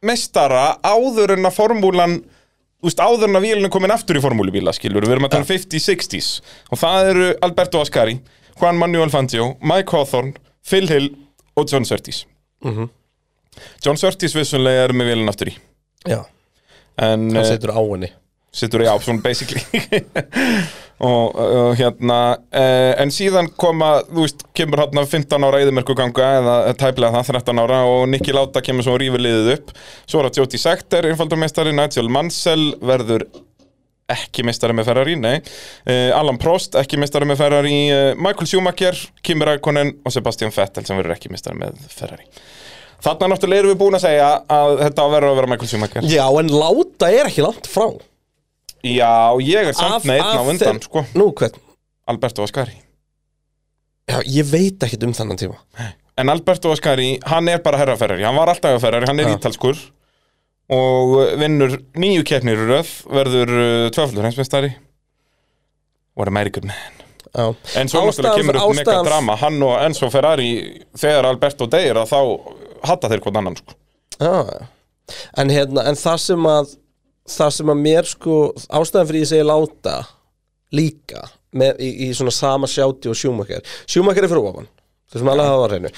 [SPEAKER 2] meistara áður en að formúlan Úst, áður en að vélinn er komin aftur í formúlubíla skilur, við erum að tala um 50-60s og það eru Alberto Ascari Juan Manuel Fangio, Mike Hawthorne Phil Hill og John Surtees John Surtees vissunlega er með vélinn aftur í
[SPEAKER 1] Já,
[SPEAKER 2] en,
[SPEAKER 1] hann
[SPEAKER 2] eh,
[SPEAKER 1] setur á henni
[SPEAKER 2] Sittur í Ápsson basically og, og hérna eh, en síðan koma, þú veist, kemur hérna 15 ára eðumerku ganga eða tæplega það 13 ára og Nicky Láta kemur svo og rífur liðið upp svo er að Jóti Sekter, einfaldarmeistari Nigel Mansell verður ekki meistari með Ferrari, nei eh, Alan Prost, ekki meistari með Ferrari eh, Michael Schumacher, Kimi Rækonen og Sebastian Vettel sem verður ekki meistari með Ferrari Þarna náttúrulega erum við búin að segja að þetta verður að vera Michael Schumacher
[SPEAKER 1] Já, en láta er ekki langt frá
[SPEAKER 2] Já, ég
[SPEAKER 1] Af-
[SPEAKER 2] er samt með einn á
[SPEAKER 1] af
[SPEAKER 2] undan,
[SPEAKER 1] þeim-
[SPEAKER 2] sko
[SPEAKER 1] Nú, hvern?
[SPEAKER 2] Alberto Ascari
[SPEAKER 1] Já, ég veit ekkert um þannan tíma
[SPEAKER 2] En Alberto Ascari, hann er bara herraferrari Hann var alltaf herraferrari, hann er
[SPEAKER 1] Já.
[SPEAKER 2] ítalskur Og eh, vinnur nýju keppnir í röð Verður uh, tvöflur heimsmeistari What American man
[SPEAKER 1] Já
[SPEAKER 2] En svo náttúrulega
[SPEAKER 1] Ástæðan-
[SPEAKER 2] kemur upp mega
[SPEAKER 1] ástæðan-
[SPEAKER 2] drama Hann og Enzo Ferrari Þegar Alberto deyr að þá Hatta þeir hvort annan sko
[SPEAKER 1] Já, já. en hérna, en það sem að það sem að mér sko ástæðan fyrir ég segi láta líka með, í, í svona sama sjáti og sjúmakar, sjúmakar er fyrir ofan það sem alveg hafa var hreinu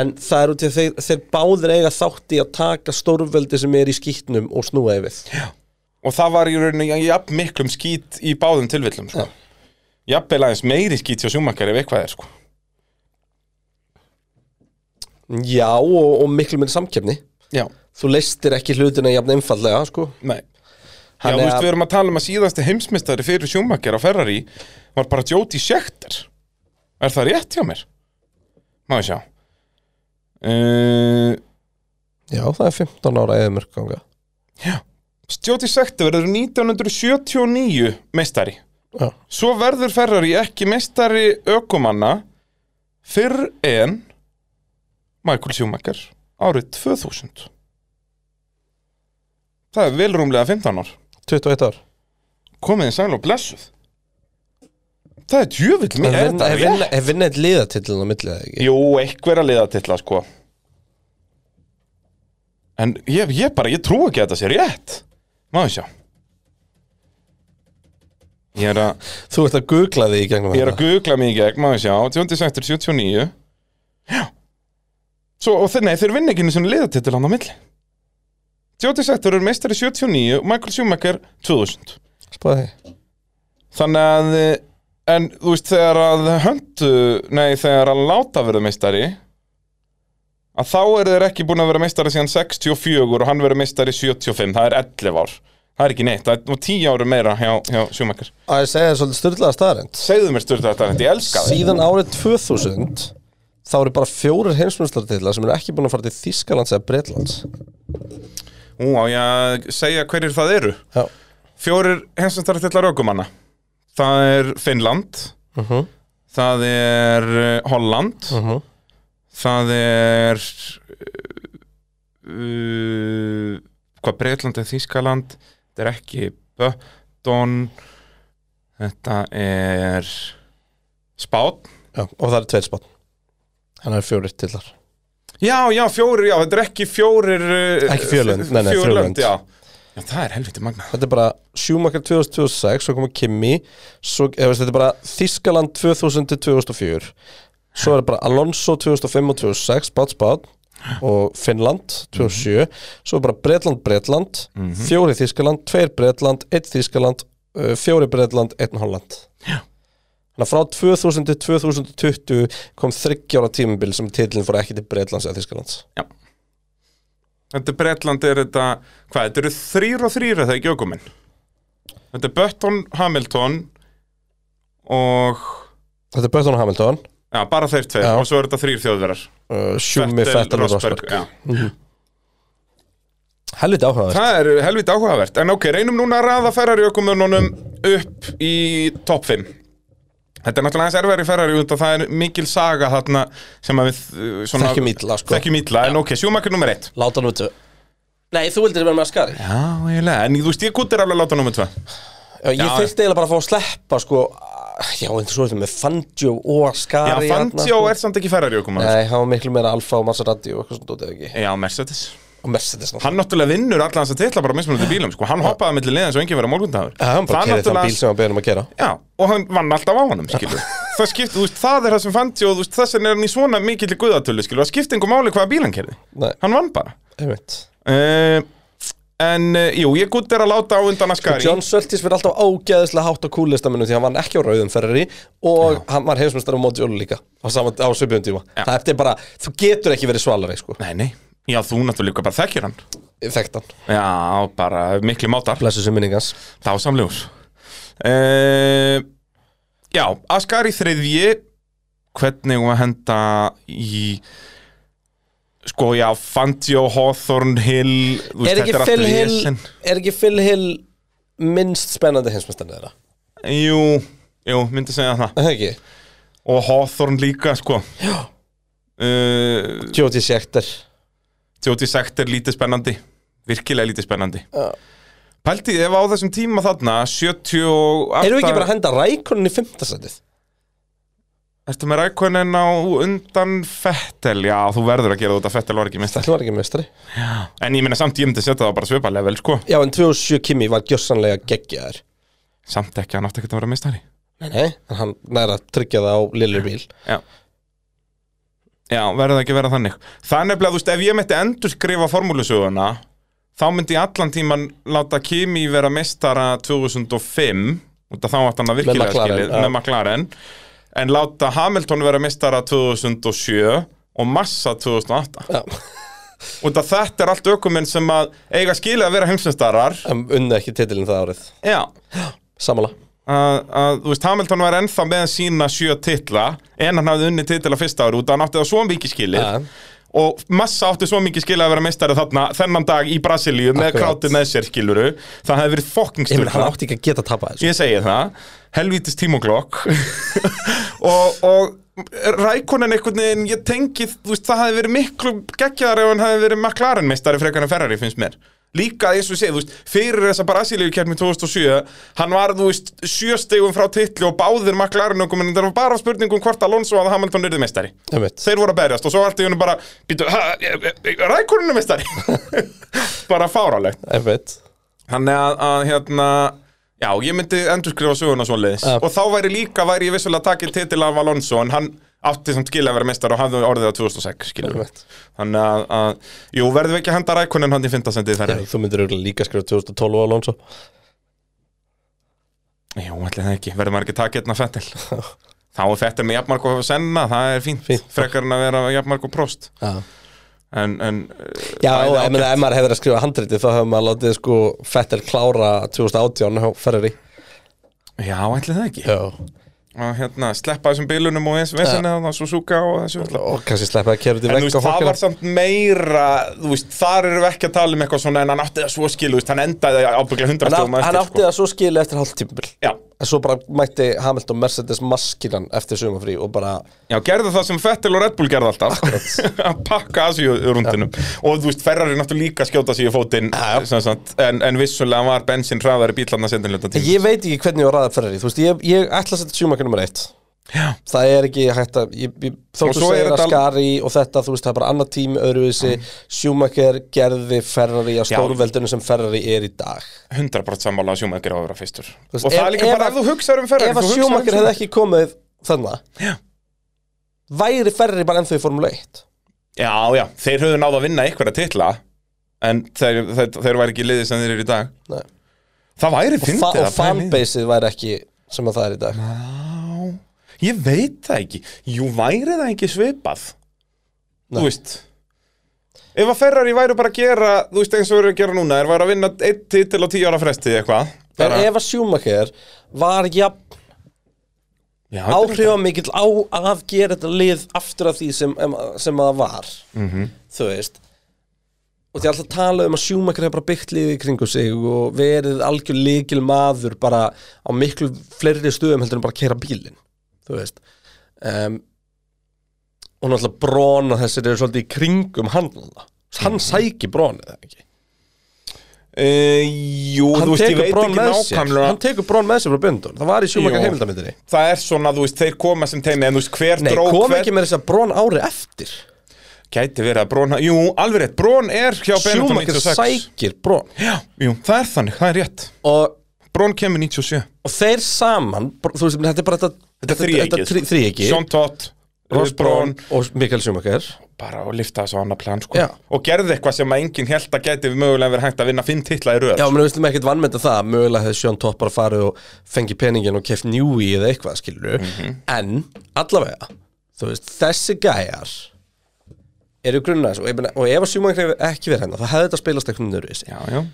[SPEAKER 1] en það er út í að þeir, þeir báðir eiga þátt í að taka stórveldi sem er í skýtnum og snúa yfir já,
[SPEAKER 2] Og það var í rauninni jafn miklum skít í báðum tilvillum sko.
[SPEAKER 1] Já.
[SPEAKER 2] Jafnvel aðeins meiri skít hjá sjúmakar ef eitthvað er sko
[SPEAKER 1] og, og miklu minn samkefni
[SPEAKER 2] Já,
[SPEAKER 1] þú leistir ekki hlutina jafn einfallega sko
[SPEAKER 2] nei Já,
[SPEAKER 1] Hann
[SPEAKER 2] þú
[SPEAKER 1] er
[SPEAKER 2] veist,
[SPEAKER 1] að-
[SPEAKER 2] við erum að tala um að síðasti heimsmeistari fyrir Schumacher á Ferrari var bara Jóti Schechter. Er það rétt hjá mér? Má ég sjá. Uh,
[SPEAKER 1] já, það er 15 ára eða mörganga
[SPEAKER 2] Jóti Schechter verður 1979 meistari.
[SPEAKER 1] já,
[SPEAKER 2] Svo verður Ferrari ekki meistari ökumanna fyrr en Michael Schumacher árið 2000. Það er velrúmlega 15 ár.
[SPEAKER 1] 21 ár
[SPEAKER 2] Komiði sæl og blessuð. Það er djövill mér. Er þetta
[SPEAKER 1] er
[SPEAKER 2] rétt?
[SPEAKER 1] vinna- er vinna eitt liðatillin á millið eða ekki
[SPEAKER 2] Jú, einhverja liðatilla sko En ég, ég bara, ég trú ekki að þetta sé rétt Maður sjá Ég er að,
[SPEAKER 1] Þú ert að googla því í gegnum
[SPEAKER 2] ég er að googla mig í gegn, maður sjá 26, 79 Já Svo, og þeir, nei, þeir vinna ekki einu sinni liðatitil hann á milli 26 er meistari 79 og Michael Schumacher 2000
[SPEAKER 1] þetta Spáði því
[SPEAKER 2] Þannig að eh, En þú veist þegar að höndu Nei þegar að láta verið meistari Að þá eru þeir ekki búin að vera meistari síðan 64 Og hann verið meistari 75 Það er 11 ár Það er ekki neitt, það er nú 10 árum meira hjá, hjá Schumacher
[SPEAKER 1] Að ég segja þér svolítið styrlaða staðarend
[SPEAKER 2] Segðu mér styrta þetta, þetta ég elska þig
[SPEAKER 1] Síðan árið 2000 Þá eru bara fjórir heimsmyndslartitla sem eru ekki búin að fara til Þískalands eða Breitlands
[SPEAKER 2] Ú, á ég að segja hverjir það eru
[SPEAKER 1] Já
[SPEAKER 2] Fjórir hensumstara til að raukumanna Það er Finnland
[SPEAKER 1] uh -huh.
[SPEAKER 2] Það er eh, Holland
[SPEAKER 1] Mhm.
[SPEAKER 2] Það er uh, Hvað Breitland er Þískaland Þetta er ekki Bötton Þetta er Spán
[SPEAKER 1] Já, og það eru tveir spott Þannig að það eru fjórir tillar
[SPEAKER 2] Já, já, fjórir, já, þetta er ekki fjórir uh,
[SPEAKER 1] Ekki fjölönd,
[SPEAKER 2] f-
[SPEAKER 1] nei, nei,
[SPEAKER 2] fjölönd,
[SPEAKER 1] þrjölönd.
[SPEAKER 2] já. já, það er helviti magna
[SPEAKER 1] Þetta er bara Schumacher 2006, svo koma Kimi svo, eða, veist, Þetta er bara Þískaland 2000-2004 Svo er bara Alonso 2005 og 2006 Bátt, bátt Og Finnland 2007 Svo er bara Bretland, Bretland Fjóri Þískaland, tveir Bretland, eitt Þískaland uh, Fjóri Bretland, einn Holland Þannig að frá 2000-2020 kom 30 ára tímabil sem titlinn fór ekki til Bretlands eða Þískalands
[SPEAKER 2] Þetta er Bretland, er þetta, hvað, þetta eru þrýr og þrýr, er það ekki ökuminn? Þetta er Button, Hamilton og,
[SPEAKER 1] Þetta er Bötton og Hamilton
[SPEAKER 2] já, bara þeir tveir
[SPEAKER 1] Já.
[SPEAKER 2] og svo eru þetta þrýr þjóðverðar
[SPEAKER 1] uh, Schumi, Fettel og Rosberg
[SPEAKER 2] já.
[SPEAKER 1] Helviti áhugaður
[SPEAKER 2] Það er helviti áhugavert En ok, reynum núna að raða Ferrari ökumununum upp í topp 5 Þetta er náttúrulega aðeins erfæri Ferrari út að það er mikil saga þarna sem að við uh, svona,
[SPEAKER 1] Þekkjum illa, sko.
[SPEAKER 2] Þekkjum illa, en ok, sjúmakir nummer 1
[SPEAKER 1] Láta hann veitu Nei, þú vildir vera með að skari
[SPEAKER 2] Já, eiginlega, en þú veist ég kútir alveg að láta nummer 2
[SPEAKER 1] Ég
[SPEAKER 2] Já.
[SPEAKER 1] þurfti eiginlega bara að fá að sleppa sko Já, en svo ertu með Fangio og
[SPEAKER 2] Já,
[SPEAKER 1] skari
[SPEAKER 2] Fangio er samt ekki Ferrari ökumunum
[SPEAKER 1] Nei, hann var miklu meira Alfa og Maserati og eitthvað svona dótið ekki
[SPEAKER 2] Já, Mercedes
[SPEAKER 1] Og Mercedes náttúrulega
[SPEAKER 2] Hann náttúrulega vinnur allan þess að titla bara mismunandi bílum sko. Hann hoppaði milli liðan svo engi verið morgundahur
[SPEAKER 1] Já, Hann bara kerið þann bíl sem hann beðið um að kera
[SPEAKER 2] Já, og hann vann alltaf á honum, skilur Það skipt, þú veist, það er það sem fann og þú veist, þess vegna er hann í svona mikill guðatölu, skilur Það skipti engum máli hvaða bíl hann kerði
[SPEAKER 1] Nei,
[SPEAKER 2] Hann vann bara
[SPEAKER 1] einmitt
[SPEAKER 2] uh, En, uh, jú, ég gutt er að láta á undan að skari
[SPEAKER 1] John Söltis fyrir alltaf ágæðislega hátt á kúlistamunum því hann vann ekki á rauðum ferri og hann var heimsmyndstari á Modjólu líka á, saman, á svipum tíma
[SPEAKER 2] Já.
[SPEAKER 1] Það er bara, þú getur ekki verið svalari sko
[SPEAKER 2] Nei, nei, já, þú náttúrulega líka bara þekkir hann
[SPEAKER 1] Þekkt hann,
[SPEAKER 2] Já, bara miklu mátar
[SPEAKER 1] blessu sem minningans
[SPEAKER 2] Þá samljós uh, Já, að skari þriðji Hvernig um að henda í Sko, já, Fangio, Hawthorne, Hill þú veist,
[SPEAKER 1] er ekki,
[SPEAKER 2] þetta allt
[SPEAKER 1] Phil Hill,
[SPEAKER 2] vesen.
[SPEAKER 1] er ekki Phil Hill minnst spennandi hinsmestarnið þeirra?
[SPEAKER 2] Jú, jú, myndi segja það
[SPEAKER 1] Er það ekki?
[SPEAKER 2] Og Hawthorne líka, sko Já uh,
[SPEAKER 1] Jóti Sjekter
[SPEAKER 2] Tjóti sagt er lítið spennandi Virkilega lítið spennandi
[SPEAKER 1] Já.
[SPEAKER 2] Pældi, ef á þessum tíma þarna 78
[SPEAKER 1] Erum við ekki bara að henda Rækonin í fymtasætið?
[SPEAKER 2] Ertu með rækonin á undan Fettel Já, þú verður að gera þetta Fettel var ekki minnst
[SPEAKER 1] Það var ekki mestari
[SPEAKER 2] En ég meina samt ég myndi setja það á bara svipalega vel, sko
[SPEAKER 1] Já, en 2007 Kimi var gjössanlega geggjaður
[SPEAKER 2] Samt ekki, hann átti ekkert að vera mistari
[SPEAKER 1] Nei, nei En hann næra að tryggja það á lillu bíl
[SPEAKER 2] Já Já, verður það ekki að vera þannig Það er nefnilega, þú veist, ef ég myndi endurskrifa formúlusöguna þá myndi ég allan tíman láta Kimi vera mestara 2005 út af þá átt hann að virkilega
[SPEAKER 1] Með McLaren,
[SPEAKER 2] skilið
[SPEAKER 1] já.
[SPEAKER 2] með McLaren en láta Hamilton vera mestara 2007 og Massa 2008
[SPEAKER 1] Já,
[SPEAKER 2] út af þetta er allt ökuminn sem að eiga skilið að vera heimsinnstarar
[SPEAKER 1] en unna ekki titilin það árið
[SPEAKER 2] Já,
[SPEAKER 1] Samala
[SPEAKER 2] að, að þú veist, Hamilton var ennþá með sína sjö titla en hann hafði unni titla fyrsta ári út að hann átti það svo mikið skilið
[SPEAKER 1] Ja.
[SPEAKER 2] og massa átti svo mikið skilið að vera meistari þarna þennan dag í Brasilíu með
[SPEAKER 1] Akkurat.
[SPEAKER 2] kráti með sér skiluru það hefði verið
[SPEAKER 1] Ég meina, hann
[SPEAKER 2] fokkingstur
[SPEAKER 1] átti ekki að geta að tapa þessu
[SPEAKER 2] ég segi það, helvítist tímoklokk og, og Rækonen einhvern veginn, ég tengi þú veist, það hefði verið miklu geggjaðar ef hann hefði verið McLaren meistari frekar en Ferrari finnst mér líka eins og sé, þú veist, fyrir þessa Brasilíu kjærmi 2007, hann var þú veist, sjöstegum frá titli og báðir McLaren okkur, en það var bara spurningum hvort Alonso að Hamilton yrði meistari
[SPEAKER 1] Einmitt.
[SPEAKER 2] þeir voru að berjast og svo allt í hennu bara býtu, Rækonen er meistari bara fárálegt
[SPEAKER 1] Einmitt
[SPEAKER 2] Þannig að, að hérna Já, ég myndi endurskrifa söguna svo leiðis
[SPEAKER 1] Já.
[SPEAKER 2] Og þá væri líka, væri ég vissulega takið titil af Alonso En hann átti samt skilja að vera mestar og hafði orðið á 2006 skilja
[SPEAKER 1] Einmitt.
[SPEAKER 2] Þannig að, að, jú, verðum við ekki að henda rækunin hann í fymtasendið þar
[SPEAKER 1] Já, Þú myndir örugglega líka skrifa 2012 á Alonso
[SPEAKER 2] Jú, allir það ekki, verðum maður ekki takið hérna fettil Þá er fettil með jafnmark og senna, það er fínt,
[SPEAKER 1] Fínt.
[SPEAKER 2] Frekar en að vera jafnmark og prost
[SPEAKER 1] Já
[SPEAKER 2] En, en
[SPEAKER 1] Já,
[SPEAKER 2] bæði
[SPEAKER 1] og ég
[SPEAKER 2] ágætt.
[SPEAKER 1] meina, ef maður hefur að skrifa handriti þá hefur maður látið sko Fettel klára 2018 á Ferrari
[SPEAKER 2] Já, allir það ekki
[SPEAKER 1] Já.
[SPEAKER 2] að, hérna, Sleppa þessum bílunum og eins vesinni ja. og Suzuka og þessu öllu.
[SPEAKER 1] og kannski sleppa að kæra út í
[SPEAKER 2] En þú
[SPEAKER 1] vegg
[SPEAKER 2] veist,
[SPEAKER 1] og
[SPEAKER 2] það
[SPEAKER 1] hokkina
[SPEAKER 2] var samt meira þú veist, þar erum við ekki að tala um eitthvað svona en hann átti það svo skil, þú veist, hann endaði ábygglega
[SPEAKER 1] hann,
[SPEAKER 2] 100
[SPEAKER 1] átt,
[SPEAKER 2] stóma
[SPEAKER 1] hann
[SPEAKER 2] eftir,
[SPEAKER 1] átti það svo skili eftir hálftímpil
[SPEAKER 2] sko. Já,
[SPEAKER 1] en svo bara mætti Hamilton Mercedes maskinan eftir sumafrí og bara
[SPEAKER 2] já, gerðu það sem Fettil og Red Bull gerðu alltaf að pakka að sig rundinum og þú veist, Ferrari náttúrulega líka að skjóta sig í fótinn
[SPEAKER 1] Já.
[SPEAKER 2] sem sagt, en, en vissulega var bensin hraðari bílarna sendin hluta tíma
[SPEAKER 1] ég veit ekki hvernig ég var aðað Ferrari þú veist, ég, ég ætla að setja Schumacher nummer eitt
[SPEAKER 2] Já.
[SPEAKER 1] það er ekki hægt að ég, ég, þó
[SPEAKER 2] Og
[SPEAKER 1] þú
[SPEAKER 2] svo er
[SPEAKER 1] segir að
[SPEAKER 2] þetta al-
[SPEAKER 1] skari og þetta þú veist það er bara annað tím öðruvísi Schumacher gerði Ferrari á
[SPEAKER 2] Já.
[SPEAKER 1] stórveldunum sem Ferrari er í dag
[SPEAKER 2] 100% sammála að Schumacher á að vera fyrstur
[SPEAKER 1] Þú veist,
[SPEAKER 2] og það
[SPEAKER 1] ef-
[SPEAKER 2] er líka
[SPEAKER 1] ef
[SPEAKER 2] bara
[SPEAKER 1] að-
[SPEAKER 2] ef þú hugsar um Ferrari
[SPEAKER 1] ef að
[SPEAKER 2] þú hugsar um
[SPEAKER 1] Schumacher hefði ekki komið þannig
[SPEAKER 2] Já.
[SPEAKER 1] væri Ferrari bara ennþá í Formule 1
[SPEAKER 2] Já, já, þeir höfðu náð að vinna einhverja titla en þeir, þeir, þeir væri ekki liðið sem þeir eru í dag
[SPEAKER 1] Nei.
[SPEAKER 2] Það væri
[SPEAKER 1] og, fa
[SPEAKER 2] fyndið
[SPEAKER 1] og
[SPEAKER 2] að pæla í því.
[SPEAKER 1] fanbaseið væri ekki sem að það er í dag
[SPEAKER 2] Já, ég veit það ekki Jú, væri það ekki svipað Þú veist Ef að Ferrari væri bara að gera, þú veist eins og við erum að gera núna er væri að vinna einn titil á 10 ára fresti eitthvað
[SPEAKER 1] en
[SPEAKER 2] Bara-
[SPEAKER 1] ef að Schumacher var jafn
[SPEAKER 2] Já,
[SPEAKER 1] áhrifamikill á að gera þetta lið aftur af því sem, em- sem að það var
[SPEAKER 2] Mhm.
[SPEAKER 1] þú veist og því alltaf tala um að Schumacher hefur bara byggt liðið í kringu sig og verið algjör líkil maður bara á miklu fleiri stöðum heldur en bara að kera bílinn þú veist um, og náttúrulega brona þessir eru svolítið í kringum hann náttúrulega.
[SPEAKER 2] Mhm.
[SPEAKER 1] hann sækir brónið eða ekki
[SPEAKER 2] Uh, jú,
[SPEAKER 1] hann,
[SPEAKER 2] þú veist, ég
[SPEAKER 1] tekur
[SPEAKER 2] veit
[SPEAKER 1] brón
[SPEAKER 2] ekki
[SPEAKER 1] með sér,
[SPEAKER 2] nákvæmlega
[SPEAKER 1] hann tekur brón með sér frá bjöndun það var í Schumacher
[SPEAKER 2] Jú.
[SPEAKER 1] heimildamindinni
[SPEAKER 2] Það er svona, þú veist, þeir koma sem teimi En þú veist, hver
[SPEAKER 1] Nei,
[SPEAKER 2] dró
[SPEAKER 1] kom
[SPEAKER 2] hver
[SPEAKER 1] ekki með þess að brón ári eftir
[SPEAKER 2] Gæti verið að Brón Jú, alveg rétt, Brón er hjá Benetton
[SPEAKER 1] Schumacher
[SPEAKER 2] 96
[SPEAKER 1] sækir brón
[SPEAKER 2] Já, jú, það er þannig, það er rétt
[SPEAKER 1] og,
[SPEAKER 2] Brón kemur 97
[SPEAKER 1] og þeir saman br- þú veist, þetta er bara þetta,
[SPEAKER 2] þríeykið. sko.
[SPEAKER 1] þetta þríeggi
[SPEAKER 2] Sean Todd,
[SPEAKER 1] Ross
[SPEAKER 2] Ross
[SPEAKER 1] Brón
[SPEAKER 2] Brón
[SPEAKER 1] og Mikael Schumacher
[SPEAKER 2] Bara að lifta þessu á annað plan, sko
[SPEAKER 1] Já.
[SPEAKER 2] Og gerði eitthvað sem að enginn held að gæti mögulega verið hægt að vinna fimm titla í röð
[SPEAKER 1] Já, menn við slum ekkert vannmynda það mögulega hefði Sjón Topp bara farið og fengið peningin og keft njúi eða eitthvað skilur
[SPEAKER 2] Mhm.
[SPEAKER 1] en allavega þú veist, þessi gæjar eru grunna og, ég meina- og ef að Schumacher hefði ekki verið hennar það hefði þetta spilast eitthvað nöðru í sig
[SPEAKER 2] Já, já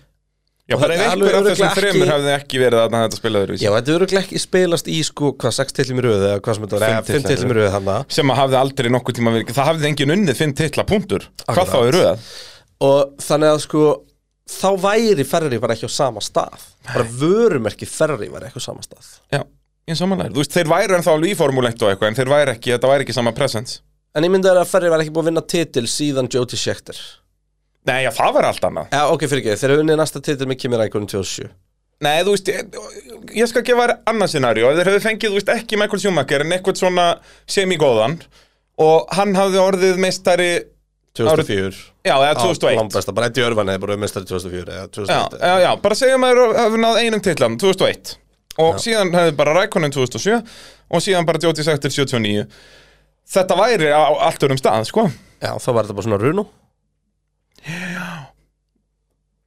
[SPEAKER 2] Já,
[SPEAKER 1] Og
[SPEAKER 2] bara
[SPEAKER 1] það
[SPEAKER 2] ef
[SPEAKER 1] er alveg
[SPEAKER 2] einhver af þessum
[SPEAKER 1] örugglega
[SPEAKER 2] þremur
[SPEAKER 1] ekki-
[SPEAKER 2] hefði ekki verið að þetta spilaður í
[SPEAKER 1] Já, þetta eru ekki spilast í sko hvað, sex tillum í röðu eða hvað sem þetta
[SPEAKER 2] Fimm
[SPEAKER 1] var, fimm
[SPEAKER 2] titlum í
[SPEAKER 1] tillum í röðu hann
[SPEAKER 2] sem að hafði aldrei nokkuð tíma verið það hafði enginn unnið fimm titla punktur hvað
[SPEAKER 1] Akkurat.
[SPEAKER 2] þá í röð
[SPEAKER 1] og þannig að sko þá væri Ferrari bara ekki á sama stað bara vörumerki Ferrari var ekki á sama stað
[SPEAKER 2] já, ég samanlega þú veist þeir væri ennþá alveg í formúleitt og eitthvað en þeir væri ekki þetta væri ekki sama presence
[SPEAKER 1] en ég myndi að Ferrari var ekki búin að vinna titil síðan Jody Schechter
[SPEAKER 2] nei já það var allt annað
[SPEAKER 1] Já, ok, fyrir ekki, þeir eru unnið næsta titil með Kimi Rækunum 2007
[SPEAKER 2] nei þú veist ég, ég skal gefa þér annað scenario ef þeir hefði fengið þú veist ekki Michael Schumacher en eitthvað svona semigóðan og hann hafði orðið meistari
[SPEAKER 1] 2004
[SPEAKER 2] já eða
[SPEAKER 1] Á,
[SPEAKER 2] 2001
[SPEAKER 1] langbesta, bara eitt í örfan eða bara meistari 2004 eða
[SPEAKER 2] já,
[SPEAKER 1] 2001
[SPEAKER 2] já, já, bara segjum að þeir hefði náð einum titlan 2001 og síðan hefði bara Rækonin 2007 og síðan bara Jóti Sættir 79 Þetta væri á allt örum stað, sko
[SPEAKER 1] já, þá var þetta bara svona runo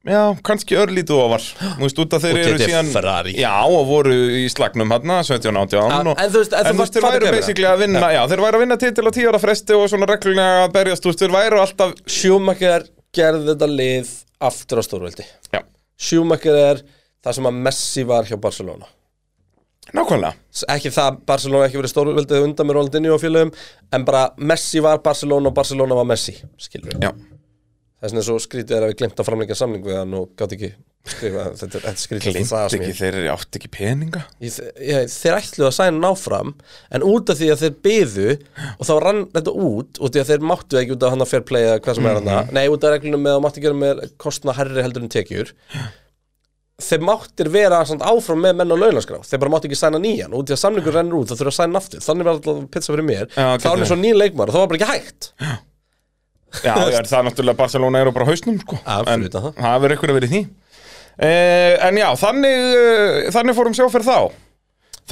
[SPEAKER 2] Já, kannski örlítið ofar Þú veist, út að þeir
[SPEAKER 1] Og
[SPEAKER 2] eru
[SPEAKER 1] þetta er
[SPEAKER 2] síðan
[SPEAKER 1] Ferrari.
[SPEAKER 2] Já, og voru í slagnum hann 17 og 18 og,
[SPEAKER 1] en þú veist, en þú fært-
[SPEAKER 2] þeir
[SPEAKER 1] fattar
[SPEAKER 2] væru
[SPEAKER 1] hvað ég meina?
[SPEAKER 2] basically að vinna já. þeir væru að vinna titil á 10 ára fresti og svona reglulega að berjast út Þeir væru alltaf
[SPEAKER 1] Schumacher gerði þetta lið aftur á stórveldi
[SPEAKER 2] Já,
[SPEAKER 1] Schumacher er það sem að Messi var hjá Barcelona
[SPEAKER 2] nákvæmlega
[SPEAKER 1] ekki það Barcelona ekki verið stórveldið undan með Ronaldinho og félögum en bara Messi var Barcelona og Barcelona var Messi skilur við,
[SPEAKER 2] Já,
[SPEAKER 1] þess vegna er svo skrítið er að við glemt að framleika samning við hann og gátt ekki skrifa, þetta, er- þetta er skrítið
[SPEAKER 2] glimt ekki, þeir eru átt ekki peninga
[SPEAKER 1] ég, ég, þeir ætluðu að sæna náfram en út af því að þeir byðu og þá rann þetta út út af því að þeir máttu ekki út af hann að fair play eða hvað sem er
[SPEAKER 2] Mhm.
[SPEAKER 1] hann nei út af reglunum með að þú máttu gera með kostna herri heldur en tekjur þeir máttir vera samt áfram með menn á launaskrá þeir bara máttu ekki sæna nýjan út því að samlingur rennur út þá þurfa að sæna aftur þannig var alltaf pizza fyrir mér þá
[SPEAKER 2] Já,
[SPEAKER 1] er hann
[SPEAKER 2] getur
[SPEAKER 1] svo nýjan leikmar og það var bara ekki hægt
[SPEAKER 2] Já, já, það er náttúrulega Barcelona eru bara á hausnum sko.
[SPEAKER 1] Já, fyrir
[SPEAKER 2] En
[SPEAKER 1] utan það.
[SPEAKER 2] það verður ykkur að vera í því eh, En já, þannig, eh, þannig fórum sjá fyrir þá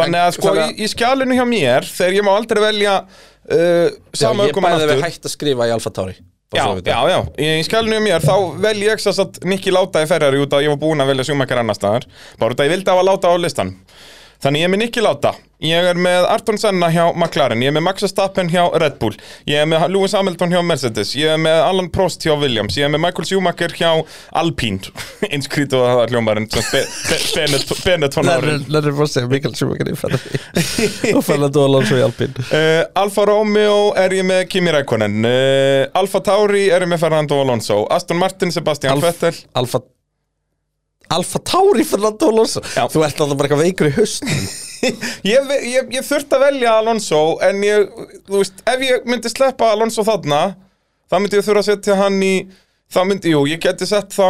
[SPEAKER 2] Þannig
[SPEAKER 1] En-
[SPEAKER 2] að sko
[SPEAKER 1] þannig að-
[SPEAKER 2] í, í skjalinu hjá mér Þegar ég má aldrei velja uh,
[SPEAKER 1] Já,
[SPEAKER 2] sama
[SPEAKER 1] ég
[SPEAKER 2] ökumann
[SPEAKER 1] bæði við
[SPEAKER 2] aftur
[SPEAKER 1] hægt að skrifa í Alfa Tauri bara
[SPEAKER 2] Já,
[SPEAKER 1] svo við
[SPEAKER 2] já,
[SPEAKER 1] það.
[SPEAKER 2] já, í skælinu um mér þá vel ég sess að Nikki láta í ferðar út að ég var búinn að velja sjúmakar annar staðar bara út að ég vildi hafa láta á listan Þannig ég er með Nikki láta ég er með Arton Senna hjá McLaren ég er með Max Verstappen hjá Red Bull ég er með Lewis Hamilton hjá Mercedes ég er með Alan Prost hjá Williams ég er með Michael Schumacher hjá Alpine einskrítið að það er hljómarinn sem Be- Be- Benetton- Benetton árið
[SPEAKER 1] Lennart var að segja Mikael Schumacher í Ferrari og Fernando Alonso í Alpine
[SPEAKER 2] Uh, Alfa Romeo er ég með Kimi Rækonen uh, Alfa Tauri er ég með Fernando Alonso Aston Martin, Sebastian
[SPEAKER 1] Alf-
[SPEAKER 2] Vettel
[SPEAKER 1] Alfa Alfa Tauri Fernando Alonso Þú ert alltaf bara eitthvað veikur í haust
[SPEAKER 2] ég, ve- ég, ég þurfti að velja Alonso en ég, þú veist, ef ég myndi sleppa Alonso þarna þá myndi ég þurfa að setja hann í þá myndi, jú, ég geti sett þá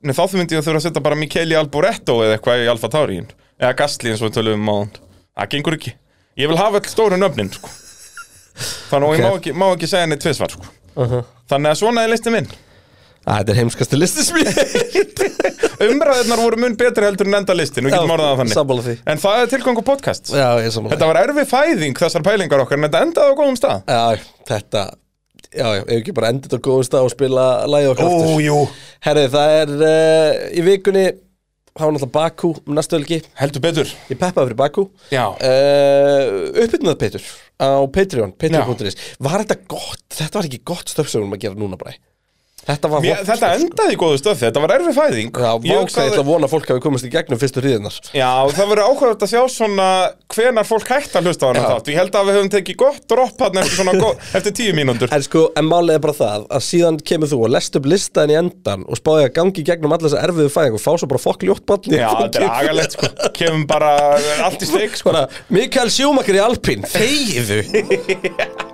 [SPEAKER 2] nei, þá myndi ég þurfa að setja bara Michele Alboreto eða eitthvað í Alfa Taurin eða Gasly eins og við tölum um áðan það gengur ekki Ég vil hafa all stóru nöfnin sko.
[SPEAKER 1] Ok. Uh-huh.
[SPEAKER 2] Þannig að ég má ekki, má ekki segja henni tvisvar sko. Þannig að svona er listin minn
[SPEAKER 1] Æ, Þetta er heimskasti listi sem ég
[SPEAKER 2] Umræðirnar voru mun betri heldur en enda listin Við getum orðað það þannig
[SPEAKER 1] Sammála því
[SPEAKER 2] En það er tilgangu podcast
[SPEAKER 1] Já, ég er sammála
[SPEAKER 2] Þetta var erfi fæðing þessar pælingar okkar En þetta endaði á góðum stað
[SPEAKER 1] Já, þetta Já, já, ef ekki bara endið á góðum stað og spila lagið okkar aftur
[SPEAKER 2] jú
[SPEAKER 1] Herri, það er uh, í vikunni Há náttúrulega Bakú um næstu helgi
[SPEAKER 2] Heldur betur
[SPEAKER 1] Ég peppaði fyrir Bakú
[SPEAKER 2] Já
[SPEAKER 1] uh, Uppbyrnað Petur á Patreon, patreon.is Var þetta gott? Þetta var ekki gott stöfsögnum að gera núna bara Þetta var
[SPEAKER 2] Mér,
[SPEAKER 1] vont
[SPEAKER 2] Þetta
[SPEAKER 1] stöf, sko.
[SPEAKER 2] endaði í góðu stöð Þetta var erfi fæðing
[SPEAKER 1] Já,
[SPEAKER 2] Ég
[SPEAKER 1] váksa, ég ætla
[SPEAKER 2] hugsaði-
[SPEAKER 1] að vona að fólk hafi komist í gegnum fyrstu hríðinar
[SPEAKER 2] Já, það verður áhugað að sjá svona hvenar fólk hægt að hlusta á hana
[SPEAKER 1] Já.
[SPEAKER 2] þátt. Ég held að við höfum tekið gott dropp hann eftir, svona gó- eftir tíu mínúndur.
[SPEAKER 1] En sko, en málið er bara það að síðan kemur þú og lest upp listaðin í endan og spáði að gangi í gegnum allir þessa erfiðu fæðing og fá svo bara fokk ljótt ballin
[SPEAKER 2] Já, þetta er agalegt sko. Kemum bara allt í steik sko.
[SPEAKER 1] Bara, Mikael Sjómakar í Alpín, þegiðu